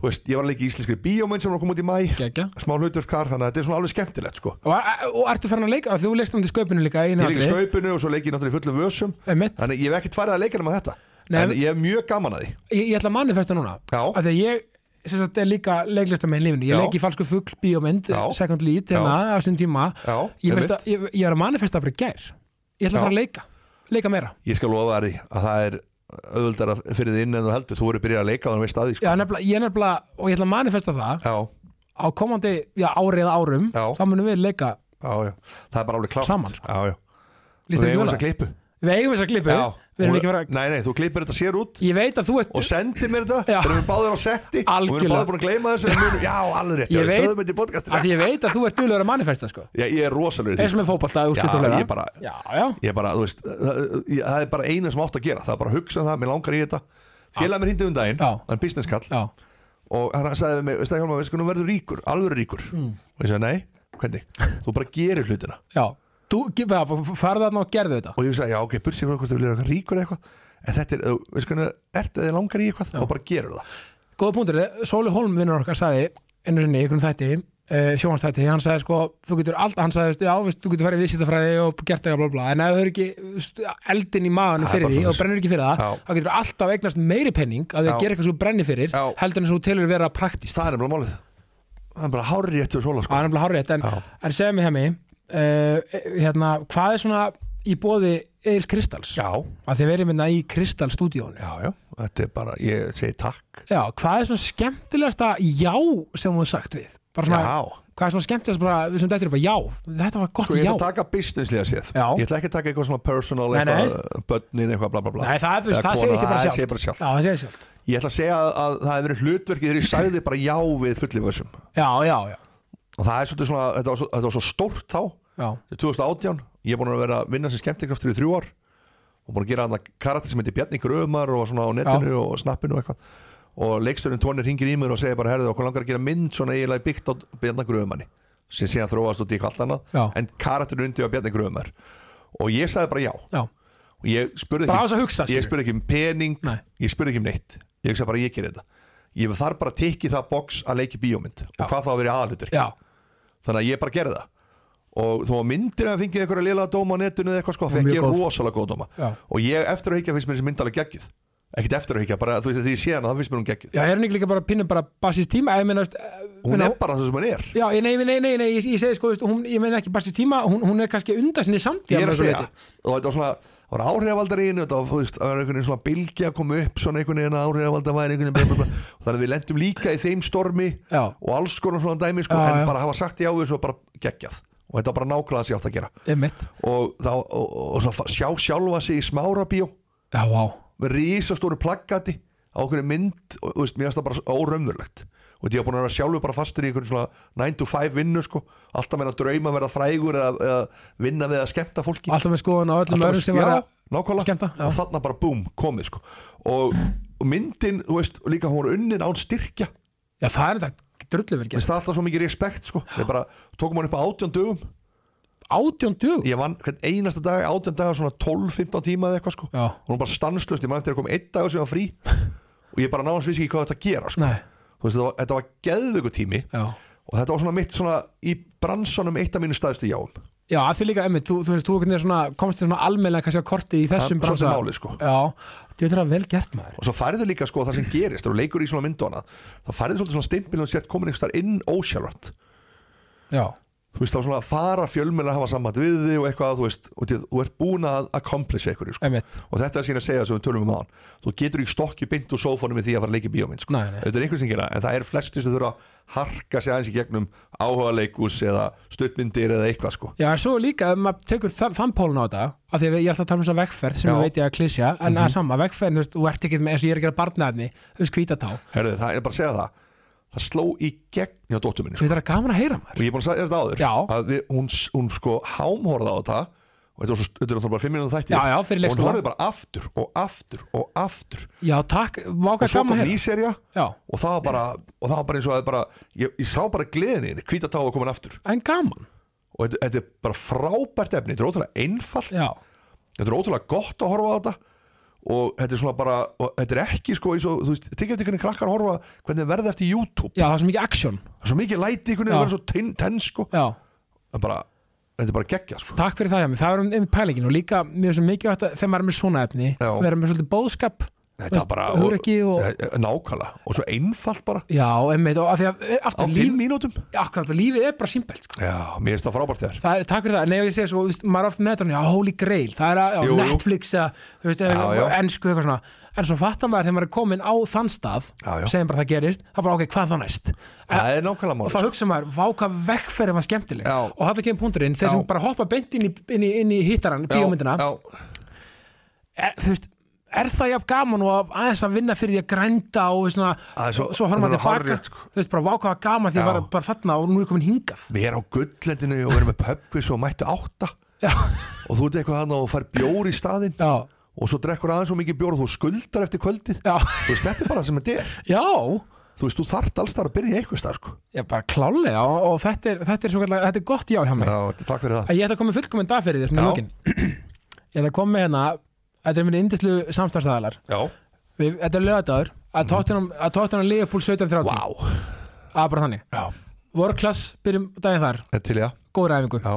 Speaker 2: þú veist, ég var líka í íslenskri bíómynd sem er að koma út í mæ
Speaker 1: geggja
Speaker 2: smá hlutverkar, þannig að þetta er svona alveg skemmtilegt sko.
Speaker 1: Og, og ertu farin að leika, þú leikst um til sköpunu líka í
Speaker 2: ég leik í
Speaker 1: Natri.
Speaker 2: skaupinu og svo leik ég náttúrulega í fullum vösum
Speaker 1: Einmitt.
Speaker 2: Þannig ég hef ekkert farið að leika nema þetta
Speaker 1: Nei,
Speaker 2: En ég hef mjög gaman að því
Speaker 1: ég, ég ætla að manifesta núna
Speaker 2: Já,
Speaker 1: Af því að ég sem sagt, er líka leiklista með lífinu Ég
Speaker 2: Já.
Speaker 1: leik í falsku fugl bíómynd
Speaker 2: Já.
Speaker 1: Second lead, hérna, á sinni tíma
Speaker 2: já,
Speaker 1: Ég,
Speaker 2: einmitt.
Speaker 1: festa, ég, ég er að manifesta fyrir gær Ég ætla að
Speaker 2: Já.
Speaker 1: fara að leika Leika meira
Speaker 2: ég skal lofa þér því að það er auðvöldara fyrir þið inn en þú heldur þú voru byrjað að leika og þú veist að því sko.
Speaker 1: Já, nefnilega, ég nefnilega, og ég ætla að manifesta það
Speaker 2: já,
Speaker 1: á komandi já, ári eða árum
Speaker 2: Já.
Speaker 1: þá munum við leika
Speaker 2: já, já, það er bara alveg klárt
Speaker 1: Saman, sko.
Speaker 2: já, já.
Speaker 1: Líst
Speaker 2: Þú
Speaker 1: þér ekki
Speaker 2: eigum
Speaker 1: vel
Speaker 2: þess að
Speaker 1: að-
Speaker 2: klippu
Speaker 1: Við eigum þess að klippu
Speaker 2: Já.
Speaker 1: Við erum
Speaker 2: Og-
Speaker 1: ekki að vera
Speaker 2: Nei, nei, þú klippir þetta sér út
Speaker 1: Ég veit að þú ert
Speaker 2: og sendir mér þetta
Speaker 1: Já.
Speaker 2: þegar við erum báðir á setti og við erum
Speaker 1: Algjörlega.
Speaker 2: báðir búin að gleyma þessu en munum- Já, alveg
Speaker 1: Ég
Speaker 2: rétt, já, við
Speaker 1: veit-
Speaker 2: sögðum þetta í
Speaker 1: að
Speaker 2: podcastinu
Speaker 1: því ég veit að þú ert duðlegur að manifesta sko
Speaker 2: Já, ég er rosalur
Speaker 1: eins og með fótballta
Speaker 2: Já,
Speaker 1: úrslitalegra
Speaker 2: ég bara-
Speaker 1: já, já,
Speaker 2: ég bara, þú veist, það, ég- það er bara eina sem átt að gera það er bara að hugsa um það, mér langar í þetta félag mér hindi um daginn,
Speaker 1: Já.
Speaker 2: hann er business kall
Speaker 1: já,
Speaker 2: og hann sagði við mig, veist það Hjálmar, veist hvernig verður ríkur alveg ríkur,
Speaker 1: Mm.
Speaker 2: og ég sagði nei
Speaker 1: [laughs]
Speaker 2: hvernig, þú bara gerir hlutina
Speaker 1: já þú ja, farði þarna og gerði þetta
Speaker 2: og ég sagði, já ok, bursi frá hvort þú viljir eitthvað ríkur eða eitthvað en þetta er, þú veist hvernig, ertu þið langar í eitthvað þá bara gerur það,
Speaker 1: góða punktur, Sóli Holm vinnur okkar sagði einu sinni í einhverjum þætti uh, sjóhanstætti, hann sagði sko þú getur allt, hann sagði, já, veist, þú getur farið í viðsýttafræði og gert eitthvað bla bla, en ef þú er ekki veist, eldin í maðan
Speaker 2: Það er
Speaker 1: fyrir
Speaker 2: bara
Speaker 1: því og
Speaker 2: svoleiðis.
Speaker 1: brennur ekki fyrir
Speaker 2: Já.
Speaker 1: það þá getur alltaf eignast meiri penning að því
Speaker 2: Já.
Speaker 1: að gera eitthvað sem þú brennir fyrir
Speaker 2: Já.
Speaker 1: heldur en sem þú telur vera praktist
Speaker 2: það er nefnilega málið það er bara hárið eftir sóla
Speaker 1: Það
Speaker 2: sko.
Speaker 1: er nefnilega hárétt, en,
Speaker 2: Já.
Speaker 1: en segja mig hemi uh, hérna, hvað er svona í bóði Egil Kristals?
Speaker 2: já,
Speaker 1: að þið verið minna í Kristallstúdíónu
Speaker 2: já, já, þetta er bara ég segi takk,
Speaker 1: Já, hvað er svona skemmtilegasta já sem þú hefur sagt við? Bara svona,
Speaker 2: já
Speaker 1: hvað er svona skemmtilegasta bara, við sem dættir bara já, þetta var gott
Speaker 2: Sko ég
Speaker 1: já
Speaker 2: ætla að taka businesslega séð
Speaker 1: Já.
Speaker 2: Ég ætla ekki að taka eitthvað svona personal
Speaker 1: Nei, nei.
Speaker 2: eitthvað, Bönnin eitthvað bla bla bla
Speaker 1: Nei, það, er, þú veist,
Speaker 2: Eða
Speaker 1: það
Speaker 2: kona,
Speaker 1: segir sér bara
Speaker 2: það
Speaker 1: sjálft
Speaker 2: segir bara sjálft.
Speaker 1: Já, það segir sjálft
Speaker 2: Ég ætla að segja að, að það hefur verið hlutverkið þegar ég sagði bara já við fullir vössum
Speaker 1: Já, já, já,
Speaker 2: Og það er svolítið svona, þetta var svo, þetta var svo stórt þá
Speaker 1: já,
Speaker 2: 2018, ég er búin að vera að vinna sem skemmtikraftur í þrjú ár og búin að gera hann karakter sem heitir Bjarni Grömar og svona á netinu og snappinu og eitthvað og leiksturinn Tóni ringir í mér og segir bara herðu okkur langar að gera mynd svona eiginlega byggt á Bjarni Grömanni sem síðan þróast út í eitthvað allt annað
Speaker 1: Já.
Speaker 2: en karakterinn undir var Bjarni Grömar og ég sagði bara já
Speaker 1: já
Speaker 2: og ég spurði
Speaker 1: Bara á
Speaker 2: ekki,
Speaker 1: þess að hugsa,
Speaker 2: ég
Speaker 1: skilur
Speaker 2: spurði ekki um pening
Speaker 1: Nei.
Speaker 2: ég spurði ekki um neitt ég hugsa bara ég gerir þetta ég þarf bara að teki það box að leiki bíómynd og hvað þá að vera aðalutur
Speaker 1: Já,
Speaker 2: þannig að ég bara gerði það og þó að myndir að fengið einhverja lila dóma á netinu eða eitthvað sko, fekk
Speaker 1: mjög
Speaker 2: ég
Speaker 1: góð.
Speaker 2: rosalega góð dóma
Speaker 1: Já.
Speaker 2: og ég eftir að higgja finnst mér þessi mynd alveg geggjuð ekkert eftir að higgja, bara þú veist að því ég sé hana þá finnst mér hún geggjuð,
Speaker 1: já, er hún ekki líka bara pinnum bara basist tíma Ég meina, þú veist, eh,
Speaker 2: hún
Speaker 1: meina,
Speaker 2: er bara það sem hún er
Speaker 1: Já, ég- nei, nei, nei, nei, ég, ég segi sko, þú veist, hún, ég meina ekki basist tíma Hún, hún er kannski undan sinni samtíð
Speaker 2: ég er að segja, og þetta var svona það var áhrifaldar einu, þetta var, þú veist, það var einhvern veginn svona bylgja að koma upp, svona einhvern veginn áhrifaldar væri einhvern veginn, bla, bla, bla. og þannig að við lendum líka í þeim stormi
Speaker 1: Já.
Speaker 2: og alls konar svona dæmi, sko,
Speaker 1: Já, já.
Speaker 2: en bara hafa sagt já við svo bara geggjað, og þetta var bara nákvæmlega sem ég átt að gera,
Speaker 1: Einmitt.
Speaker 2: og þá og, og, og, sjá sjálfa sig í smára bíó
Speaker 1: Já, vá,
Speaker 2: með rísastóru plaggati á okkur mynd, og, þú veist, mér finnst það bara óraumverlegt og því ég var búin að vera sjálfur bara fastur í einhvern svona 9 to 5 vinnu sko alltaf meina að drauma að verða frægur eða, eða vinna við að skemmta fólki
Speaker 1: alltaf með skoðun og öllum
Speaker 2: Alltaf
Speaker 1: öðrum
Speaker 2: að-
Speaker 1: sem var
Speaker 2: já,
Speaker 1: að
Speaker 2: nákvæmlega,
Speaker 1: skemmta, já.
Speaker 2: og þarna bara búm, komið sko og, og myndin, þú veist, og líka hún voru unnin án styrkja,
Speaker 1: Já, það er þetta drullu verið
Speaker 2: Mér finnst það alltaf svo mikið respekt sko, við bara tókum hann upp á átján dögum
Speaker 1: Átjón dug
Speaker 2: ég vann hvern einasta dag, átján dagar svona 12-15 tíma eða eitthvað sko,
Speaker 1: Já.
Speaker 2: og hún var bara stanslust, ég maður eftir að koma einn dag sem var frí og ég bara náðans vissi ekki hvað þetta gera sko.
Speaker 1: Nei,
Speaker 2: Þú veist, þetta var, þetta var geðvöku tími
Speaker 1: já
Speaker 2: og þetta var svona mitt svona í bransanum eitt af mínu staðstu jáum
Speaker 1: Já, að því líka, emmi, þú, þú veist, þú einhvern veginn svona, komst þér svona almennlega kannski að korti í þessum
Speaker 2: Það- svo sem
Speaker 1: bransa
Speaker 2: málið, sko.
Speaker 1: Já, þú veitur að vel gert maður
Speaker 2: og svo færðu líka sko það sem gerist þegar þú leikur í svona myndu hana þá færðu svolítið svona stimpil og sért komin einhvers þar inn ósjálfrand
Speaker 1: Já,
Speaker 2: þú veist þá svona fara fjölmjölar hafa samband við þig og eitthvað þú veist og því, þú ert búin að accomplish einhverju sko.
Speaker 1: emmitt,
Speaker 2: og þetta er síðan að segja sem við tölum um án þú getur ekki stokki beint úr sófónum með því að fara að leika í bíómynd sko.
Speaker 1: Nei, nei.
Speaker 2: þetta er einhvers sem gera en það er flestir sem þurfa að harka sig aðeins í gegnum áhuga eða stuttmyndir eða eitthvað sko.
Speaker 1: já, en svo líka, ef maður tekur þa þann pólun á þetta að því að ég ætla að tala um þess að vegferð sem
Speaker 2: Já. Mhm.
Speaker 1: ég veit ég að klísja, en það er sama, vegferð, þú veist, þú ert ekki með eins og ég er að gera barnaefni, þú veist, hvítatá
Speaker 2: Herðu, það er bara að segja það það sló í gegn hjá dóttur minni sko.
Speaker 1: Svo þetta er gaman að heyra maður
Speaker 2: og ég er búin að segja þetta áður
Speaker 1: Já.
Speaker 2: að við, hún, hún sko hámhorða á þetta og þetta var svo, þetta er náttúrulega bara 5 minútur þætti
Speaker 1: Já, já, fyrir
Speaker 2: og hún
Speaker 1: leikskóla.
Speaker 2: horfði bara aftur og aftur og aftur
Speaker 1: Já, takk,
Speaker 2: og
Speaker 1: vákað
Speaker 2: svo
Speaker 1: gaman
Speaker 2: kom
Speaker 1: að
Speaker 2: ný
Speaker 1: heyra
Speaker 2: serja
Speaker 1: Já,
Speaker 2: og það var bara, og það var bara eins og að bara, ég, ég sá bara gleðinni henni, hvítatá var komin aftur
Speaker 1: en gaman
Speaker 2: og þetta, þetta er bara frábært efni þetta er ótrúlega einfalt,
Speaker 1: Já,
Speaker 2: þetta er ótrúlega gott að horfa á þetta og þetta er svona bara, og þetta er ekki sko eins og, þú veist, tekja eftir hvernig krakkar horfa hvernig þeir verða eftir YouTube,
Speaker 1: já, það er svo mikið action
Speaker 2: það er svo mikið læti hvernig
Speaker 1: Já.
Speaker 2: þeir verða svo ten, ten sko
Speaker 1: Já,
Speaker 2: Það er bara, þetta er bara geggja sko.
Speaker 1: Takk fyrir það hjá mig, það er um pælingin og líka mjög sem mikilvægt að þegar maður er með svona efni
Speaker 2: Já.
Speaker 1: vera með svolítið bóðskap
Speaker 2: þetta er bara
Speaker 1: hugur ekki og,
Speaker 2: Eh, nákvæmlega og svo einfalt bara
Speaker 1: já, einmitt og að því að eh,
Speaker 2: á
Speaker 1: aftur
Speaker 2: fimm
Speaker 1: líf,
Speaker 2: mínútum
Speaker 1: akkurat, lífið er bara simpelt sko.
Speaker 2: já, mér finnst það frábært þér
Speaker 1: það er, takk fyrir það, nei ég segi svo þú veist, maður er oft með þetta, já, holy grail það er að, já,
Speaker 2: Jú, jú.
Speaker 1: Netflix að, þú veist,
Speaker 2: Já, já.
Speaker 1: ennsku eitthvað svona en svo fattar maður þegar maður er komin á þann stað
Speaker 2: Já, já.
Speaker 1: sem bara það gerist, það er bara ok, hvað þá næst
Speaker 2: það er nákvæmlega
Speaker 1: og
Speaker 2: sko. máli
Speaker 1: þá hugsa maður, vá hvað vekkferðin var skemmtileg
Speaker 2: Já.
Speaker 1: og þetta kemur punkturinn, þeir sem
Speaker 2: Já.
Speaker 1: bara hoppa beint inn í, inn í, inn í hittarann, bíómyndina
Speaker 2: já,
Speaker 1: er, þú veist, er það jafn gaman og að- aðeins að vinna fyrir því að grænda og svona,
Speaker 2: Það er svo-
Speaker 1: svo horfum
Speaker 2: það
Speaker 1: maður
Speaker 2: er
Speaker 1: tilbaka
Speaker 2: hárrétt, sko.
Speaker 1: þú veist, bara vá hvað var gaman því
Speaker 2: Já.
Speaker 1: að var bara þarna og nú er komin hingað
Speaker 2: við erum á gullendinu og við erum með pubquiz og mættu átta
Speaker 1: já,
Speaker 2: og þú ert eitthvað hann og fær bjór í staðinn
Speaker 1: já,
Speaker 2: og svo drekkur aðeins svo mikið bjór og þú skuldar eftir kvöldið
Speaker 1: já,
Speaker 2: þú veist, þetta er bara sem þetta er
Speaker 1: já
Speaker 2: þú veist, þú þart alls þar að byrja í eitthvað stað sko.
Speaker 1: já, bara klálega og, og þetta er, þetta er svo kallega, þetta er gott já hjá mig
Speaker 2: já, takk fyrir það
Speaker 1: að ég ætla að koma með fullkominn dag fyrir þér svona í
Speaker 2: Já.
Speaker 1: lokin. ég ætla að koma með hérna þetta er minni indislu samstafstæðalar
Speaker 2: já,
Speaker 1: þetta er lögadagur að Tottenham, að Tottenham Liverpool 17.30
Speaker 2: Mhm. vá,
Speaker 1: að bara þannig
Speaker 2: já,
Speaker 1: Vorklass byrjum daginn þar
Speaker 2: þetta er til já
Speaker 1: góð ræfingu
Speaker 2: já,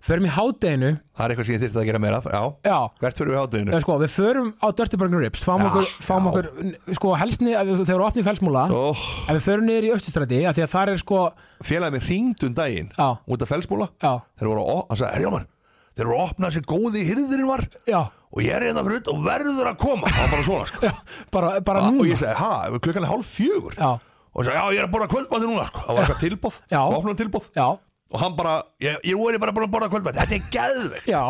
Speaker 1: förum í hádeginu
Speaker 2: það er eitthvað sem ég þyrfti að gera meira af, já,
Speaker 1: já
Speaker 2: hvert fyrir við hátteginu
Speaker 1: Já, sko, við förum á Dirty Burger Rips fáum
Speaker 2: Já,
Speaker 1: okkur, fáum
Speaker 2: já.
Speaker 1: okkur sko, helst niður, þegar við opnum í felsmúla
Speaker 2: oh,
Speaker 1: en við förum niður í austustræti af því að þar er sko
Speaker 2: félagið mér hringd um daginn
Speaker 1: já,
Speaker 2: út af felsmúla,
Speaker 1: já,
Speaker 2: þeir voru að hann sagði, herjálmar, þeir voru að opna sér góði hirðurinn var
Speaker 1: já,
Speaker 2: og ég er hérna fyrir utan og verður að koma það var bara svona, sko
Speaker 1: já bara, bara
Speaker 2: og
Speaker 1: núna
Speaker 2: ég segi, ha, klukkan er hálf fjögur
Speaker 1: já,
Speaker 2: og ég sagði, já, ég er að borða kvöldmætti núna sko. það var eitthvað tilbóð,
Speaker 1: Já.
Speaker 2: opnum tilbóð
Speaker 1: já,
Speaker 2: og hann bara, ég, ég voru bara búin að borða kvöldmætti þetta er geðveikt
Speaker 1: já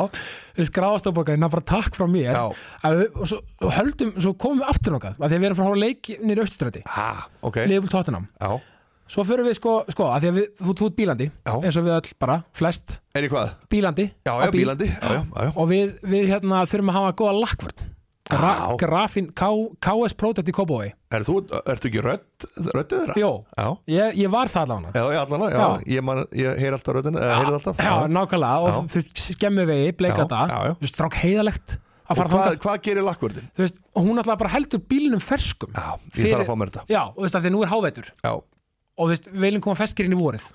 Speaker 1: við skráðast á bókaðina, bara takk frá mér
Speaker 2: Já.
Speaker 1: Að við, og svo og höldum, svo komum við aftur nokkað af því að við erum frá að horfa á leik niður í austustræti
Speaker 2: ah, ok,
Speaker 1: Liverpool Tottenham,
Speaker 2: já,
Speaker 1: svo förum við sko, sko af því að við, þú, þú ert bílandi
Speaker 2: Já.
Speaker 1: eins og við öll bara, flest
Speaker 2: er ég hvað?
Speaker 1: bílandi
Speaker 2: já,
Speaker 1: á
Speaker 2: já, bílandi, já, já, já, já.
Speaker 1: og við, við hérna þurfum að hafa góða lakkvörn Gra,
Speaker 2: Já.
Speaker 1: grafin K, KS Product í Kópavói
Speaker 2: Er þú, ertu ekki rödd, röddið þeirra?
Speaker 1: Jó,
Speaker 2: já,
Speaker 1: ég, ég var það allavega
Speaker 2: já, já, allan, já,
Speaker 1: Já.
Speaker 2: ég, man, ég heyr alltaf röddina, eða heyrði alltaf
Speaker 1: Já, nákvæmlega og
Speaker 2: Já.
Speaker 1: þú veist, skemmu vegi, bleika
Speaker 2: Já,
Speaker 1: þetta
Speaker 2: já, já.
Speaker 1: Þú veist, þrák heiðalegt að
Speaker 2: og
Speaker 1: fara
Speaker 2: hvað,
Speaker 1: þangað
Speaker 2: hvað gerir lakkvörðin?
Speaker 1: Þú veist, hún alltaf bara heldur bílinum ferskum
Speaker 2: Já, ég
Speaker 1: Fyrir-
Speaker 2: þarf að fá mér þetta
Speaker 1: Já, og þú veist, af því nú er hávetur
Speaker 2: já,
Speaker 1: og þú veist, við viljum koma feskir inn í vorið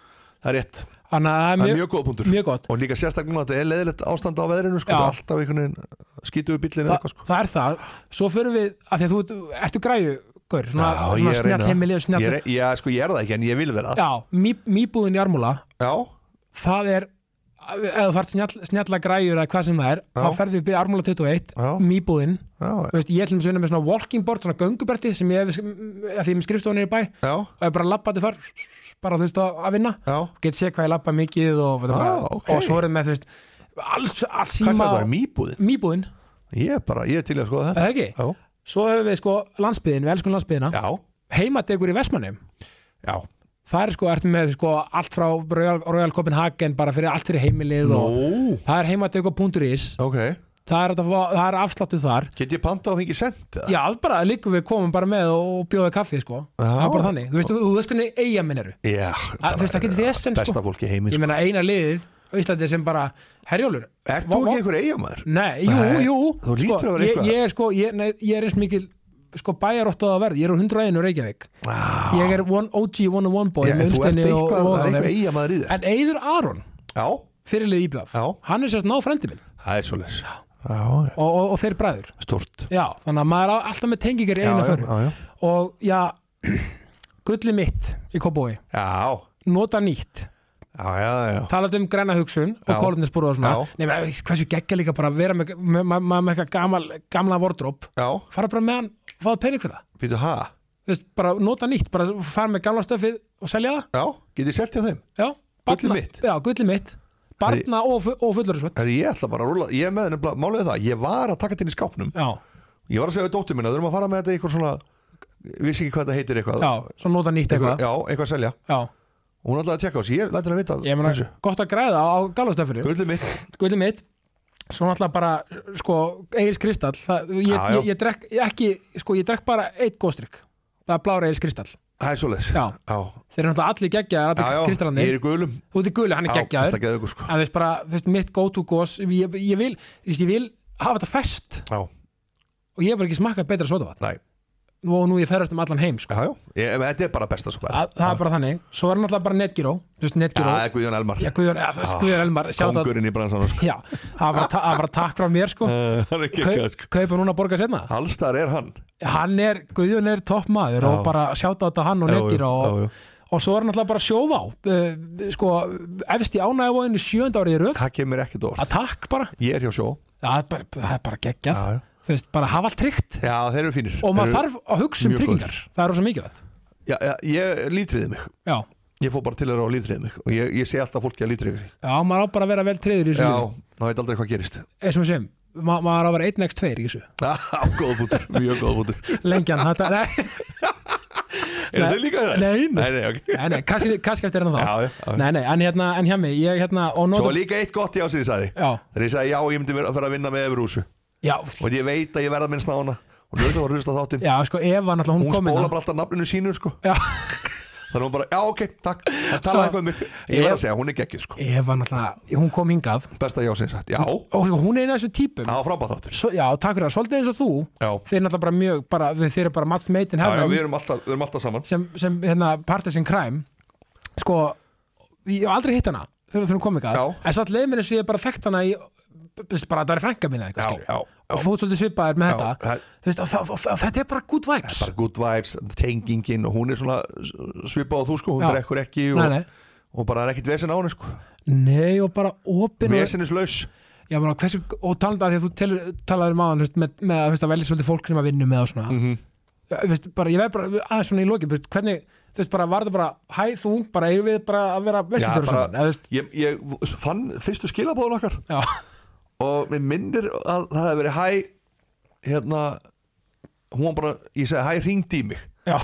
Speaker 2: það er rétt,
Speaker 1: Þannig að
Speaker 2: það
Speaker 1: það
Speaker 2: er mjög góð punktur
Speaker 1: mjög gott
Speaker 2: og líka sérstaklega að þetta er leðilegt ástand á veðrinu sko,
Speaker 1: Já.
Speaker 2: þetta er alltaf einhvern veginn skítu við bíllinn eða
Speaker 1: Þa,
Speaker 2: eitthvað sko
Speaker 1: Það er það, svo förum við að því að þú ert- ertu græju Gaur, svona,
Speaker 2: Já, ég
Speaker 1: svona
Speaker 2: er að reyna
Speaker 1: snjall
Speaker 2: það.
Speaker 1: heimili og
Speaker 2: Ég
Speaker 1: snjall
Speaker 2: er- Já, sko, ég er það ekki en ég vil vera það
Speaker 1: Já, mý- mýbúðin í armúla
Speaker 2: Já,
Speaker 1: það er ef þú fært snjall, snjalla græjur eða hvað sem það er þá ferðu við byrja Armúla 21,
Speaker 2: Já.
Speaker 1: mýbúðin
Speaker 2: já,
Speaker 1: Þú veist, ég ætlum að vinna með svona walking board svona gönguberti sem ég hef að því ég með skrifstofunir í bæ og
Speaker 2: já,
Speaker 1: ég bara labbandi þar bara þú veist að að vinna
Speaker 2: já
Speaker 1: get sé hvað ég labba mikið og, ah, bara,
Speaker 2: Ah, ok.
Speaker 1: og svo erum með þú veist alls, alls
Speaker 2: Hvað
Speaker 1: síma-
Speaker 2: sem það er mýbúðin?
Speaker 1: mýbúðin,
Speaker 2: Ég er bara, ég er til í að skoða
Speaker 1: er
Speaker 2: þetta
Speaker 1: það ekki?
Speaker 2: Já,
Speaker 1: Svo höfum við sko landsbyðin, við elskum landsbyðina
Speaker 2: já,
Speaker 1: heimadegur í Vestmannum
Speaker 2: já
Speaker 1: það er sko, ertu með sko allt frá Royal, Royal Copenhagen bara fyrir allt fyrir heimilið og
Speaker 2: Nú,
Speaker 1: það er heimadegur.is
Speaker 2: ok
Speaker 1: það er, hægt að fá- það er afsláttu þar
Speaker 2: Get ég panta og hengi sent?
Speaker 1: Já, bara líka við komum bara með og bjóða kaffi sko, það er bara þannig Þú veist, þú veist hvernig eiga minn eru
Speaker 2: Já,
Speaker 1: Að- þú veist, það getur vesen, sko.
Speaker 2: Besta fólki heiminn
Speaker 1: Ég meina eina liðið á Íslandi sem bara Herjólfur
Speaker 2: Er
Speaker 1: vá-
Speaker 2: þú
Speaker 1: vá-
Speaker 2: ekki einhver eigamæður?
Speaker 1: Nei, jú,
Speaker 2: Nei,
Speaker 1: jú
Speaker 2: þú
Speaker 1: sko,
Speaker 2: lítur að vera
Speaker 1: ég,
Speaker 2: eitthvað.
Speaker 1: ég er sko, ég, nei, ég er eins mikil sko bæjaróttað að verð, ég er á 101 úr Reykjavík
Speaker 2: Já,
Speaker 1: Ég er one OG 101 boy með
Speaker 2: þú ert
Speaker 1: umstenni og,
Speaker 2: eitthvað,
Speaker 1: og
Speaker 2: það er
Speaker 1: þeim.
Speaker 2: eitthvað eigamæður í þér
Speaker 1: En Eyður Aron,
Speaker 2: Já,
Speaker 1: fyrirlið íbjöf
Speaker 2: Já.
Speaker 1: Hann er sérst ná frendi minn
Speaker 2: það er svoleiðis Já,
Speaker 1: og, og, og þeir bræður
Speaker 2: stort
Speaker 1: Já, þannig að maður er alltaf með tengingar í
Speaker 2: Já,
Speaker 1: einu
Speaker 2: já,
Speaker 1: fyrir
Speaker 2: já, já.
Speaker 1: og já, [clears throat] gulli mitt í kópói,
Speaker 2: já
Speaker 1: nota nýtt
Speaker 2: Já, já, já
Speaker 1: talað um græna hugsun og
Speaker 2: Já.
Speaker 1: kólefnisbúru og svona
Speaker 2: Já.
Speaker 1: Nei, menn, hversu geggja líka bara að vera með, með, með, með, með eitthvað gamal, gamla vordróp
Speaker 2: Já,
Speaker 1: fara bara með hann, fáðu pening fyrir það
Speaker 2: býtu ha
Speaker 1: Þú veist, bara nota nýtt, bara fara með gamla stöfið og selja það,
Speaker 2: Já, get ég selt hjá þeim?
Speaker 1: já barna-
Speaker 2: mitt.
Speaker 1: Já, gulli mitt, barna og, fu- og fullurinsvöld
Speaker 2: Herri, ég ætla bara að rúla, ég er með nefnilega, málið er það, ég var að taka þetta inn í skápnum
Speaker 1: Já,
Speaker 2: Ég var að segja við dóttur minna, þurfum að fara með þetta í eitthvað svona Ég vissi ekki hvað þetta heitir eitthvað
Speaker 1: já, svo nota nýtt eitthvað
Speaker 2: Já, eitthvað að selja
Speaker 1: Já,
Speaker 2: Og hún ætlaði að tjekka á þessu, ég læti henni að vita
Speaker 1: ég meina,
Speaker 2: þessu.
Speaker 1: gott að græða á, á gamla stöfinu
Speaker 2: Gullið mitt
Speaker 1: Gulli mitt Svo náttúrulega bara, sko, Egils Kristall það, ég,
Speaker 2: Já, já.
Speaker 1: ég, ég drekk ég ekki, sko, ég drekk bara eitt góðstrykk Það er blára Egils Kristall
Speaker 2: Það er svoleiðis
Speaker 1: Já.
Speaker 2: já,
Speaker 1: Þeir eru náttúrulega allir geggjaðar,
Speaker 2: já,
Speaker 1: allir
Speaker 2: ég
Speaker 1: kristallandi
Speaker 2: er í gulum
Speaker 1: Þú ert í guli, hann er geggjaður
Speaker 2: það geðu sko
Speaker 1: En þú veist bara, þú veist, mitt go to gos ég, ég vil, þú veist, ég vil hafa þetta fest
Speaker 2: Já,
Speaker 1: Og ég hef bara ekki smakkað betra sotavatn
Speaker 2: næ,
Speaker 1: Nú og nú ég ferðast um allan heim, sko
Speaker 2: já, já ég, en Þetta er bara besta svo
Speaker 1: Að, Það er bara þannig, svo er náttúrulega bara netgyró Þú veist, netgyró,
Speaker 2: Það er Guðjón Elmar
Speaker 1: já, Guðjón, ja, þú veist, Guðjón Elmar Sjátt að,
Speaker 2: Kongurinn í bransan
Speaker 1: [laughs]
Speaker 2: sko.
Speaker 1: já, það var bara, ta- það var bara takk frá mér, sko
Speaker 2: Það er ekki
Speaker 1: Kaup, Kaupa núna að borga setna
Speaker 2: Allstar er hann
Speaker 1: Hann er, Guðjón er topp maður Og bara sjátt að þetta hann og
Speaker 2: Já, já,
Speaker 1: netgyró
Speaker 2: já, já.
Speaker 1: og, og svo er náttúrulega bara sjóvá uh, Sko, efst í ánægavóðinu sjönda árið í röð
Speaker 2: Það kemur ekkert orð
Speaker 1: að takk bara
Speaker 2: Ég er hjá sjó
Speaker 1: það er bara, það er bara geggjað
Speaker 2: Já, já.
Speaker 1: þú veist, bara hafa allt tryggt
Speaker 2: já, þeir eru fínir
Speaker 1: og maður
Speaker 2: Þeir eru-
Speaker 1: þarf að hugsa um
Speaker 2: mjög góðir.
Speaker 1: tryggingar það er rosa mikilvægt
Speaker 2: já, já, ég lítriði mig
Speaker 1: já,
Speaker 2: ég fór bara til þeirra og lítriði mig og ég, ég sé alltaf fólki að lítriði sig
Speaker 1: já, maður á bara að vera vel treyður í þessu
Speaker 2: já,
Speaker 1: lífi.
Speaker 2: þá veit aldrei hvað gerist [laughs]
Speaker 1: eins og við segjum, ma maður á að vera 1x2 í þessu,
Speaker 2: á, góða bútur, mjög góða bútur
Speaker 1: lengjan þetta, nei,
Speaker 2: er þeir líka þeir?
Speaker 1: Nei, nei.
Speaker 2: nei, nei, ok
Speaker 1: nei, nei kannski, kannski eftir hennar þá
Speaker 2: Já, já, já.
Speaker 1: nei, nei, en hérna, en hjá mig ég hérna, og
Speaker 2: Svo
Speaker 1: nota
Speaker 2: var líka eitt gott já sem ég sagði
Speaker 1: já,
Speaker 2: Þegar ég sagði já, ég myndi vera að fara að vinna með Everúsu
Speaker 1: já,
Speaker 2: Og ég veit að ég verða minn snána Og lögum var að hlusta á þáttinn
Speaker 1: já, sko, Eva náttúrulega hún,
Speaker 2: Hún
Speaker 1: kom inn
Speaker 2: spóla
Speaker 1: á-
Speaker 2: bara alltaf nafninu sínu sko
Speaker 1: já,
Speaker 2: Þannig að hún bara, já ok, takk Það talaði eitthvað um mig Ég verð að segja, hún er geggið sko
Speaker 1: Eva náttúrulega, hún kom hingað
Speaker 2: Besta já sem ég sagt, já, það
Speaker 1: og sko, hún er eina af þessu típum
Speaker 2: var frábæð þáttur
Speaker 1: Svo, já, takk fyrir það, svolítið eins og þú
Speaker 2: Já,
Speaker 1: þeir náttúrulega bara mjög, bara, þeir, þeir eru bara match made in
Speaker 2: já, já
Speaker 1: heaven
Speaker 2: við, erum alltaf, við erum alltaf saman
Speaker 1: sem, sem hérna, partisan crime sko, ég hef aldrei hitt hana þegar þegar hún kom ykkar,
Speaker 2: Já.
Speaker 1: en satt leið mér eins og ég hef bara þekkt hana í b- b- bara það er frænka mín eða
Speaker 2: Já,
Speaker 1: eitthvað skilur
Speaker 2: já,
Speaker 1: og þú ert svolítið svipaðir með
Speaker 2: já
Speaker 1: þetta
Speaker 2: það-
Speaker 1: Þú veist, og, það, og, og þetta er bara good vibes
Speaker 2: Bara good vibes, tengingin Og hún er svona svipað á þú sko Hún
Speaker 1: Já.
Speaker 2: drekkur ekki
Speaker 1: nei,
Speaker 2: og,
Speaker 1: nei.
Speaker 2: og bara er ekkit vesen á henni sko
Speaker 1: nei, og bara opin og,
Speaker 2: Vesenislaus
Speaker 1: já, bara, hversu, og talandi að því að þú telur, talaðir um aðan með, með að, þú veist, að velja svolítið fólk sem að vinnu með og svona
Speaker 2: Mhm.
Speaker 1: Já, þú veist, bara, ég veið bara aðeins svona í lokin þú veist, hvernig, þú veist, bara var þetta bara hæ, þú, bara eigum við bara að vera vestustjóri
Speaker 2: bara-
Speaker 1: saman, eða þú veist,
Speaker 2: Ég, ég fann fyrstu skilabóðun okkar
Speaker 1: já, [laughs]
Speaker 2: og mér minnir að það hefði verið hæ hérna hún var bara, ég segi hæ ringdi í mig
Speaker 1: já,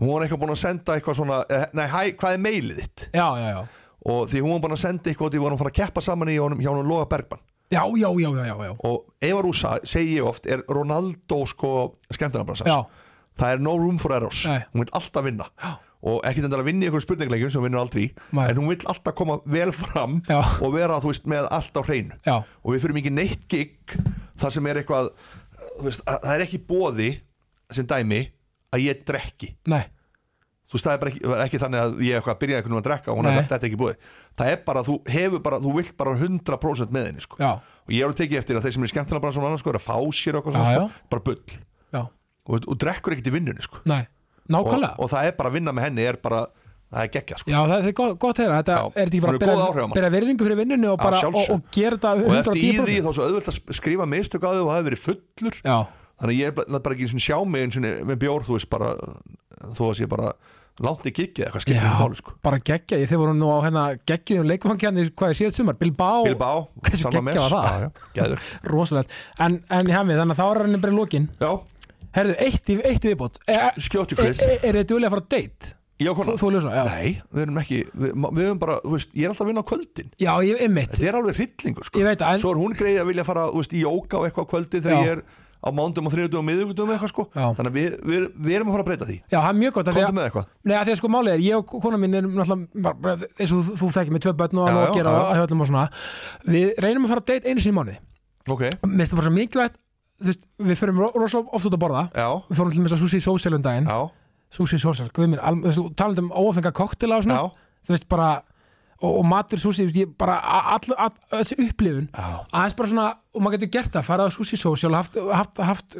Speaker 2: hún var eitthvað búin að senda eitthvað svona eh, nei hæ, hvað er meilið þitt
Speaker 1: já, já, já.
Speaker 2: og því hún var búin að senda eitthvað því vorum að fara að keppa saman í honum hjá honum Loga Bergman
Speaker 1: Já, já, já, já, já, já.
Speaker 2: og Eva Rúsa, segi ég oft, er Ronaldo sko skemmtarnabransans
Speaker 1: Já.
Speaker 2: það er no room for errors,
Speaker 1: Nei.
Speaker 2: hún vil alltaf vinna já. og ekkert endur að vinna í einhverjum spurningleikjum sem hún vinnur aldrei, í,
Speaker 1: Nei.
Speaker 2: en hún vil alltaf koma vel fram
Speaker 1: Já.
Speaker 2: og vera þú veist með allt á hreinu
Speaker 1: Já,
Speaker 2: og við fyrir mikið neitt gig þar sem er eitthvað þú veist, að- það er ekki bóði sem dæmi að ég drekki
Speaker 1: nei,
Speaker 2: þú veist það er bara ekki, það er ekki þannig að ég eitthvað byrjaði einhvern veginn að drekka og hún er
Speaker 1: Nei.
Speaker 2: sagt, þetta er ekki bóði það er bara að þú hefur bara, þú vilt bara 100% með henni sko.
Speaker 1: já,
Speaker 2: og ég er að tekið eftir að þeir sem er skemmtilega bara svona annars sko, er að fá sér og eitthvað
Speaker 1: Já, já.
Speaker 2: svona sko, bara bull
Speaker 1: já,
Speaker 2: og, og drekkur ekkert í vinnunni sko.
Speaker 1: nei,
Speaker 2: og,
Speaker 1: nákvæmlega.
Speaker 2: og það er bara að vinna með henni er bara, það er geggja sko.
Speaker 1: já, það það er gott, gott að heyra, þetta
Speaker 2: Já,
Speaker 1: er þetta ekki bara
Speaker 2: hún er góð áhrif á
Speaker 1: bera,
Speaker 2: mann.
Speaker 1: bera virðingu fyrir vinnunni og,
Speaker 2: Að
Speaker 1: bara, og,
Speaker 2: sjálfsögðu.
Speaker 1: og gera þetta
Speaker 2: og eftir í því
Speaker 1: 110%.
Speaker 2: þá er svo auðvelt að skrifa mistök á því og það hefur verið fullur
Speaker 1: Já,
Speaker 2: þannig að ég er bara, bara ekki einu sinni sjá mig eins og með bjór þú veist bara þú veist ég bara langt í gigið eitthvað skiptir um máli sko
Speaker 1: bara geggja, ég- þið voru nú á hérna geggjum leikvangjarnir, hvað ég séð sumar, Bilbao,
Speaker 2: Bilbao,
Speaker 1: Hversu geggjað var það?
Speaker 2: já, já, geðvegt.
Speaker 1: rosalegt, en, en hjá mig, þannig að þá er hann bara í lokin.
Speaker 2: já,
Speaker 1: Herðu, eitt í, eitt í viðbót, er, er,
Speaker 2: skjóttu
Speaker 1: er,
Speaker 2: Chris
Speaker 1: er, er þið duðlega að fara á date?
Speaker 2: ég og
Speaker 1: Þú,
Speaker 2: konan,
Speaker 1: Eh, þú ljósa, já.
Speaker 2: nei, við erum ekki við, ma- við erum bara, þú veist, ég er alltaf að vinna á kvöldin
Speaker 1: Já, ég, einmitt,
Speaker 2: þetta er alveg hryllingur sko
Speaker 1: ég veit að, en,
Speaker 2: svo er hún greið að vilja fara, þú veist, í jóka og eitthvað á kvöldin
Speaker 1: Já.
Speaker 2: þegar ég er á mándum og þriðutum og miðugutum eitthvað sko
Speaker 1: Já.
Speaker 2: þannig að við, við, við erum að fara að breyta því
Speaker 1: já, það er mjög gott að
Speaker 2: komdu með eitthvað
Speaker 1: Nei, að því að sko málið er, ég og kona mín er náttúrulega, bara- bara eins og þú, þú þekkir með tvö börn og
Speaker 2: Já,
Speaker 1: alveg að
Speaker 2: já,
Speaker 1: gera
Speaker 2: já.
Speaker 1: það hjá öllum og svona Við reynum að fara að date einu sinni í mánuði
Speaker 2: ok,
Speaker 1: Mér finnst það bara svo mikilvægt, þú veist, við förum ro- rosa oft út að borða
Speaker 2: já,
Speaker 1: Við fórum til þess að Susi Social um daginn
Speaker 2: já,
Speaker 1: Susi Social, guð minn, al- þú veist, þú talandi um óafenga koktela og
Speaker 2: já,
Speaker 1: svona Þú veist, bara, og, og matur Susi, þú veist, ég bara, a- all, all, all, þessi upplifun
Speaker 2: já.
Speaker 1: aðeins bara svona, og maður getur gert það farað á Susi Social, og haft, haft, haft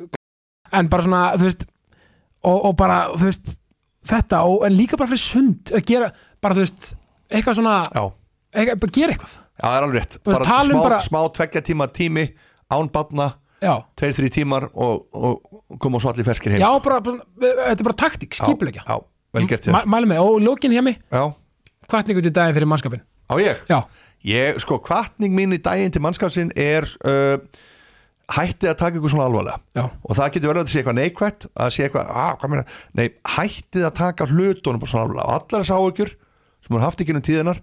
Speaker 1: en bara svona, þú veist og, og bara, þú veist þetta, og, en líka bara fyrir sund að gera, bara þú veist, eitthvað svona
Speaker 2: já.
Speaker 1: eitthvað, bara gera eitthvað,
Speaker 2: Já, það er alveg rétt
Speaker 1: Bara
Speaker 2: bara,
Speaker 1: tala um
Speaker 2: smá,
Speaker 1: bara-
Speaker 2: smá tveggja tíma tími án batna,
Speaker 1: já
Speaker 2: tveir, þrý tímar og, og koma svo allir ferskir heim
Speaker 1: já, bara, bara, þetta er bara taktík, skipulegja
Speaker 2: Já, vel gert
Speaker 1: Ma,
Speaker 2: þér
Speaker 1: mælu mig, og lókin hjá mig,
Speaker 2: Já,
Speaker 1: hvatningu til daginn fyrir mannskapin
Speaker 2: á ég
Speaker 1: já,
Speaker 2: Ég, sko, kvartning mín í daginn til mannskapsinn er uh, hættið að taka ykkur svona alvarlega
Speaker 1: já,
Speaker 2: og það getur verið að þetta sé eitthvað neikvætt að sé eitthvað, að, hvað meina, nei, hættið að taka hlutunum bara svona alvarlega og allar þess áhugjur sem hún haft ekki um tíðinar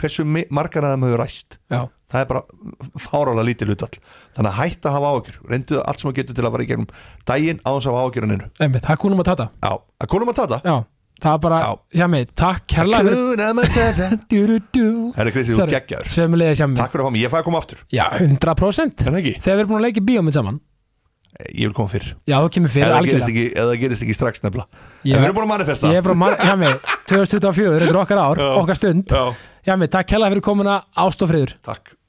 Speaker 2: hversu mi- margar að þeim hefur ræst
Speaker 1: já,
Speaker 2: það er bara fárálega lítið hlutall þannig að hætta að hafa áhyggjur reyndu allt sem þú getur til að fara í gegnum daginn án sem áhyggjurinn innu
Speaker 1: einmitt, það er kúnum að tata
Speaker 2: já, að konum að tata
Speaker 1: já, það er bara,
Speaker 2: Já.
Speaker 1: hjá mig, takk kærlega fyrir
Speaker 2: kunum að tata
Speaker 1: du-du-du
Speaker 2: herri Kristi, þú ert geggjaður
Speaker 1: Sömulegis hjá mig,
Speaker 2: takk Hérna. fyrir að fá mig, ég fæði að koma aftur
Speaker 1: já, 100%
Speaker 2: en ekki,
Speaker 1: Þegar við erum búin að leika í bíómynd saman
Speaker 2: ég vil koma fyrr
Speaker 1: Já, þú kemur fyrir
Speaker 2: eða gerist
Speaker 1: algjörlega
Speaker 2: ekki, eða gerist ekki strax nefnilega
Speaker 1: Ég-
Speaker 2: en við erum búin að manifesta
Speaker 1: Ég er bara, man- hjá mig, 2024, þetta er okkar ár,
Speaker 2: Já.
Speaker 1: okkar stund
Speaker 2: já,
Speaker 1: Hjá mig, takk hella fyrir komuna, ást og friður
Speaker 2: takk